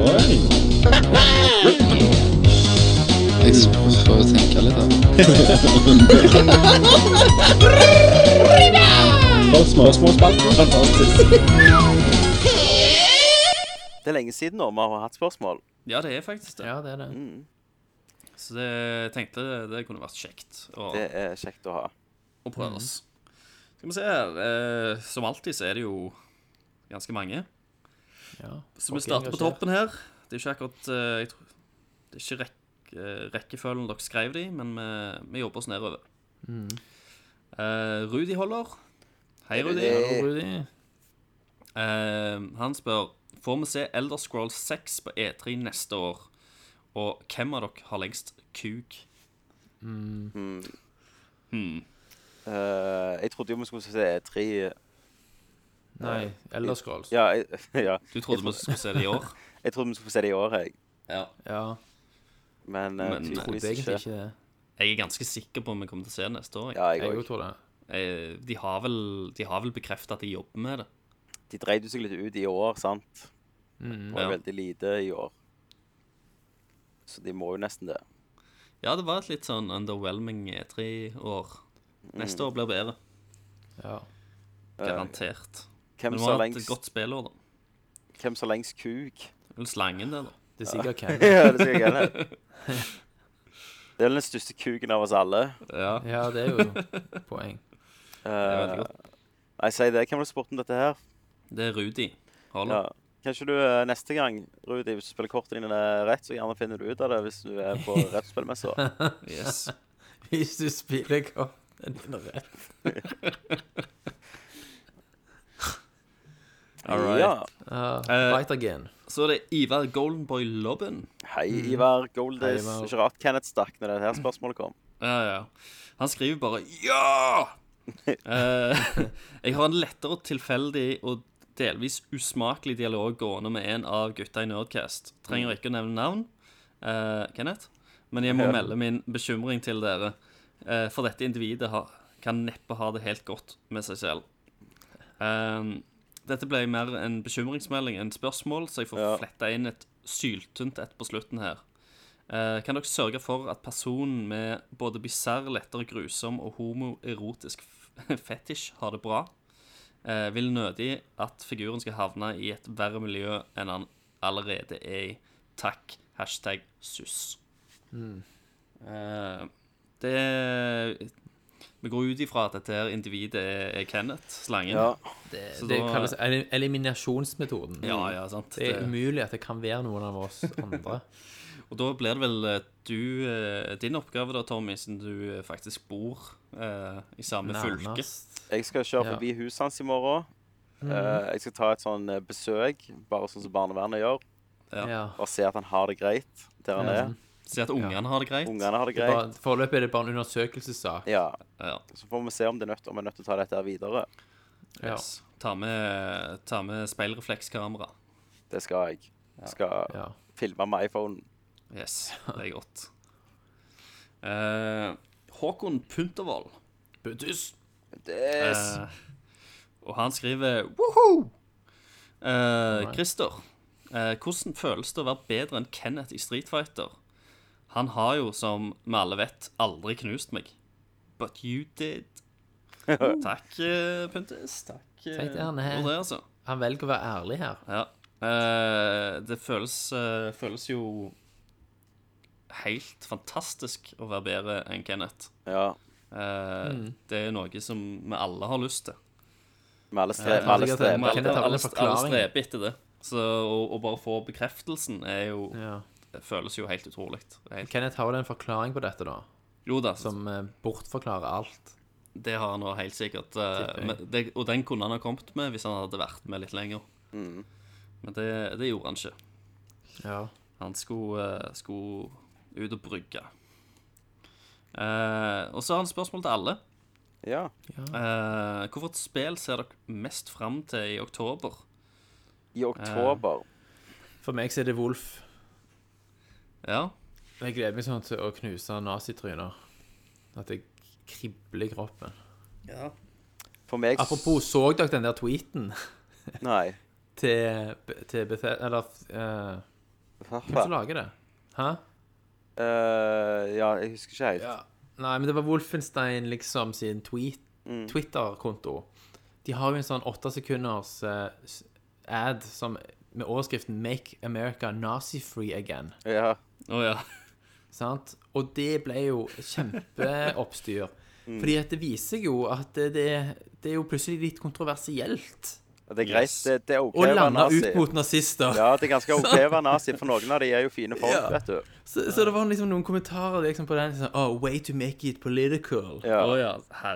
Oi Jeg prøver å tenke litt her Spørsmål Spørsmålspalten Fantastisk
Det er lenge siden nå vi har hatt spørsmål.
Ja, det er faktisk det.
Ja, det er det.
Så det, jeg tenkte det kunne vært kjekt å,
Det er kjekt å ha.
å prøve oss. Skal vi se her eh, Som alltid så er det jo ganske mange.
Ja.
Så vi starter på toppen her. Det er ikke akkurat eh, jeg tror, Det er ikke rekk- eh, rekkefølgen dere skrev de, men vi, vi jobber oss nedover. Eh, Rudi holder. Hei, Rudi.
Rudi.
Eh, han spør Får vi se Elder Scrolls 6 på E3 neste år. Og hvem av dere har lengst kuk?
hmm,
Hmm.
Eh, jeg trodde jo vi skulle se E3
Nei, Elderscrolls.
Ja, jeg, ja.
Du trodde vi skulle se det i år?
jeg trodde vi skulle se det i år, jeg.
Ja.
Ja.
Men, uh,
Men,
Trodde
tydeligvis
egentlig
ikke.
ikke det.
Jeg er ganske sikker på om vi kommer til å se det neste år. jeg.
Ja, jeg
Jeg
òg.
òg tror det.
Eh, de har vel, de har vel bekrefta at de jobber med det.
De dreide seg litt ut i år, sant?
Mm,
Det var
Ja.
veldig lite i år. Så de må jo nesten det.
Ja, det var et litt sånn underwhelming E3-år. Neste
Mm.
år blir bedre.
Ja.
Garantert.
Eh, Hvem
Men vi
som
har
har
hatt et
lengst,
godt spillår, da.
hvem som har lengst kuk?
Det er Vel, slangen, det, da.
Det er sikkert Ken.
ja, det skal jeg gjerne. Det er vel den største kuken av oss alle.
Ja.
Ja, det er jo poeng.
veldig
Eh, Nei, si det. Hvem har du spurt om dette her?
Det er Rudi.
Ja.
Holder.
Kanskje du eh, neste gang, Rudi, hvis du spiller kortene dine rett, så gjerne finner du ut av det hvis du er på rettspillmessa.
Yes.
Hvis du spiller kortene dine rett.
All right.
Ja.
Ja,
Eh,
Fight again.
Så er det Ivar Goldenboy Lobben.
Hei,
Mm.
Ivar Goldis.
Hei, Ivar.
Ikke rart Kenneth stakk når det her spørsmålet kom.
Ja, ja. Han skriver bare Ja! Eh, jeg har en lettere og tilfeldig og delvis usmakelig dialog gående med en av gutta i Nerdcast.
Mm.
Trenger ikke å nevne navn, eh, Kenneth, men jeg må melde min bekymring til dere. Eh, for dette individet har, kan neppe ha det helt godt med seg selv. Eh, dette ble mer en bekymringsmelding enn spørsmål, så jeg får
Ja.
fletta inn et syltynt et på slutten her. Eh, kan dere sørge for at personen med både bisarr, lettere grusom og homoerotisk f- fetisj har det bra? Eh, vil nødig at figuren skal havne i et verre miljø enn han allerede er i. Takk. Hashtag suss.
Mm.
Eh, det Vi går ut ifra at dette her individet er, er Kenneth, slangen.
Ja.
Det,
så
eh, det
da-
kalles elim- eliminasjonsmetoden.
ja, ja, sant.
Det er
Det-
umulig at det kan være noen av oss andre.
Og da blir det vel eh, du eh, Din oppgave da, Tommy, siden du eh, faktisk bor eh, i samme fylke.
Nærmest.
Jeg skal kjøre
Ja. Mm.
forbi huset hans i morgen. Eh, jeg skal ta et sånn eh, besøk, bare sånn som barnevernet gjør.
Ja.
Ja.
Bare se at han har det greit der han
Ja.
er.
Si at ungene har det greit.
Ungene har det
Det er
greit.
bare- Foreløpig er det bare en undersøkelsessak.
Ja.
Ja.
Så får vi se om det er nødt, om vi er nødt til å ta dette her videre.
Ja.
Yes. Ta med, ta med speilreflekskamera.
Det skal jeg. Skal
Ja.
filme med iPhone.
Yes, det er godt. Eh, Håkon Puntervold.
Buddhist.
Yes.
Eh, og han skriver Woho! Eh, Christer, eh, hvordan føles det å være bedre enn Kenneth i Street Fighter? Han har jo, som vi alle vet, aldri knust meg. But you did. Takk, eh, Puntis. Takk. eh,
Takk til han, he.
for det, altså.
Han velger å være ærlig her.
Ja. Eh, det føles, eh, føles jo helt fantastisk å være bedre enn Kenneth.
Ja.
Eh, Det er noe som vi alle har lyst til.
Med alle, stre
Ja,
med alle
sikkert
streber.
det.
Alle,
Kenneth har vel
alle,
en
alle
forklaring.
streber etter det. Så å, å bare få bekreftelsen er jo,
Ja.
det føles jo helt utrolig. Det er helt-
Kenneth har vel en forklaring på dette, da,
Jo da,
som eh, bortforklarer alt.
det har han jo helt sikkert. eh,
Tipper jeg.
men det, og den kunne han ha kommet med hvis han hadde vært med litt lenger. Men det, det gjorde han ikke.
Ja.
Han skulle, eh, skulle ut og brygge. Eh, og så har han spørsmål til alle.
Ja.
Eh, hvorfor et spill ser dere mest fram til i oktober?
I oktober.
For meg så er det Wolf.
Ja,
Jeg gleder meg sånn til å knuse nazitryner. At det kribler i kroppen.
For meg s-
Apropos, så dere den der tweeten
Nei.
til, til Bethe... Eller eh, Hvem
Pappa.
som lager det? Hæ?
Eh, ja, jeg husker ikke helt.
Nei, men det var Wolfenstein liksom sin tweet,
Mm.
Twitter-konto. De har jo en sånn åtte sekunders eh, s- ad som, med overskriften 'Make America Nazi-free again'.
Ja.
å ja.
Sant? Og det ble jo kjempeoppstyr.
Mm.
Fordi at det viser seg jo at det, det er jo plutselig litt kontroversielt
Og Det er greit. Det, det er OK
å
å være
lande
nazi.
ut mot nazister.
Ja, det er ganske OK å være nazi, for noen av de er jo fine folk,
Ja.
vet du.
Så, så det var liksom noen kommentarer liksom på den sånn, oh, Way to make it political.
Ja.
Å ja,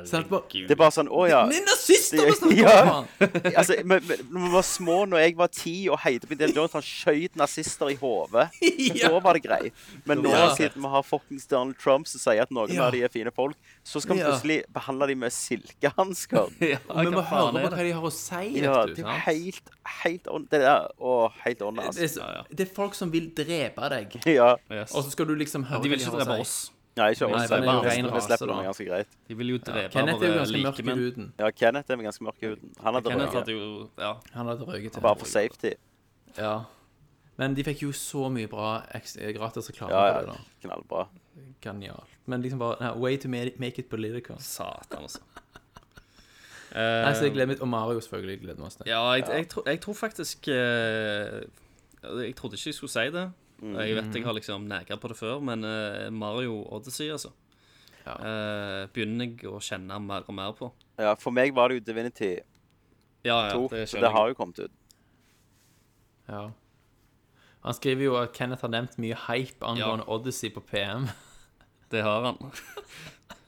Sant, bare-
herregud.
Det er bare sånn Å ja.
Men nazister vi snakker
Ja.
om! faen!
Altså, men- men når vi var små, når jeg var ti og heide på Indiana Jones, han skjøt nazister i hodet.
Ja.
Da var det greit. Men nå
Ja.
siden vi har fuckings Donald Trump som sier at noen
Ja.
av de er fine folk, så skal vi
Ja.
plutselig behandle de med silkehansker.
Ja,
Og vi må
hva
høre
faen
på
er
hva
det?
de har å si.
Ja,
vet du,
det er jo
sant?
helt, helt on, Det der å, helt on,
det,
altså.
er, så- det er folk som vil drepe deg,
Ja.
Yes.
og så skal du liksom høre
De vil
hva
ikke
har å
drepe
si.
oss.
Nei, ikke
Nei,
oss.
for det er jo
Vi
ren
slipper- vi
rase,
slipper
da.
dem ganske greit.
De vil jo drepe
Kenneth er jo
våre
ganske mørk i
likemenn.
huden.
Ja, Kenneth er med ganske mørk i huden. Han hadde
Kenneth
røyket.
hadde jo Ja.
Han hadde røyket til.
Bare for safety.
Ja. Men de fikk jo så mye bra eks- gratis reklame
Ja,
på det.
ja.
da.
Knallbra.
Genialt. Men liksom bare nei, Way to ma- make it political.
Satan, altså.
Nei, så jeg gleder meg Og Mario selvfølgelig gleder meg oss til.
Eh, Ja, jeg, jeg, tror, jeg tror faktisk eh, Jeg trodde ikke jeg skulle si det. Jeg vet jeg har liksom nega på det før, men eh, Mario Odyssey, altså,
Ja.
eh, begynner jeg å kjenne mer og mer på.
Ja, for meg var det jo Divinity 2,
Ja, ja, det
så det
skjønner jeg.
har jo kommet ut.
Ja. Han skriver jo at Kenneth har nevnt mye hype angående Odyssey på PM.
Det har han.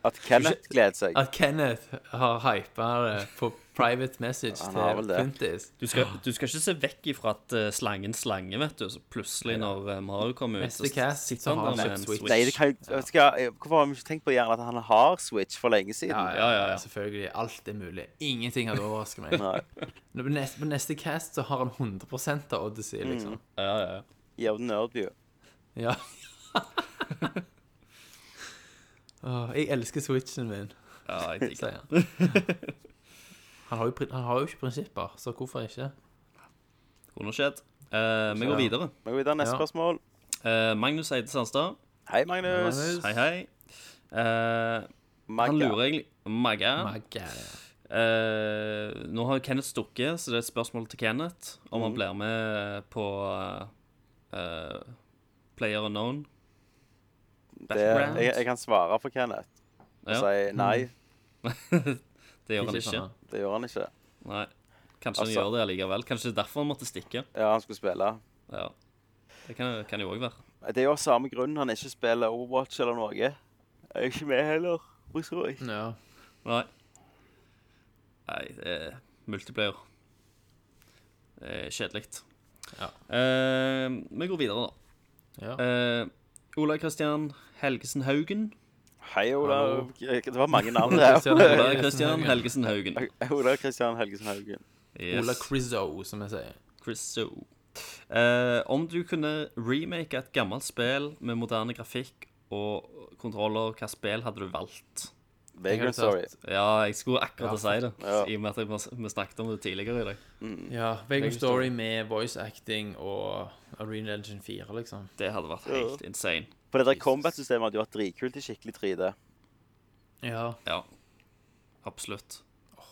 At Kenneth gleder seg.
At Kenneth har hypa det på private message
Han har vel
til
det.
Puntis.
Du skal, du skal ikke se vekk ifra at eh, slangen slange, vet du. Så plutselig, når eh, Mario kommer ut,
Neste cast så har han
der
kjøpt Switch.
Nei, det kan jo vet du hva, Hvorfor har vi ikke tenkt på gjerne at han har Switch for lenge siden?
Ja, ja, ja.
Selvfølgelig. Alt er mulig. Ingenting hadde overrasket meg.
Nei.
Nå På neste, på neste cast så har han 100 av Odyssey,
Mm.
liksom.
Ja, ja, ja.
Jævla nerdview.
Ja. Åh, jeg elsker switchen min,
ja jeg digger det.
sier han. Han har, jo, pri- han har jo ikke prinsipper, så hvorfor ikke?
Kunne skjedd. Eh, vi går videre.
Vi går videre. Neste
Ja.
spørsmål.
Eh, Magnus Eide Sandstad,
Hei, Magnus.
hei, hei. Eh, han
Magga.
lurer egentlig Magga.
Magga.
Eh, nå har Kenneth stukket, så det er et spørsmål til Kenneth om han blir med på eh, eh, Player Unknown.
Det, jeg, jeg kan svare for Kenneth. Og
Ja.
si nei,
Det gjør han ikke.
Ikke sånn.
det gjør han ikke.
Nei. Kanskje han
Altså-
gjør det allikevel. Kanskje det er derfor han måtte stikke.
Ja, han skulle spille.
Ja. Det kan, kan jo òg være.
Det er jo av samme grunn han ikke spiller Overwatch eller noe. Jeg er ikke med heller. Hvorfor ikke?
Ja.
Nei. Nei, det er multiplayer. Det er Kjedelig.
Ja.
Eh, vi går videre, da.
ja.
Eh, Ola Kristian Helgesen Haugen.
Hei, Olav. Det var mange navn
Ola
der.
Kristian
Ola
Helgesen
Kristian
Haugen.
Helgesen Haugen.
Olav Kristian Helgesen Haugen.
Yes.
Ola Crizzo, som jeg sier.
Chriso. Eh, om du kunne remake et gammelt spill med moderne grafikk og kontroller, hva spill hadde du valgt?
Vagrant Story.
Ja, jeg skulle akkurat si det,
Ja.
i og med at jeg- vi snakket om det tidligere i dag.
Ja, Vagrant Story med voice acting og Arena Legend 4, liksom.
Det hadde vært helt insane.
For det der combat-systemet hadde jo vært dritkult i skikkelig 3D.
Ja.
Ja, absolutt.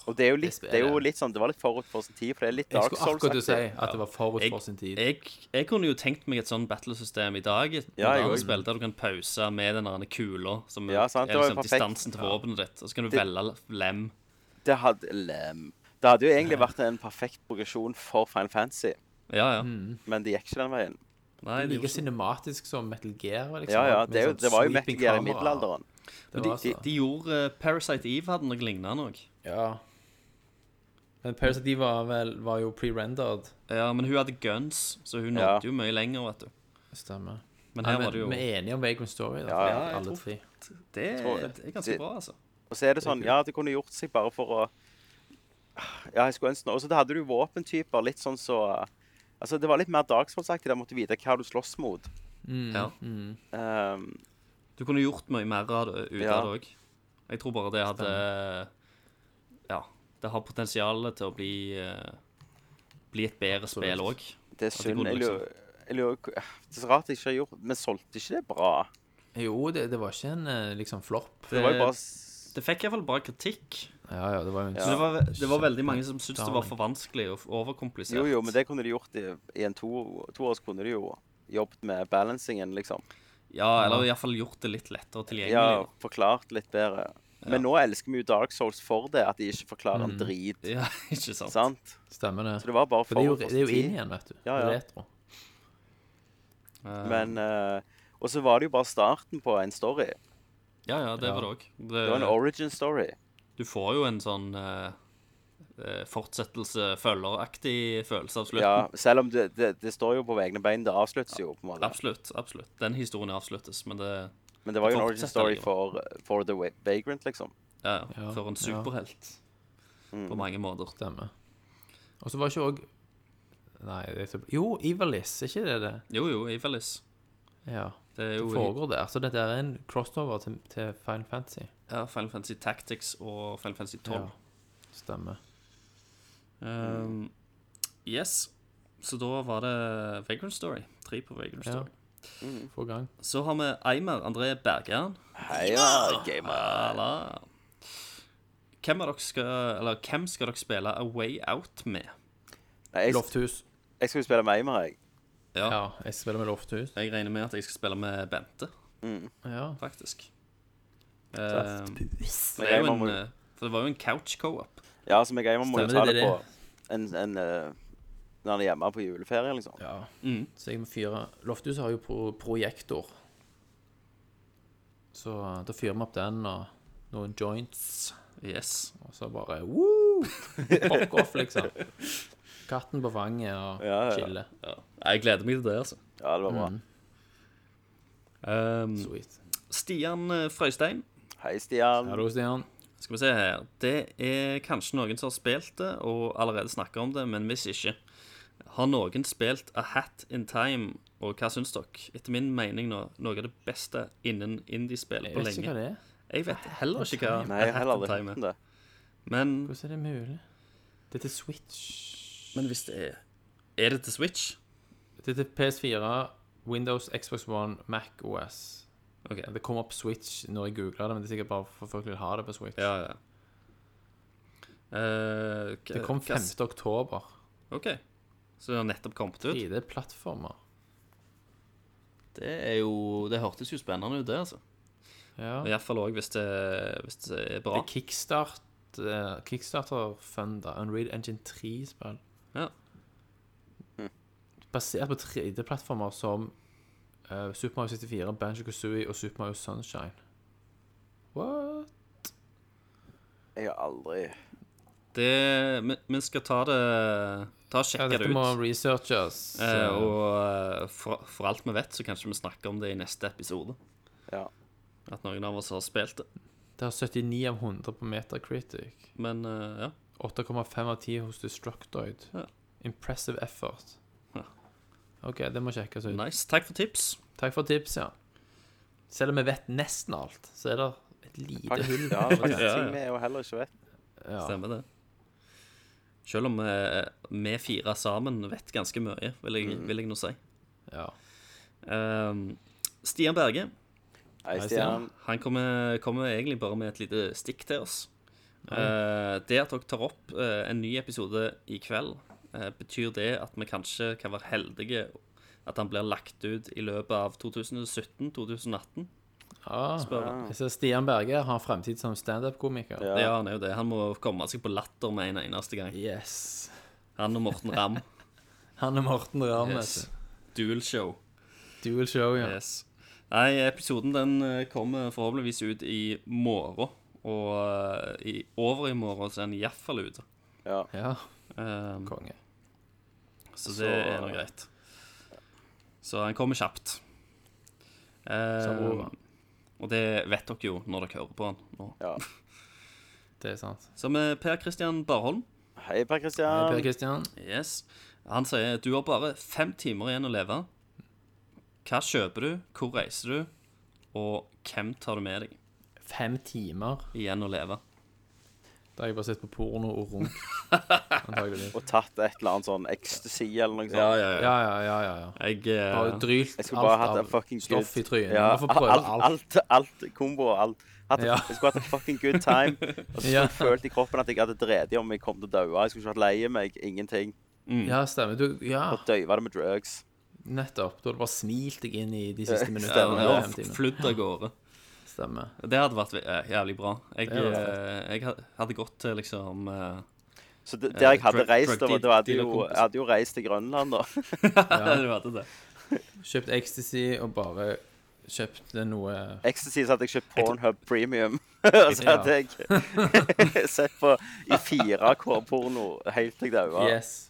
Og det er jo litt,
Det
det er jo
spiller.
litt sånn, det var litt forut for sin tid, for det er litt
Jeg
Dark
skulle akkurat til å si
Souls-aktig.
at det var forut
Jeg-
for sin tid.
Jeg, jeg kunne jo tenkt meg et sånn battlesystem i dag, et
Ja, jeg
moderne
også.
spill der du kan pause med den der kula, som
Ja, sant,
er
det var jo
liksom
perfekt.
distansen til våpenet ditt, og så kan du velge lem.
Det hadde lem. Det hadde jo egentlig vært en perfekt progresjon for Final Fantasy,
Ja, ja.
men det gikk ikke den veien.
Nei, det er jo
Like
ikke-
cinematisk som Metal Gear, liksom.
Ja, ja,
med
det, er jo,
sånn
det var jo
sweeping
Metal Gear i
kamera.
middelalderen.
Det
de,
var
de,
så.
de gjorde eh, Parasite Eve hadde noe lignende òg.
Ja. Men Parasite Eve var vel var jo pre-rendered.
Ja, men hun hadde guns, så hun nådde
Ja.
jo mye lenger, vet du.
Stemmer.
Men
Nei,
her
men
var det jo
Vi er enige om Vagrant Story, da.
Ja, ja,
for
jeg
alle
tror-
tre.
det,
tror jeg.
det er ganske
Det-
bra, altså.
Og så er det sånn, ja, det kunne gjort seg bare for å Ja, jeg skulle ønske noe. Og så da hadde du våpentyper, litt sånn så Altså, det var litt mer Dark Souls-aktig, der måtte du vite hva du slåss mot.
Ja.
Um,
Du kunne gjort mye mer av det ut
Ja.
av det òg. Jeg tror bare det hadde Ja. Det har potensial til å bli eh, bli et bedre spill òg.
det er
At det
synd.
kunne
Jeg lurer
liksom.
jeg lurer- Det er så rart jeg ikke har gjort Vi solgte ikke det bra.
Jo, det, det var ikke en eh, liksom flopp.
Det var jo bare s-
Det fikk iallfall bra kritikk.
Ja, ja, det var jo en
Så det var, det var veldig mange som syntes det var
Darling.
for vanskelig og overkomplisert.
Jo, jo, men det kunne de gjort i, i en to, toårs kunne de jo jobbet med balancingen, liksom.
Ja, eller iallfall gjort det litt lettere tilgjengelig.
Ja, forklart litt bedre.
Ja.
Men nå elsker vi jo Dark Souls for det, at de ikke forklarer en drit.
Ja, ikke sant?
Sant?
Stemmer det.
Så det var bare
For det er jo,
forut for
det er jo
sin tid.
inn igjen, vet du.
Ja, ja.
Retro.
Men eh, Og så var det jo bare starten på en story.
Ja, ja, det var det òg.
Det var en origin story.
Du får jo en sånn eh, eh, fortsettelse, følgeraktig følelse av slutten.
Ja, selv om det, det, det står jo på egne bein. Det avsluttes jo, på en måte.
Absolutt. absolutt. Den historien avsluttes, men det
Men det var jo en
Det
origin
fortsetter
story
likevel.
for, for The Wa- Vagrant, liksom.
ja, ja.
Ja,
for en
ja.
superhelt på mange måter.
Stemmer. Og så var ikke òg Nei, det er så... Jo, Ivalice, er ikke det det?
Jo, jo, Ivalis.
Ja.
Det er
Det
jo
foregår der. Så dette er en crossover til, til Final Fantasy.
ja, Final Fantasy Tactics og Final Fantasy 12.
Ja. Stemmer.
Um, yes. Så da var det Vagrant Story. Tre på Vagrant
Ja.
Story.
Mm.
Få i gang.
Så har vi Eimer André Bergeren.
Hei, ja, gamer.
Halla. Hvem, av dere skal, eller, hvem skal dere spille A Way Out med?
Nei, jeg,
Lofthus.
jeg skal jo spille Meimer, jeg.
Ja.
Ja, jeg spiller med Lofthus.
Jeg regner med at jeg skal spille med Bente,
Mm.
Ja.
faktisk. Eh,
Men
det er jo
Eimer
en,
må,
eh, for det var jo en couch co-op.
ja, så meg og Eimer må jo
Stemmer,
ta
det er
det
det.
på en, en eh, Når han er hjemme på juleferie, liksom.
ja.
Mm.
Så jeg må fyre Lofthus har jo pro projektor. Så eh, da fyrer vi opp den og noen joints.
Yes.
Og så bare woo! Fuck off, liksom. Katten på fanget og
Ja, ja, ja.
chille.
Jeg gleder meg til det, altså.
Ja, det var
Mm.
bra.
Um,
Sweet.
Stian eh, Frøystein
Hei, Stian.
Hallo, Stian.
Skal vi se her. Det er kanskje noen som har spilt det og allerede snakker om det, men hvis ikke Har noen spilt A Hat in Time, og hva syns dere? Etter min mening nå, noe av det beste innen indiespill
Jeg
på
vet ikke hva
lenge.
det er.
Jeg vet heller ikke hva
Nei,
A
jeg har
Hat
heller
in
aldri hørt
Time
om
er.
det.
Men,
Hvordan er det mulig? Det er til Switch.
men hvis det er Er det til Switch?
Det er til PS4, Windows, Xbox One, Mac OS.
OK.
Det kom opp Switch når jeg googla det, men det er sikkert bare for folk vil ha det på Switch.
Ja, ja. Eh,
Det kom
hva-
5. oktober.
OK. Så det har nettopp kommet ut?
3D-plattformer.
Det er jo Det hørtes jo spennende ut, det, altså.
Ja.
Og
Det
Iallfall òg hvis, det- hvis det er bra.
er kickstart, eh, Kickstarter-funda. Unreal Engine 3-spill.
Ja.
Basert på 3D-plattformer som eh, Super Mario 64, Banjo Kazooie og Super Mario Sunshine. What?
Jeg har aldri
Det, men- men skal ta det Ta og
Ja,
sjekke det
dette
ut.
må researches.
Eh, og eh, for, for alt vi vet, så kanskje vi snakker om det i neste episode.
Ja.
At noen av oss har spilt det.
Det har 79 av 100 på Metacritic.
Men eh, ja.
8,5 av 10 hos Destructoid.
Ja.
Impressive effort.
Ja.
OK, det må sjekkes ut.
Nice. Takk for tips.
Takk for tips, ja. Selv om vi vet nesten alt, så er det et lite
Faktisk,
hull.
ja, faktisk
Ja, ja.
ting vi jo heller ikke vet.
Ja.
Stemmer det. Selv om eh, vi fire sammen vet ganske mye, vil jeg, vil jeg nå si.
ja.
Eh, Stian Berge
Hei,
Hei,
Stian.
Stian.
Han kommer, kommer egentlig bare med et lite stikk til oss. Eh, det at dere tar opp eh, en ny episode i kveld, eh, betyr det at vi kanskje kan være heldige at han blir lagt ut i løpet av 2017-2018?
ja.
Spør han.
Ah. Jeg ser Stian Berge har fremtid som standup-komiker.
Ja, han er jo det. Han må komme seg på latter med en eneste gang.
Yes.
Han og Morten Ramm.
Han er Morten Ramm.
Yes.
Yes.
Dual show.
Dual show, ja.
Yes. Nei, episoden den eh, kommer forhåpentligvis ut i morgen. Og eh, i, over i morgen så er den iallfall ute.
Ja,
Um,
konge.
Så det er nå greit. Så han kommer kjapt. Eh,
bra.
og det vet dere jo når dere hører på han nå.
Det er sant.
Så med Per Christian Barholm.
Hei, Per
Hei, Per
Kristian.
Kristian.
Yes. Han sier du har bare fem timer igjen å leve. Hva kjøper du, hvor reiser du, og hvem tar du med deg
Fem timer.
igjen å leve?
Da har jeg bare sett på porno og runk. Antageligvis.
Og tatt et eller annet sånn ecstasy eller noe sånt.
Ja, ja, ja, ja. ja.
Jeg, eh,
Bare drylt
Jeg skulle bare hatt en
alt av
fucking good
stoff i trynet.
Ja,
Man får prøve
alt,
alt.
alt, alt, kombo og alt. Hatt en-
Ja.
Jeg skulle hatt en fucking good time. Og så
Ja.
følte jeg i kroppen at jeg hadde drevet i om jeg kom til å daue. Jeg skulle ikke vært lei meg. Ingenting.
Ja, stemmer. Du, ja,
Bare døyva det med drugs.
nettopp. Du hadde bare smilt deg inn i de
Ja,
siste minuttene.
stemmer.
av
ja,
fem timer.
flydd av gårde.
Stemmer.
Det hadde vært eh, jævlig bra. Jeg, eh, jeg had- hadde gått til liksom eh,
Så det, der jeg
Eh,
hadde
drug-
reist,
drug
da var- da
deal-
hadde
dealer
jo,
kompis.
jeg hadde jo reist til Grønland, da.
du hadde det.
Kjøpt ecstasy og bare kjøpt noe
Ecstasy så hadde jeg kjøpt Pornhub Premium. Og så
Ja.
hadde jeg sett på i 4K-porno helt til jeg daua.
Yes.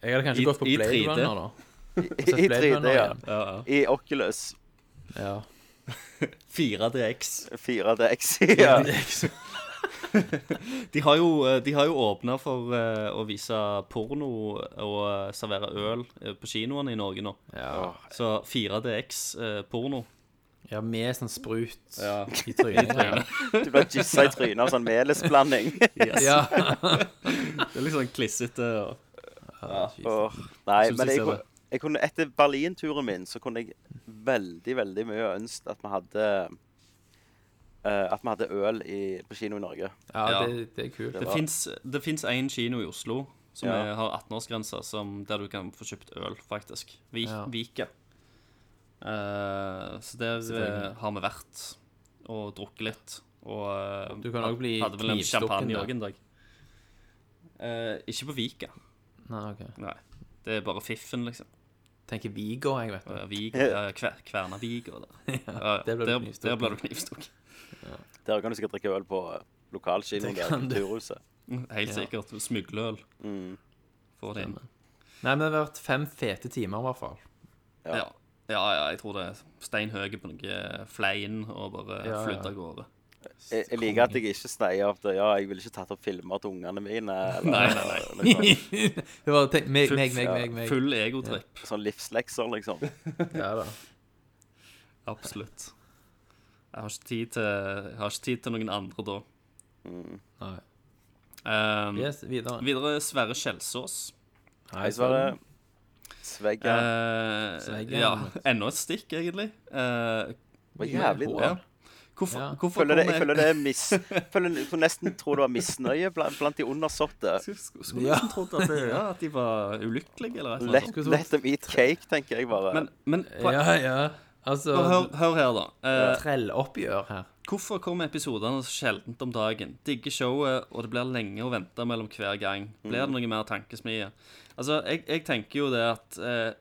Jeg hadde
I-
kanskje gått på
i
Blade
3D.
Runner, da.
I i 3D, ja.
Ja, ja.
I Oculus
ja.
4DX.
4DX. Ja.
De har jo, eh, de har jo åpna for eh, å vise porno og eh, servere øl eh, på kinoene i Norge nå.
Ja.
Så 4DX-porno.
ja, med sånn sprut
Ja.
i trynet. ja.
Du ble jizza i trynet av sånn melisblanding.
ja.
Det er litt sånn klissete. og-
Åh, nei,
Synes
men jeg,
jeg ser det.
kunne- jeg kunne, etter Berlin-turen min så kunne jeg veldig, veldig mye ønsket at vi hadde eh, at vi hadde øl i, på kino i Norge.
ja det, det er kult.
Det fins- Det fins én kino i Oslo som
Ja.
er, har 18-årsgrense, som- der du kan få kjøpt øl, faktisk. Vi,
Ja.
Vike. Eh, så der eh, har vi vært og drukket litt. Og eh,
Du kan også
had-
bli
hadde vel en
knivstukken
champagne
der.
òg en dag. Eh, ikke på Vika.
Nei, ok.
Nei. Det er bare fiffen, liksom.
Tenker Viggo, jeg, vet du.
Eh, Viga, ja, kver, Kverna Viga. eller- Ja,
der
der
ble du knivstukket.
der ble du knivstukket.
Der kan du sikkert drikke øl på eh, lokalkinoen der,
kan du.
Kulturhuset.
Helt sikkert. Smugleøl.
Mm.
Få det inn.
Nei, men det har vært fem fete timer, i hvert fall.
Ja.
Ja. ja, ja, jeg tror det er stein høye på noe eh, flein og bare
Ja, ja.
flytte av gårde.
Jeg, jeg liker at jeg ikke sneier av det. Ja, jeg ville ikke tatt opp filmer til ungene mine. Eller,
Nei, nei,
nei. Liksom,
Det var tenk, meg, meg, meg, meg, sånn. meg.
Full egotripp.
sånn livslekser, liksom.
Ja, da.
Absolutt. Jeg har, ikke tid til, jeg har ikke tid til noen andre da.
Nei.
Ehm,
Mm. Yes, videre.
Videre Sverre Kjelsås.
Nei,
Jeg svarer Svegga.
Eh,
Sveggen,
ja,
vet
enda et stikk, egentlig. Eh,
Det var jævlig bra.
ja. Hvorfor,
Ja.
hvorfor
Føler det, jeg
kommer-
føler det er mis... Føler, jeg kunne nesten tro det var misnøye blant, blant de undersåtte.
Skulle- Skulle du ikke trodd at, det- ja, at de var ulykkelige, eller et eller annet
Let,
sånt?
let them eat cake, tenker jeg bare.
Men, men
ja, ja. Altså,
hør, hør her, da. Eh,
trelloppgjør her.
Hvorfor kommer episodene så sjeldent om dagen? Digger showet, og det blir lenge å vente mellom hver gang. Blir det noe mer tankesmie? Altså, jeg, jeg tenker jo det at eh,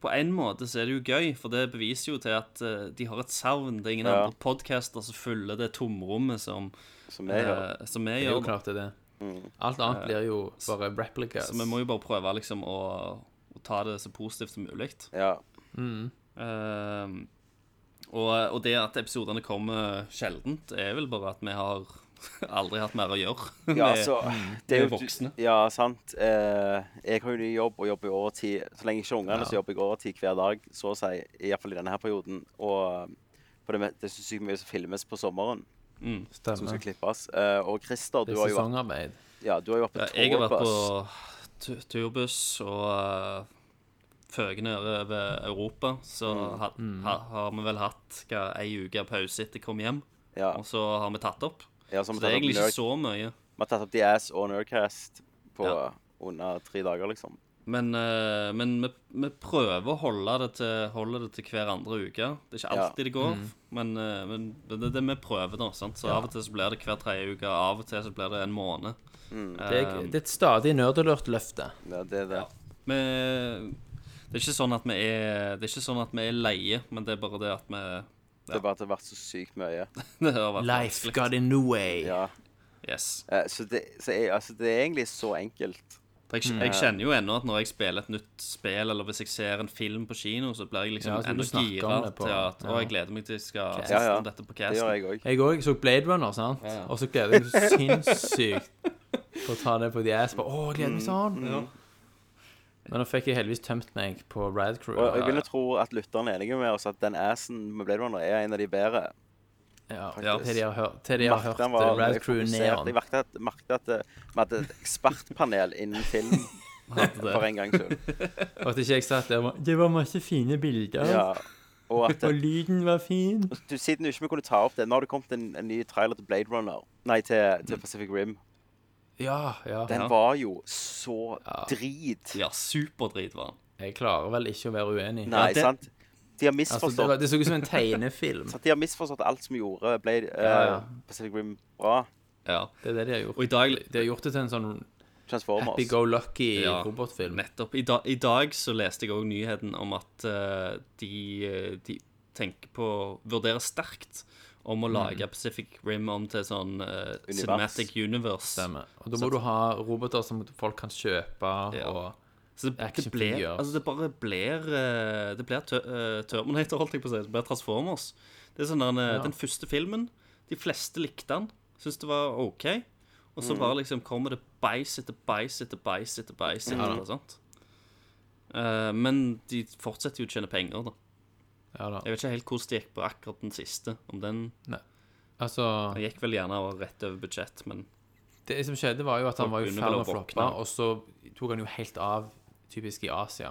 på en måte så er det jo gøy, for det beviser jo til at eh, de har et savn. Det er ingen
Ja.
andre podcaster som fyller det tomrommet som,
som jeg gjør.
eh, som vi
Det er jo
gjør.
klart det er det.
Mm.
Alt annet blir jo bare replicas.
Så vi må jo bare prøve liksom å, å ta det så positivt som mulig.
Ja.
Ehm, og, og det at episodene kommer sjeldent, er vel bare at vi har aldri hatt mer å gjøre.
ja,
med-
så Det
vi
er
er
jo
voksne.
Ja, sant. Eh, jeg har jo ny jobb og jobber i overtid. Så lenge ikke ungene, så jobber jeg overtid hver dag, så å si. Iallfall i denne her perioden. Og eh, for det, me- det er så sykt mye som filmes på sommeren, som skal
Stemmer.
klippes. Eh, og Christer,
Det
du
er
har jo vært,
sesongarbeid.
ja, du har jo vært
Ja,
på
jeg har vært
tourbus.
på tu- turbuss og uh, føgene over Europa. Så
Mm.
ha, ha, har vi vel hatt hva, ei uke pause etter jeg kom hjem,
Ja,
og så har vi tatt opp.
ja, så vi
Så det er egentlig
har
ikke
tatt opp Nerd-
så
vi
mye.
har tatt opp The Ass og Nerdcast på
Ja.
under tre dager, liksom.
Men, eh, men vi, vi prøver å holde det, til, holde det til hver andre uke. Det er ikke
Ja. Mm.
alltid det går, men, eh, men det er det vi prøver, da. Sant? Så av og til så blir det hver tredje uke, av og til så blir det en måned.
Mm.
Eh,
Det er,
Um,
det er et stadig nerdalert løfte.
Ja, det er det.
Vi, det er ikke sånn at vi er Det er ikke sånn at vi er leie, men det er bare det at vi
Det er bare at det har vært så sykt møye.
Det har vært
Life
vanskelig.
got in the way.
Ja.
Yes.
Eh, Så, det, så jeg, altså, det er egentlig så enkelt.
For Jeg,
Mm.
jeg kjenner jo ennå at når jeg spiller et nytt spill, eller hvis jeg ser en film på kino, så blir jeg liksom
Ja, så du
ennå
snakker om
gira
det på-
til at Å,
ja.
jeg gleder meg til jeg skal
Cast.
snakke
Ja, ja.
om dette på
Det gjør
casten.
jeg òg.
Jeg òg så Blade Runner, sant? Og så gleder jeg meg sinnssykt på å ta det på The Ass. Bare, Å, jeg
Mm,
gleder meg sånn. Men nå fikk jeg heldigvis tømt meg på Rad Crew.
Og jeg vil jo tro at lytteren er enig med oss at den assen med Blade Runner er en av de bedre.
Ja,
Ja.
til de har hørt, til de har
Merket
hørt
han
eh,
var
Rad
veldig
Crew
fokusert.
Neon.
Jeg merket at, merket at eh, vi hadde et ekspertpanel innen film for en gangs skyld.
Og at ikke jeg satt der og bare, Det var masse fine bilder.
Ja. Og at
Og
eh,
lyden var fin.
du, siden du ikke kunne ta opp det Nå har det kommet en, en ny trailer til Blade Runner. Nei, til, til Pacific Rim.
Ja, Mm. ja.
Den var jo så drit.
Ja, superdrit var han.
Jeg klarer vel ikke å være uenig.
Nei,
Ja, det-
sant? De har
Altså, det, var,
misforstått
det så ut som en tegnefilm.
så De har misforstått alt som gjorde ble, eh,
Ja, ja.
Pacific Rim bra.
Ja.
Det er det de har
Og
gjort.
i dag
De har gjort det til en sånn
Transformers.
happy-go-lucky
Ja.
robotfilm.
Nettopp. I, da, I dag så leste jeg òg nyheten om at eh, de, eh, de tenker på Vurderer sterkt om å
Mm.
lage Pacific Rim om til sånn eh,
Univers.
Cinematic Universe.
Stemmer. Og da må du ha roboter som folk kan kjøpe,
Ja.
og
Så det, det ble
Actionfigurer.
Altså, det bare blir eh, Det blir tø eh, Terminator, holdt jeg på å si. Det blir Transformers. Det er sånn der, eh,
Ja.
Den første filmen De fleste likte den. Syns det var OK. Og
Mm.
så bare liksom kommer det beis etter beis etter beis etter beis. etter noe sånt. Eh, men de fortsetter jo å tjene penger, da.
Ja da.
Jeg vet ikke helt hvordan det gikk på akkurat den siste. Om den
Altså
Den gikk vel gjerne rett over budsjett, men
Det som skjedde, var jo at
Folk
han var i
begynner
ferd
vel
med å
å
floppe,
våkne.
og så tok han jo helt av, typisk i Asia.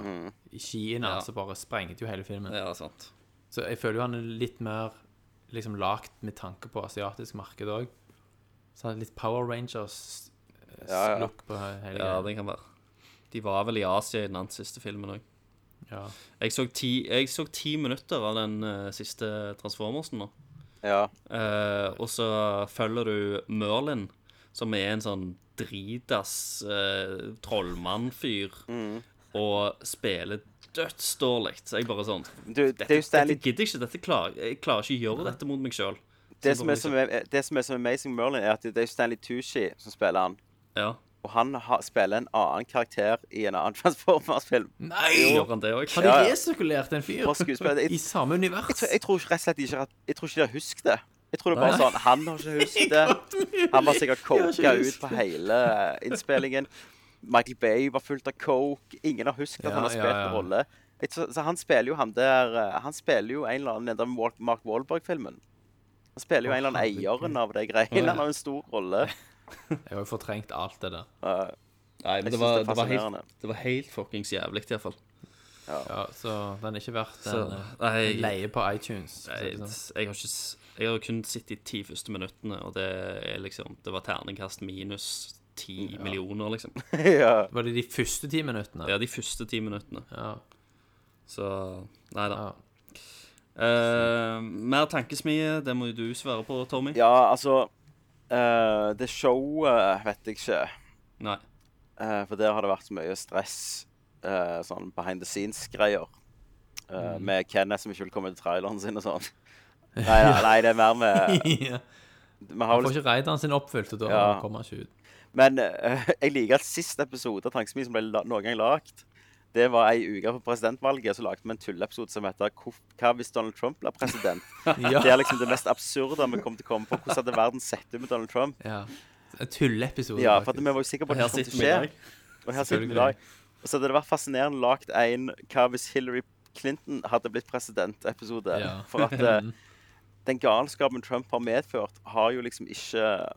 I Kina
Ja.
så bare sprengte jo hele filmen.
Ja, sant.
Så jeg føler jo han er litt mer liksom lagt med tanke på asiatisk marked òg. Så han er litt Power Rangers-look
Ja, ja.
på hele
Ja,
greia.
det kan være. De var vel i Asia i den andre siste filmen òg.
Ja.
Jeg så ti, jeg så ti minutter av den eh, siste Transformersen nå.
Ja.
Eh, og så følger du Merlin, som er en sånn dritas uh, trollmannfyr,
Mm.
og spiller dødsdårlig. Så jeg bare sånn
Men Du, det
Dette,
er jo
dette
Stanley
gidder jeg ikke. Dette klarer, jeg klarer ikke å gjøre dette mot meg sjøl.
det
Så
som,
bare
er, som er, eh, det som er som Amazing Merlin, er at det er jo Stanley Tucci som spiller han.
Ja.
Og han har, spiller en annen karakter i en annen Transformers-film.
Gjør han det òg?
Har de
Ja, ja.
resirkulert en fyr
Bare skuespiller. Jeg-
i samme
Jeg
univers?
tror, jeg tror ikke- rett og slett ikke at Jeg tror ikke de har husket det. Jeg tror det er bare sånn Han har ikke husket det. Han var sikkert coka ut på hele eh, innspillingen. Michael Bay var fullt av coke. Ingen har husket at
Ja,
han har
ja,
spilt en
ja.
rolle. Jeg tror- Så han spiller jo han der eh, Han spiller jo en eller annen den Mark- Mark Wahlberg-filmen. Han spiller jo en eller annen eieren av de greiene. Han har en stor rolle.
Jeg har jo fortrengt alt det der.
Eh,
Nei,
Jeg
men det
synes
var,
det er
det var helt,
fascinerende.
det var helt fuckings jævlig, iallfall.
Ja, så den er ikke verdt
Så
en eh,
nei, jeg,
leie på iTunes. for å si
jeg,
det sånn.
jeg har ikke s- Jeg har kun sett de ti første minuttene, og det er liksom Det var terningkast minus ti millioner, liksom.
ja.
Var det de første ti minuttene?
Ja, de første ti minuttene.
Ja.
Så Nei da.
ja.
Eh, mer tankesmie, det må jo du svare på, Tommy.
ja, altså eh, Det showet vet jeg ikke.
Nei.
Eh, for der har det vært så mye stress, eh, sånn behind the scenes-greier. Eh, Med Kenneth som ikke vil komme til traileren sin og sånn. Nei, nei, nei, det er mer med
ja.
vi har
Får
vel,
ikke raideren sin oppfylt, og da
Ja.
kommer han ikke ut.
Men eh, jeg liker at siste episode av Tankesmi som ble la, noen gang lagd, det var ei uke på presidentvalget, så lagde vi en tulleepisode som heter «Hvor- 'Hva hvis Donald Trump blir president?'
Ja.
Det er liksom det mest absurde vi kom til å komme på. Hvordan hadde verden sett ut med Donald Trump?
ja. En tulleepisode,
Ja, for at vi var jo sikre på at
Her
det kom til å
sitter vi i
skje.
dag.
Og her sitter vi i
Selvfølgelig.
dag. Og så hadde det vært fascinerende lagt en Hva hvis Hillary Clinton hadde blitt president-episode.
Ja.
For at eh, den galskapen Trump har medført, har jo liksom ikke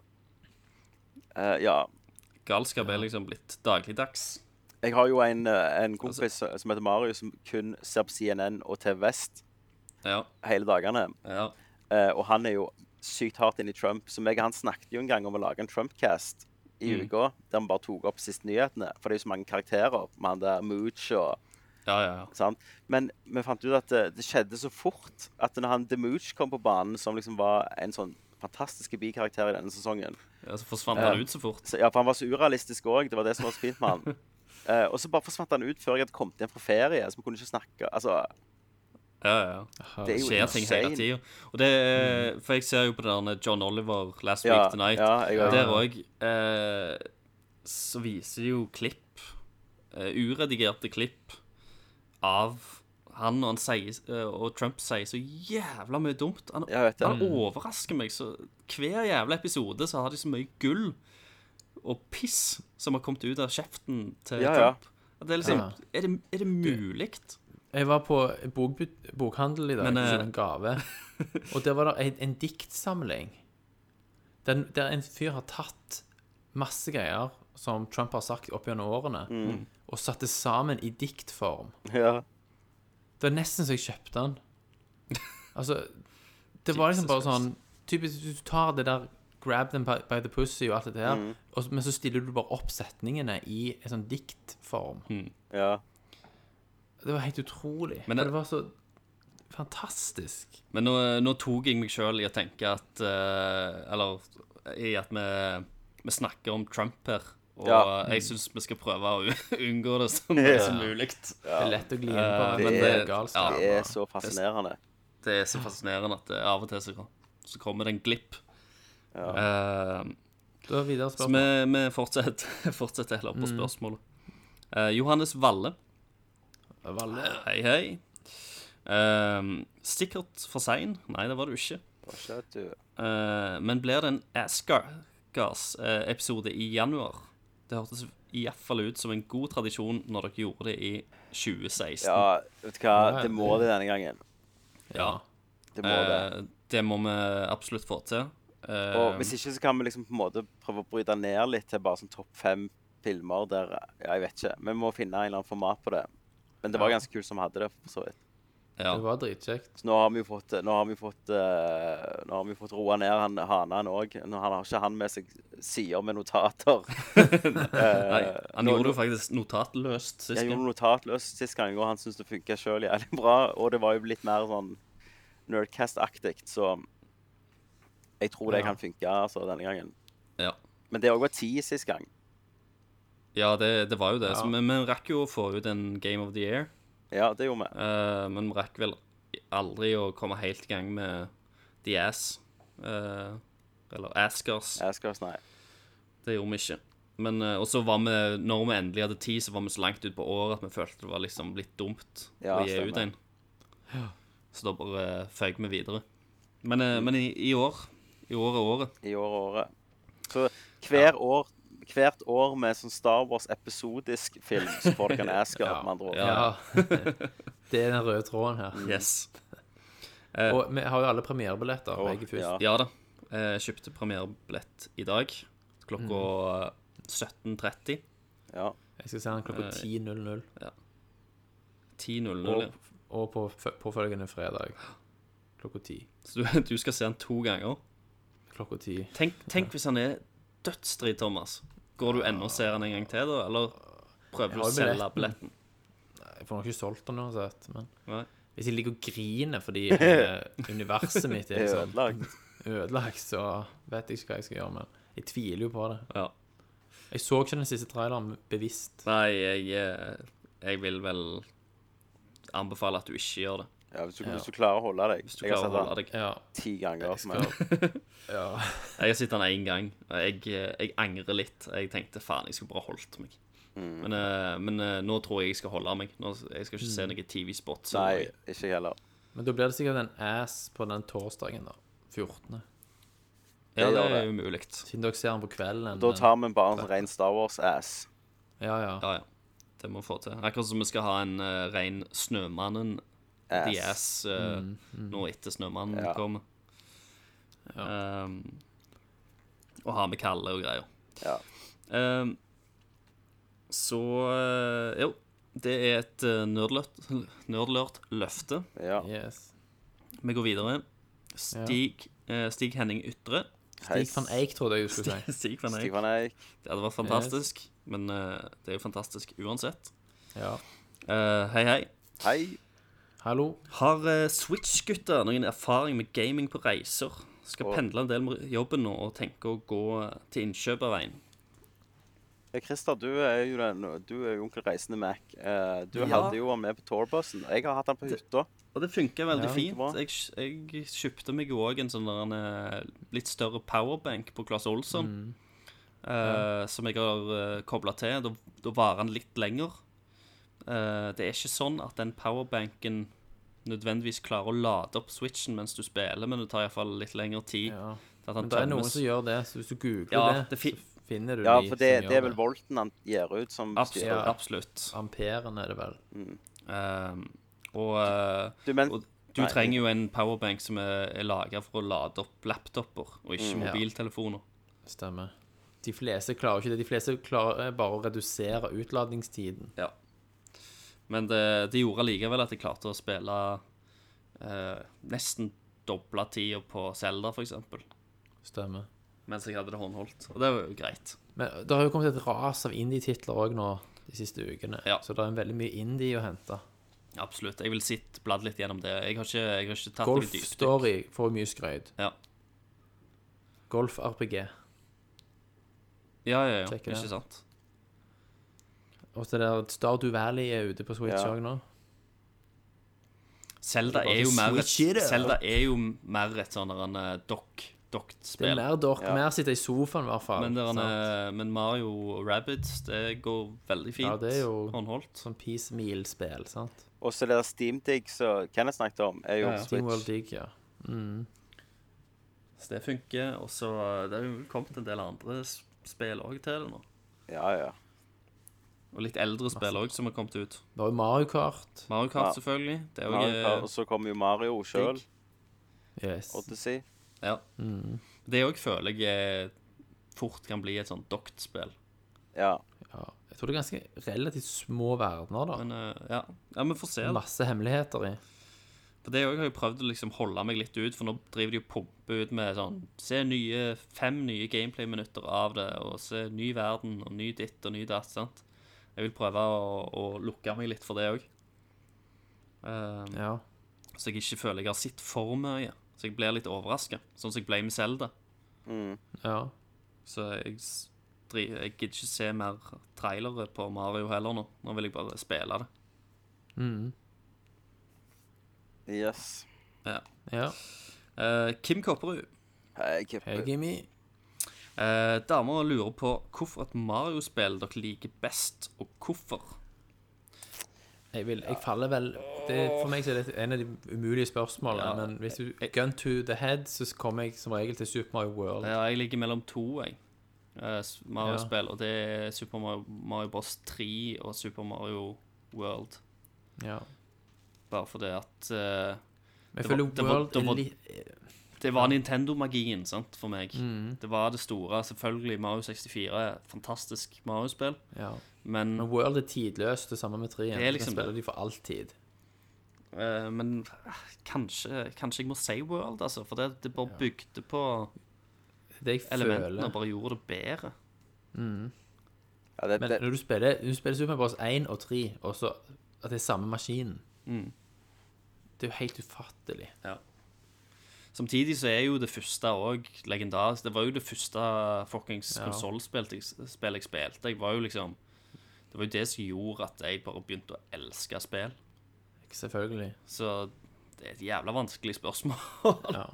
eh, Ja.
Galskap er liksom blitt dagligdags.
Jeg har jo en, eh,
Altså
en kompis som heter Marius, som kun ser på CNN og TV Vest
Ja.
hele dagene.
ja.
Eh, og han er jo sykt hardt inn i Trump. Så meg og han snakket jo en gang om å lage en Trump-cast i
Mm.
uka, der vi bare tok opp siste nyhetene. For det er jo så mange karakterer. Med han der Mooch og
Ja, ja, ja.
Sant? Men vi fant ut at eh, det, det skjedde så fort at når han Demooch kom på banen, som liksom var en sånn fantastisk bikarakter i denne sesongen
ja så forsvant han ut så fort.
så, Ja, for han var så urealistisk òg. Det var det som var så fint med han. Eh, og så bare forsvant han ut før jeg hadde kommet hjem fra ferie. Så vi kunne ikke snakke Altså,
Ja, ja, ja.
det er
Det
jo
skjer ting hele
insane.
tida. Og det er- For jeg ser jo på den der eh, John Oliver Last Week
Ja,
Tonight.
ja, jeg også.
Der òg eh, så viser de jo klipp, eh, uredigerte klipp, av han og, han sier, eh, og Trump sier så jævla mye dumt. Han,
Ja, jeg vet det. Mm.
han overrasker meg. så Hver jævla episode så har de så mye gull og piss som har kommet ut av kjeften til
Ja, ja.
Trump. At Det er, liksom,
Ja.
er, det, er det mulig?
Jeg var på bokbut- bokhandel i dag,
Men,
Men,
eh,
en gave, og der var det en, en diktsamling der, der en fyr har tatt masse greier som Trump har sagt opp gjennom årene,
Mm.
og satt det sammen i diktform.
Ja.
Det var nesten så jeg kjøpte den. Altså, det var liksom bare sånn Typisk du tar det der Grab them by, by the pussy og alt dette her,
Mm.
og, så- men så stiller du bare opp setningene i en sånn diktform.
ja.
Det var helt utrolig.
Men
Men det,
det-
var så Fantastisk.
Men nå, nå tok jeg meg sjøl i å tenke at eh, Eller i at vi, vi snakker om Trump her. Og
Ja.
jeg syns vi skal prøve å unngå det så
Ja.
mye som mulig.
Det er lett å gli inn på.
Eh,
men det er galskap.
ja.
Det er så fascinerende.
Det er så fascinerende at det, av og til så, så kommer det en glipp. Eh,
Da er videre
så
spørsmål.
vi, vi fortsetter, fortsetter heller på spørsmålet. Eh, Johannes Valle.
Valle.
Hei, hei. Eh, sikkert for sein. Nei, det var du ikke.
Hva skjer, du?
Eh, men blir det en Asgars-episode i januar? Det hørtes iallfall ut som en god tradisjon når dere gjorde det i 2016.
Ja, vet du hva, det må det denne gangen.
Ja.
Det må det.
Eh, det må vi absolutt få til. Eh,
Og hvis ikke, så kan vi liksom på en måte prøve å bryte ned litt til bare sånn topp fem filmer der Ja, jeg vet ikke. Vi må finne en eller annen format på det. Men det var ganske kult som hadde det, for så vidt.
ja.
Det var dritkjekt.
Så nå har vi jo fått Nå har vi fått, eh, nå har vi fått roa ned han hanen òg. Han har ikke han med seg sider med notater.
Nei, han
Eh, nå-
gjorde det faktisk notatløst sist
Jeg gjorde
gang.
notatløst sist gang, og han syntes det funka sjøl jævlig bra. Og det var jo litt mer sånn Nerdcast-aktig, så jeg tror det
Ja.
kan funke altså, denne gangen.
Ja.
Men det òg var ti sist gang.
Ja, det, det var jo det.
Ja.
Så vi, vi rakk jo å få ut en Game of the Year.
Ja, det gjorde vi.
eh, men vi rakk vel aldri å komme helt i gang med The Ass. eh, eller Askers.
Jeg skal snakke.
Det gjorde vi ikke. Men, eh, og så var vi, når vi endelig hadde tid, så var vi så langt ut på året at vi følte det var liksom litt dumt
Ja,
å gi
stemmer.
ut en. Så da bare eh, føyk vi videre. Men, eh, men i, i år I år er året.
i år og året. Så hver år, hvert år med sånn Star Wars-episodisk film, så får dere en Asgard, med andre ord.
Ja. det er den røde tråden her.
Yes.
Og vi har jo alle premierebilletter. Begge først.
Ja.
Ja da. Eh, Jeg kjøpte premierebillett i dag klokka 17.30.
Ja.
Jeg skal se den klokka 10.00
10.00.
og, og på f- påfølgende fredag klokka 10.
Så du, du skal se den to ganger.
Klokka 10.
Tenk, tenk hvis han er dødsdrit, Thomas. Går du ennå og ser han en gang til, da? Eller prøver
Jeg
du å
har jo
selge billetten?
Jeg får nok ikke solgt den uansett, men
Nei.
hvis jeg ligger og griner fordi eh, universet mitt er
Det er
liksom
ødelagt.
ødelagt, så vet jeg ikke hva jeg skal gjøre, men jeg tviler jo på det.
Ja.
Jeg så ikke den siste traileren bevisst.
Nei, jeg, eh, jeg vil vel anbefale at du ikke gjør det.
Ja, hvis, du, hvis du klarer å holde deg.
Hvis du
Jeg har
klarer
sett
å
den
holde deg.
Ja.
ti ganger.
skal-
Men
ja.
Jeg har sett den én gang, og jeg, eh, jeg angrer litt. Jeg tenkte faen, jeg skulle bare holdt meg. Men, eh, men eh, nå tror jeg jeg skal holde meg. Nå, jeg skal ikke se noen TV-spots.
nei,
eller noe.
ikke heller.
Men da blir det sikkert en ass på den torsdagen, da. 14.
Ja, det
gjør
er umulig.
Siden dere ser den på kvelden.
Da
men-
tar vi bare en sånn ren Star Wars-ass.
Ja, ja.
Ja, ja. Det må vi få til. Akkurat som vi skal ha en eh, ren Snømannen The
Ass.
Ass eh, nå etter Snømannen
Ja.
kommer. Ehm, og ha med Kalle og greier.
Ja.
Ehm, så eh, Jo, det er et uh, nerdlørt løfte.
Ja.
Yes.
Vi går videre. Stig, eh, Stig Henning Ytre.
Hei,
Stig van Eyck trodde jeg du skulle si.
Stig van
Stig
Eyck.
van Eyck.
Det hadde vært fantastisk, men eh, det er jo fantastisk uansett.
Ja.
Eh, hei, hei.
Hei.
Hallo.
Har eh, Switch-gutta noen erfaring med gaming på reiser? Skal
Åh.
pendle en del med jobben nå og tenke å gå eh, til innkjøperveien.
Ja, Eh, Christer, du er jo den, du er jo onkel Reisende Mac. Eh, du
Ja.
hadde jo han med på tourbussen. Jeg har hatt han på hytta.
Og det funka veldig
Ja,
fint.
bra.
Jeg, jeg kjøpte meg jo òg en sånn der, en, eh, litt større powerbank på Claes Olsson.
Mm.
eh, Som jeg har uh, kobla til. Da- Da varer den litt lenger. Eh, det er ikke sånn at den powerbanken nødvendigvis klarer å lade opp switchen mens du spiller, men det tar iallfall litt lengre tid.
Ja.
til at den
Men det er
tømmes.
noen som gjør det, så hvis du googler
Ja,
det,
det fin-
så finner du
Ja,
de
for det,
som
det er
gjør
vel volten han gir ut som
Absolutt.
styrer.
Ja.
absolutt.
Amperen er det vel.
Ehm, og, eh,
Du, men,
og du
Nei.
trenger jo en powerbank som er, er laga for å lade opp laptoper, og ikke
Mm, Ja.
mobiltelefoner.
Stemmer. De fleste klarer ikke det. De fleste klarer eh, bare å redusere utladningstiden.
Ja. Men det, det gjorde allikevel at jeg klarte å spille eh, nesten dobla tida på Selda, f.eks.,
Stemmer.
mens jeg hadde det håndholdt. Og det var jo greit.
Men det har jo kommet et ras av indie-titler òg nå de siste ukene.
Ja.
Så det er veldig mye indie å hente.
Absolutt. Jeg vil sitte bladd litt gjennom det. Jeg har ikke, jeg har ikke tatt
Golf
noe dypdykk.
Story får mye skrøyt.
Ja.
Golf RPG.
Ja, ja, ja.
Sjekker det.
Ikke sant.
Og så der Stardew Valley er ute på Switch
Ja.
òg nå.
Zelda
Det er
er jo
bare
mer et,
switch it up.
Zelda er jo mer et sånn der en, eh, dock
Det er
dokt-spill.
mer dork.
Ja.
Mer sitte i sofaen, i hvert fall.
Men, der en,
sant?
eh, men Mario og Rabbids, det går veldig fint.
Ja, det er jo-
håndholdt.
Sånn Peace Meal-spill, sant?
Og så det der Steamdig som Kenneth snakket om, er jo
Ja, ja.
på
Steamworld
Switch.
Dig, ja.
Så det funker. Og så eh, det er jo kommet en del andre s- spill òg til det nå.
Ja, ja.
Og litt eldre spill òg som har kommet ut.
Det var jo Mario Kart.
Mario Kart,
Ja.
selvfølgelig. Det er
Mario Kart, Og
òg
så kommer jo Mario sjøl,
Yes.
Odyssey.
ja. Det òg føler jeg eh, fort kan bli et sånn dokt-spill.
Ja.
Ja. Jeg tror det er ganske relativt små verdener, da.
Men eh, ja. ja, vi får se. da.
Masse hemmeligheter i.
For det òg har jeg prøvd å liksom holde meg litt ut, for nå driver de og pumper ut med sånn Se nye, fem nye gameplay-minutter av det, og se ny verden, og ny ditt og ny datt, sant. Jeg vil prøve å, å lukke meg litt for det òg.
Ja.
Så jeg ikke føler jeg har sett for mye. Så jeg blir litt overraska, sånn som jeg ble med Zelda.
ja.
Så jeg, s- dri- jeg gidder ikke se mer trailere på Mario heller nå. Nå vil jeg bare spille det.
Mm.
Yes.
Ja.
Eh, Kim Kopperud
Hei, Kippe.
Hei, Jimmy.
Eh, damer lurer på hvorfor et Mario-spill dere liker best, og hvorfor.
Jeg, vil, jeg faller vel det, For meg så er det en av de umulige spørsmålene.
Ja.
Men hvis du gun to the head, så kommer jeg som regel til Super Mario World.
Ja, Eh, jeg ligger mellom to, jeg. Eh, s- Mario-spill, og det er Super Mario, Mario Bros. 3 og Super Mario World.
Ja.
Bare fordi at eh,
Men
Det
jeg
var-
føler
det var-
World
det var-
er litt
Det var Nintendo-magien sant, for meg.
Mm.
Det var det store. Selvfølgelig Mario 64 er et fantastisk Mario-spill,
ja.
men,
Men World er tidløst, det samme med 3.
Det er liksom
spiller
det.
de for alltid.
eh, men eh, kanskje, kanskje jeg må si World, altså. For det, det bare bygde på
Det jeg
elementene og
føler
bare gjorde det bedre.
Ja, det,
Men
det,
når du spiller, når du spiller Super Mario Bros. 1 og 3, og så at det er samme maskinen
Mm.
Det er jo helt ufattelig.
Samtidig så er jo det første òg legendarisk. Det var jo det første fuckings
Ja.
konsollspillet jeg, spill jeg spilte. Jeg var jo liksom Det var jo det som gjorde at jeg bare begynte å elske spill.
Selvfølgelig.
Så det er et jævla vanskelig spørsmål.
Ja.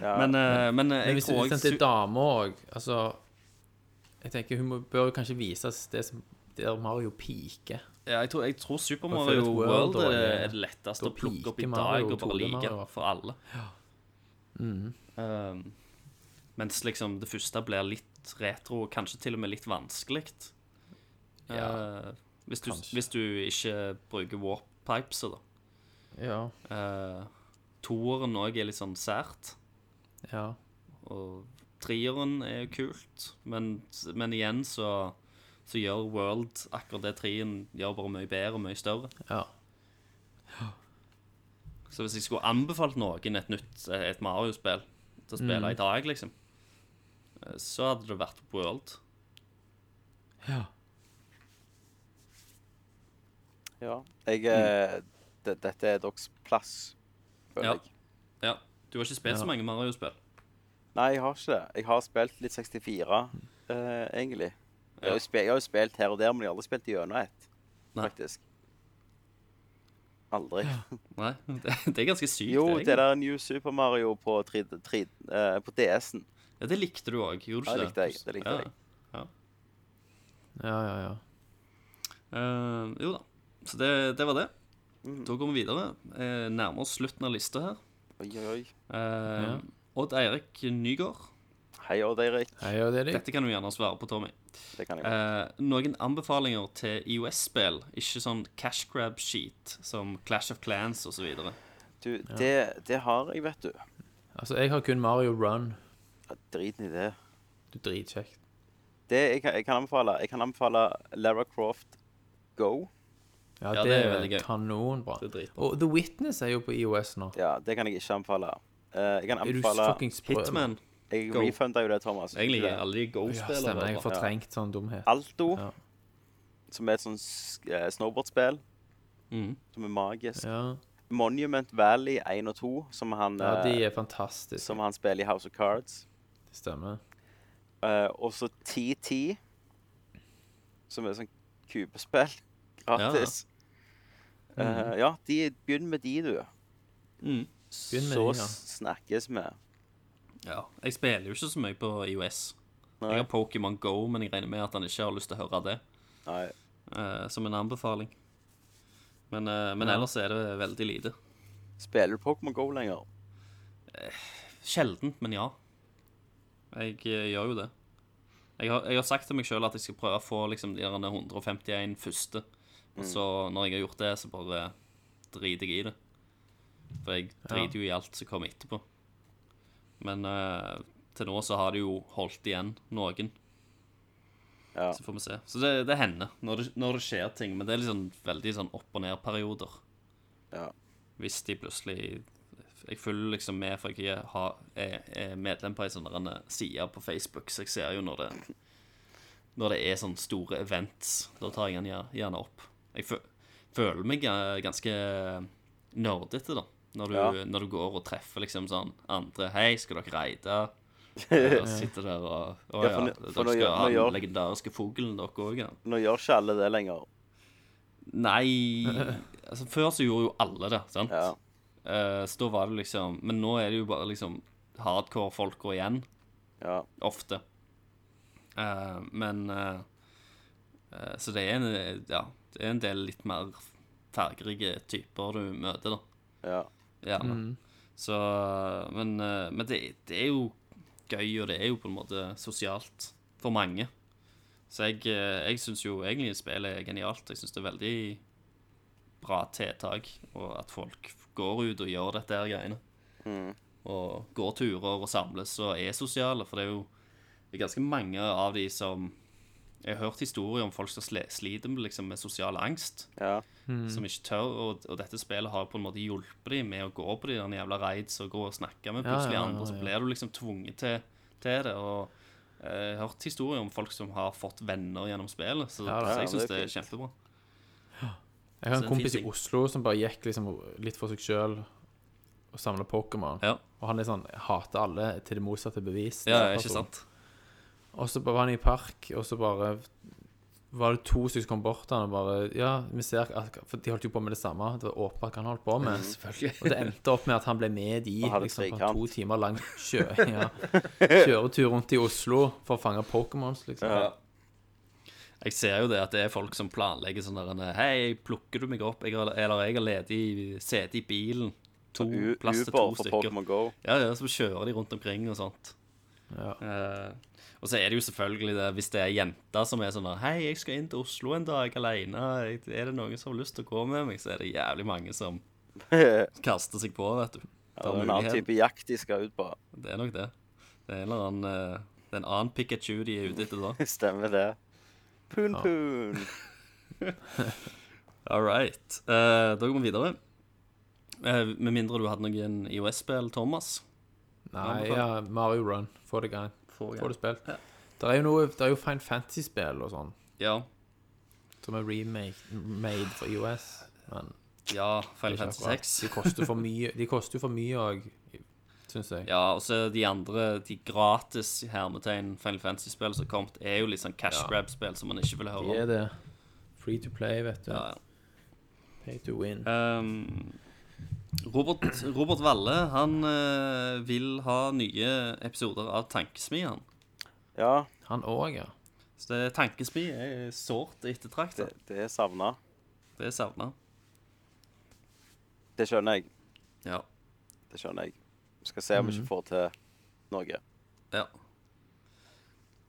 ja.
men, eh, men eh,
Men
jeg
hvis liksom
tror
hvis
jeg
det er
su-
dame òg Altså Jeg tenker hun må, bør jo kanskje vises det som der Mario piker.
ja, jeg, tror, jeg tror Super
Og for et
Mario World
World,
er
da,
det,
eh,
er det letteste
da
å plukke opp i
piker Mario
dag og
og
bare
2D
like
Mario.
for alle. Um, mens liksom det første blir litt retro, og kanskje til og med litt vanskelig.
Ja,
Eh, hvis, du,
kanskje.
hvis du ikke bruker warp pipes, da.
Ja.
Uh, toeren òg er litt sånn sært.
ja.
Og trieren er jo kult, men, men igjen så, så gjør World akkurat det trien gjør bare mye bedre og mye større.
ja.
Så hvis jeg skulle anbefalt noen et nytt et Mario-spill til å spille i dag, liksom, eh, så hadde det vært World.
ja. Jeg, eh, det, dette er deres plass, føler
Ja.
jeg.
Ja. Du har ikke spilt så mange Mario-spill.
Nei, jeg har ikke det. Jeg har spilt litt 64, eh, egentlig. Jeg har, jo spilt, jeg har jo spilt her og der, men jeg har aldri spilt gjennom ett,
Nei.
faktisk. Aldri.
Nei, Det, det er ganske sykt.
Jo,
egentlig.
det der New Super Mario på, 3, 3, eh, på DS-en.
Ja, det likte du òg, gjorde du
Ja,
ikke
det likte jeg. Det likte
Ja.
jeg.
Ja, ja, ja.
Eh, jo da. Så det, det var det. Da går vi videre. Eh, nærmer oss slutten av lista her.
Oi, oi, oi.
Eh, Odd Eirik Nygaard.
Hei Odd Eirik.
Hei, og det er det.
Dette kan du gjerne svare på, Tommy.
Det kan jeg gjøre.
Eh, noen anbefalinger til IOS-spill, ikke sånn cash grab sheet som Clash of Clans osv.
Du, det, det har jeg, vet du.
Altså, jeg har kun Mario Run.
Ja, Driten i det.
Du dritkjekt.
Det jeg, kan- jeg kan anbefale Jeg kan anbefale Lara Croft Go.
Ja,
Ja,
det,
det er
er
veldig gøy.
kanonbra.
Det er dritbra.
Og The Witness er jo på IOS nå.
Ja, det kan jeg ikke anbefale. Eh, jeg kan
Er du
anbefale
fucking sprø?
Hitman.
Jeg
Go.
refunda jo det, Thomas.
Jeg liker
Det.
alle de
Ja, stemmer. Jeg har
Go-spillene.
fortrengt sånn dumhet.
Alto,
Ja.
som er et sånt s- eh, snowboardspill.
Mm.
som er magisk.
Ja.
Monument Valley 1 og 2, som han,
ja, de
eh,
er fantastiske.
som han spiller i House of Cards.
Det stemmer.
Eh, og så TT, som er sånn kubespill. Gratis. Ja, ja de, begynn med de, du.
Mm.
Begynn med
så
de, ja.
s- snakkes vi.
Ja. Jeg spiller jo ikke så mye på IOS.
Nei,
Jeg har Pokémon Go, men jeg regner med at han ikke har lyst til å høre det
nei.
eh, som en anbefaling. Men, eh, men ellers er det veldig lite.
Spiller du Pokémon Go lenger?
Sjeldent, men ja. Jeg eh, gjør jo det. Jeg har, jeg har sagt til meg sjøl at jeg skal prøve å få liksom, de der 151 første. Og så, når jeg har gjort det, så bare driter jeg i det. For jeg driter jo i alt som kommer etterpå. Men eh, til nå så har det jo holdt igjen noen.
Ja.
Så får vi se. Så det, det hender når det, når det skjer ting. Men det er liksom veldig sånn opp og ned-perioder.
Ja.
Hvis de plutselig Jeg følger liksom med, for jeg er- har- er er medlem på ei sånn der en side på Facebook, så jeg ser jo når det Når det er sånne store events. Da tar jeg den gjer- gjerne opp. Jeg fø- føler meg eh, ganske nerdete, da. Når du,
Ja.
når du går og treffer liksom sånn andre Hei, skal dere reide? Og sitter der og Å
Ja,
ja,
for nå-
dere
for nå
skal
gjør-
ha
nå
den
gjør-
legendariske fuglen, dere òg, ja.
Nå gjør ikke alle det lenger.
Nei altså, Før så gjorde jo alle det, sant?
Ja.
Eh, så da var det liksom Men nå er det jo bare liksom hardcore folk går igjen,
ja.
ofte. Eh, men eh, eh, Så det er en Ja, det er en del litt mer fargerike typer du møter, da.
Ja.
Gjerne. Så Men, eh, men det, det er jo gøy, og det er jo på en måte sosialt for mange. Så jeg, eh, jeg syns jo egentlig spillet er genialt. Jeg syns det er veldig bra tiltak, og at folk går ut og gjør dette her greiene. Og går turer og samles og er sosiale, for det er jo det er ganske mange av de som Jeg har hørt historier om folk som sle- sliter med, liksom, med sosial angst
ja. Mm.
som ikke tør, og, og dette spillet har på en måte hjulpet dem med å gå på de der jævla raids og gå og snakke med
Ja,
plutselig
ja, ja,
andre, så
ja.
blir du liksom tvunget til, til det. og eh, jeg har hørt historier om folk som har fått venner gjennom spillet, så,
Ja, da,
så
ja,
jeg
det
syns
er
det er
fint.
kjempebra.
Jeg
Så
har en
det
kompis i
finnes ting.
Oslo som bare gikk liksom litt for seg sjøl og samla Pokémon.
Ja,
Og han er sånn, hater alle til det motsatte bevis.
ja ikke
Person.
sant?
Og så bare var han i park, og så bare var det to stykker som kom bort til han og bare Ja, vi ser at For de holdt jo på med det samme. Det var åpenbart hva han holdt på
Mhm.
med. Og det endte opp med at han ble med de
Og hadde
liksom, på
trekant.
en to timer lang kjø, ja, kjøretur rundt i Oslo for å fange Pokémons, liksom.
Ja.
Jeg ser jo det at det er folk som planlegger sånn der en, Hei, plukker du meg opp? Jeg har, eller jeg har ledig sete i bilen. To,
U-
plass til
Uber
to
for
stykker.
Pokémon Go.
Ja, ja, så kjører de rundt omkring og sånt.
Ja.
Eh, og så er det jo selvfølgelig det, hvis det er jenter som er sånn der, Hei, jeg skal inn til Oslo en dag alene. Er det noen som har lyst til å gå med meg? Så er det jævlig mange som kaster seg på, vet du.
Ja, det er en annen type jakt de skal ut på.
Det er nok det. Det er en eller annen eh, Det er en annen Pikachu de er ute etter da.
Stemmer det. Poon, poon.
All right. Eh, da går vi videre. Eh, med mindre du hadde noen IOS-spill, Thomas.
Nei, ja, Mario Run. Få det i gang.
Få i gang.
Få det spilt. Det er jo noe Det er jo Fine Fantasy-spill og sånn,
Ja.
som er remake made for IOS. Men
Ja,
det er
Final
ikke
Fantasy
akkurat.
6.
De koster for mye De koster jo for mye òg, syns jeg.
Ja, og så de andre, de gratis hermetegn Final Fantasy-spill som har kommet, er jo litt sånn cash
Ja.
grab-spill som man ikke vil
De
høre om.
er det. Free to play, vet du.
Ja, ja.
Pay to win.
Ehm, Robert, Robert Valle, han eh, vil ha nye episoder av Tankesmi, han.
Ja,
Han òg, ja.
Så det, Tankesmi er sårt
det,
ettertraktet.
det er savna.
Det er savna.
Det skjønner jeg.
Ja.
Det skjønner jeg. Vi skal se om vi ikke får til noe.
ja.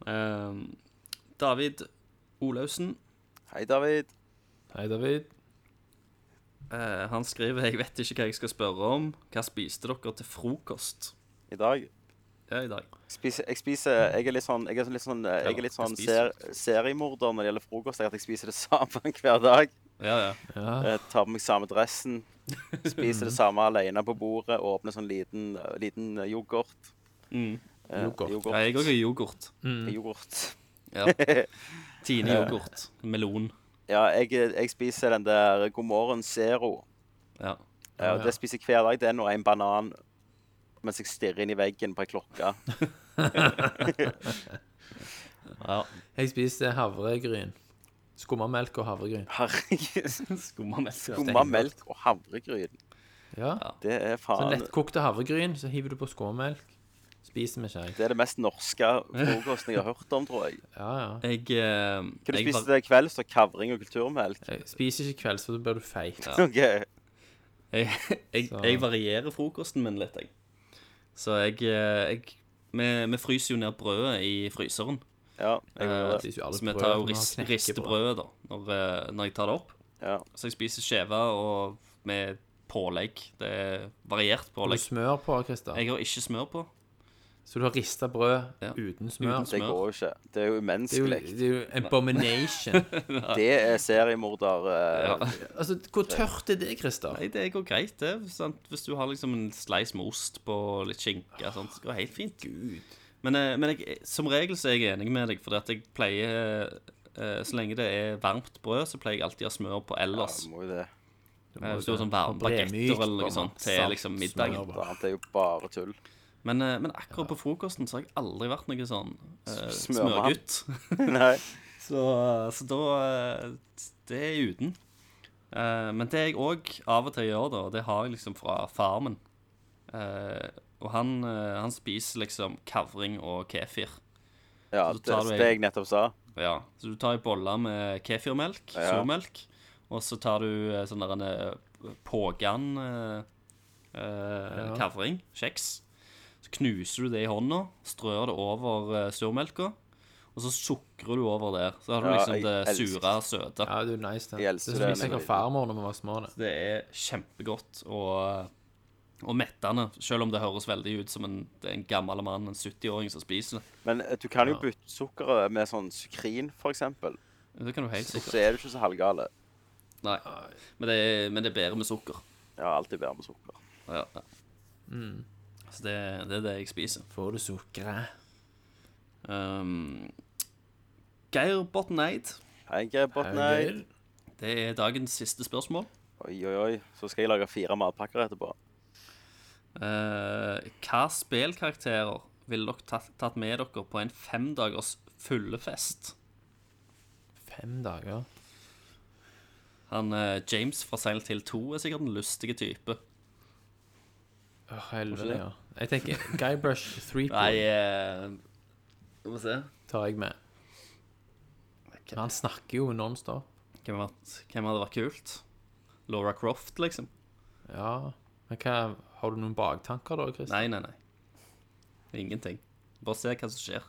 Ehm, David Olaussen,
Hei, David.
Hei, David.
eh, han skriver 'Jeg vet ikke hva jeg skal spørre om'. Hva spiste dere til frokost
I dag
ja, i dag?
spiser jeg spiser, Jeg er litt sånn, jeg er sånn- litt sånn, jeg er litt sånn ser, seriemorder når det gjelder frokost. Jeg at jeg spiser det samme hver dag.
Ja, ja.
Ja.
Jeg tar på meg samme dressen. Spiser det samme alene på bordet. Åpner sånn liten, liten yoghurt.
Mm.
Eh,
Yoghurt.
Ja, jeg òg har yoghurt.
Yoghurt.
Ja. Tine yoghurt. Melon.
Ja, jeg, jeg spiser den der God morgen Zero.
Ja.
Ja, og Eh, det spiser jeg hver dag. Det er nå en banan mens jeg stirrer inn i veggen på ei klokke.
ja.
Jeg spiste havregryn. Skummamelk og havregryn.
Herregud.
Skumma melk.
Skumma melk og havregryn.
Ja.
Det er
Så
faen
lettkokte havregryn, så hiver du på skummamelk. Spiser med skje.
Det er det mest norske frokosten jeg har hørt om, tror jeg.
Ja, ja.
Jeg, eh,
Hva du
jeg
spiste
var,
til kvelds? Så kavring og kulturmelk?
Jeg spiser ikke kvelds, for da blir du feit.
OK.
jeg, jeg,
Så-
jeg varierer frokosten min litt, jeg. Så jeg, eh, jeg vi, vi fryser jo ned brødet i fryseren.
Ja. Jeg gjør
Eh,
det.
spiser jo alle
så vi
brød
tar jo
når man
rist,
knekker
ristebrødet da, når, eh, når jeg tar det opp.
Ja.
Så jeg spiser skjeve og med pålegg. Det er variert
Har du
pålegg.
smør på, Christer?
Jeg har ikke smør på.
Så du har rista brød
Ja.
uten smør?
Uten
Det går jo ikke. Det er jo
Det er jo,
umenneskelig.
det er jo abomination.
Det er seriemorder. eh,
Ja.
altså, hvor tørt er det, Christer?
Nei, det går greit, det. Sant? Hvis du har liksom en slice med ost på litt skinke og sånt, så går det helt fint. Men, eh, men jeg, som regel så er jeg enig med deg, fordi at jeg pleier eh, Så lenge det er varmt brød, så pleier jeg alltid å ha smør på
Ja,
ellers.
må jo det.
Eh, Hvis du har sånn varme
Bre mykt,
bagetter eller noe
bare.
sånt til
Salt,
liksom
smør,
middagen.
bare.
Annet er jo bare tull.
Men, eh, men akkurat på frokosten så har jeg aldri vært noe sånn eh,
Smørmann.
smørgutt.
Nei.
Så, så da eh, Det er uten. Eh, men det jeg òg av og til gjør, da, det har jeg liksom fra farmen. Eh, og han, eh, han spiser liksom kavring og kefir.
Ja,
Så
det,
tar du
det
en-
jeg nettopp sa.
Ja, Så du tar ei bolle med kefirmelk,
Ja.
surmelk, og så tar du eh, sånn der en eh, pågan eh, eh,
Ja.
kavring, kjeks. Så knuser du det i hånda, strør det over eh, surmelka, og så sukrer du over der. Så har du
Ja,
liksom
jeg
det
elsker-
sure, søte.
Ja, det er jo nice, det.
Jeg elsker
det er
det,
som
men-
jeg fikk av farmor når vi var små. Det.
Det er kjempegodt og, og mettende, selv om det høres veldig ut som en, det er en gammel mann, en 70-åring, som spiser det.
Men eh, du kan jo bytte sukkeret med sånn sukrin, for eksempel.
Det kan du helt sikkert.
Så er du ikke så halvgale.
Nei, men det, er- men det er bedre med sukker.
Jeg har alltid bedre med sukker.
Ja. ja. Så det, det er det jeg spiser.
Får du eh? sukkeret?
Um, Geir Botneid,
Hei, Botnei.
det er dagens siste spørsmål.
Oi, oi, oi. Så skal jeg lage fire matpakker etterpå.
Eh, hva spillkarakterer ville dere tatt, tatt med dere på en femdagers fullefest?
Fem dager?
Han eh, James fra Silent Hill 2 er sikkert en lustige type.
Å, helvete, ja. Jeg tenker Guybrush
Nei
3-point
eh, Skal vi se
tar jeg med. Men han snakker jo nonstop.
hvem, hadde- hvem hadde vært kult? Laura Croft, liksom?
Ja. Men hva Har du noen baktanker da, Christer?
Nei, nei, nei. Ingenting. Bare se hva som skjer.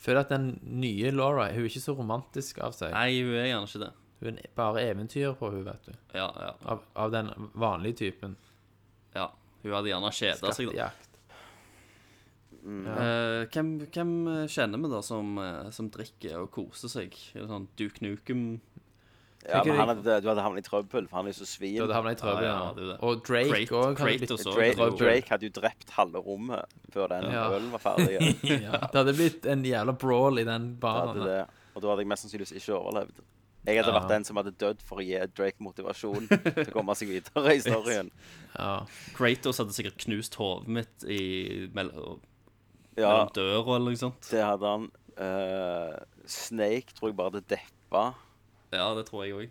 Jeg føler at den nye Laura hun er ikke så romantisk av seg.
Nei, hun er gjerne ikke det.
Hun er bare eventyr på hun, vet du.
Ja, ja.
Av, av den vanlige typen.
ja. Hun hadde gjerne kjeda seg. da.
Skattejakt.
Eh, hvem, hvem eh, kjenner vi da som, eh, som drikker og koser seg? Er det sånn Duke Nukem?
Ja,
Tenker
men
jeg-
han hadde, du hadde havnet i trøbbel, for han er jo så
Da
svin.
hadde havnet i trøbbel.
Ja, ja,
ja.
det er det.
Og Drake
Krat-
òg.
Kratos også.
Drake,
Trøbbel.
Drake hadde jo drept halve rommet før den
Ja.
ølen var ferdig.
Ja, det hadde blitt en jævla brawl i den
Da
baren.
Hadde
der.
det. Og da hadde jeg mest sannsynligvis ikke overlevd. Jeg hadde vært den som hadde dødd for å gi Drake motivasjon til å komme seg videre i storyen.
Ja.
Kratos hadde sikkert knust hodet mitt i mellom,
Ja,
mellom døra eller noe sånt.
det hadde han. Eh, Snake tror jeg bare hadde deppa.
Ja, det tror jeg òg.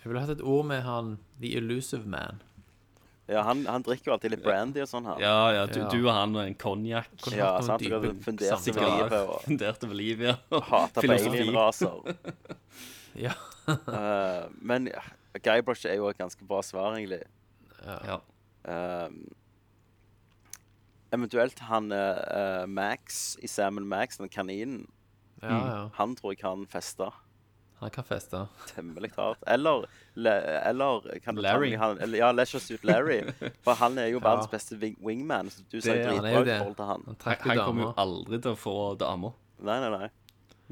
Jeg ville hatt et ord med han The Elusive Man.
Ja, han, han drikker jo alltid litt brandy og sånn her.
Ja, ja, du,
Ja.
du og han og en konjakk.
Kunne
Ja,
hatt noen
sant? Du liksom hadde
dype
fundert over
samtaler.
livet og
Funderte over livet, ja.
hata på
Filosofi.
alienraser.
Ja.
Eh, men ja, Guybrush er jo et ganske bra svar, egentlig.
Ja.
Eh, eventuelt han eh, eh, Max i Salmon Max, den kaninen,
ja, ja.
han tror jeg kan feste
Han kan feste.
temmelig hardt. Eller, le, eller kan du ta
Larry.
med Han, eller, ja, Leisure Suit Larry. For han er jo verdens beste wing, wingman. Så du sa
Det er han,
Han er
dritbra i
jo det.
forhold til han.
Han
Han,
trakk jo
han kommer jo
damer.
aldri til å få damer.
Nei, nei, nei.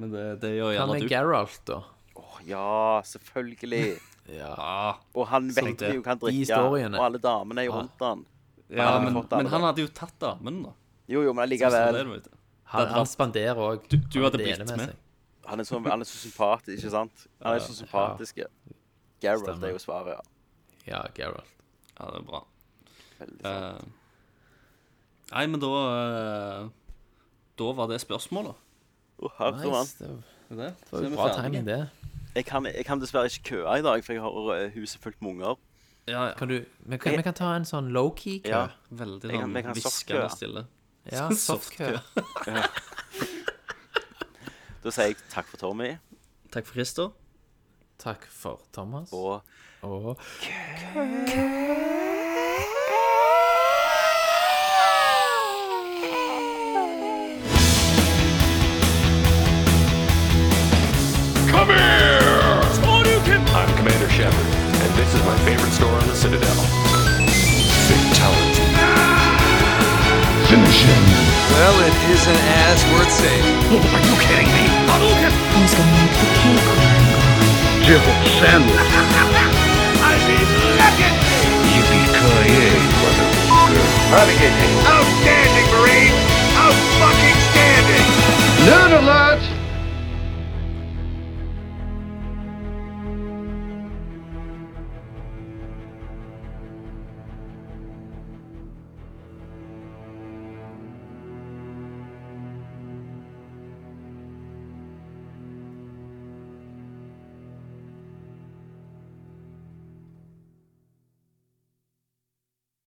Men det, det gjør
Hva
gjerne
med
du.
Geralt, da?
Åh, ja, selvfølgelig.
Ja.
Ah,
Og han
Så
vet
det-
jo hva han
i
drikker,
historiene.
og alle damene er jo
Ja.
rundt han.
ja,
hadde
men,
fått alle
men han
da.
hadde jo tatt damen, da.
Jo, jo, men
Så
Sånn
det er
allikevel.
det, vet du.
Han, han spanderer òg.
du hadde blitt med.
Han er så, han er så sympatisk, ikke sant? Han er så sympatisk. Ja. Geralt
Stemmer.
er jo svaret, ja.
Ja, Geralt.
Ja, det er bra.
Veldig sant.
Eh, nei, men da eh, Da var det spørsmålet.
Å, herre mann.
Nice. Det var-
Er Det
det var
Så er vi
jo bra
ferdige.
timing, det.
Jeg kan, jeg kan dessverre ikke køe i dag, for jeg har eh, huset fullt med unger.
Ja, ja.
Kan du, vi, kan, vi kan ta en sånn low-key kø.
Ja.
Veldig
Jeg kan-
sånn
jeg kan softkø, ja.
hviskende stille.
Ja,
Softkø.
softkø.
Da sier jeg takk for Tommy,
Takk for Christer.
Takk for Thomas.
og
og
Come here! I'm Commander Shepard, and this is my favorite store on the Citadel. Fatality. Finish him.
Well, it isn't as worth saying.
Oh, Are you kidding me? Hadouken! Who's gonna make the cake? Jill Sandler. I mean, look at me! Yippee-ki-yay, motherfucker. How to get out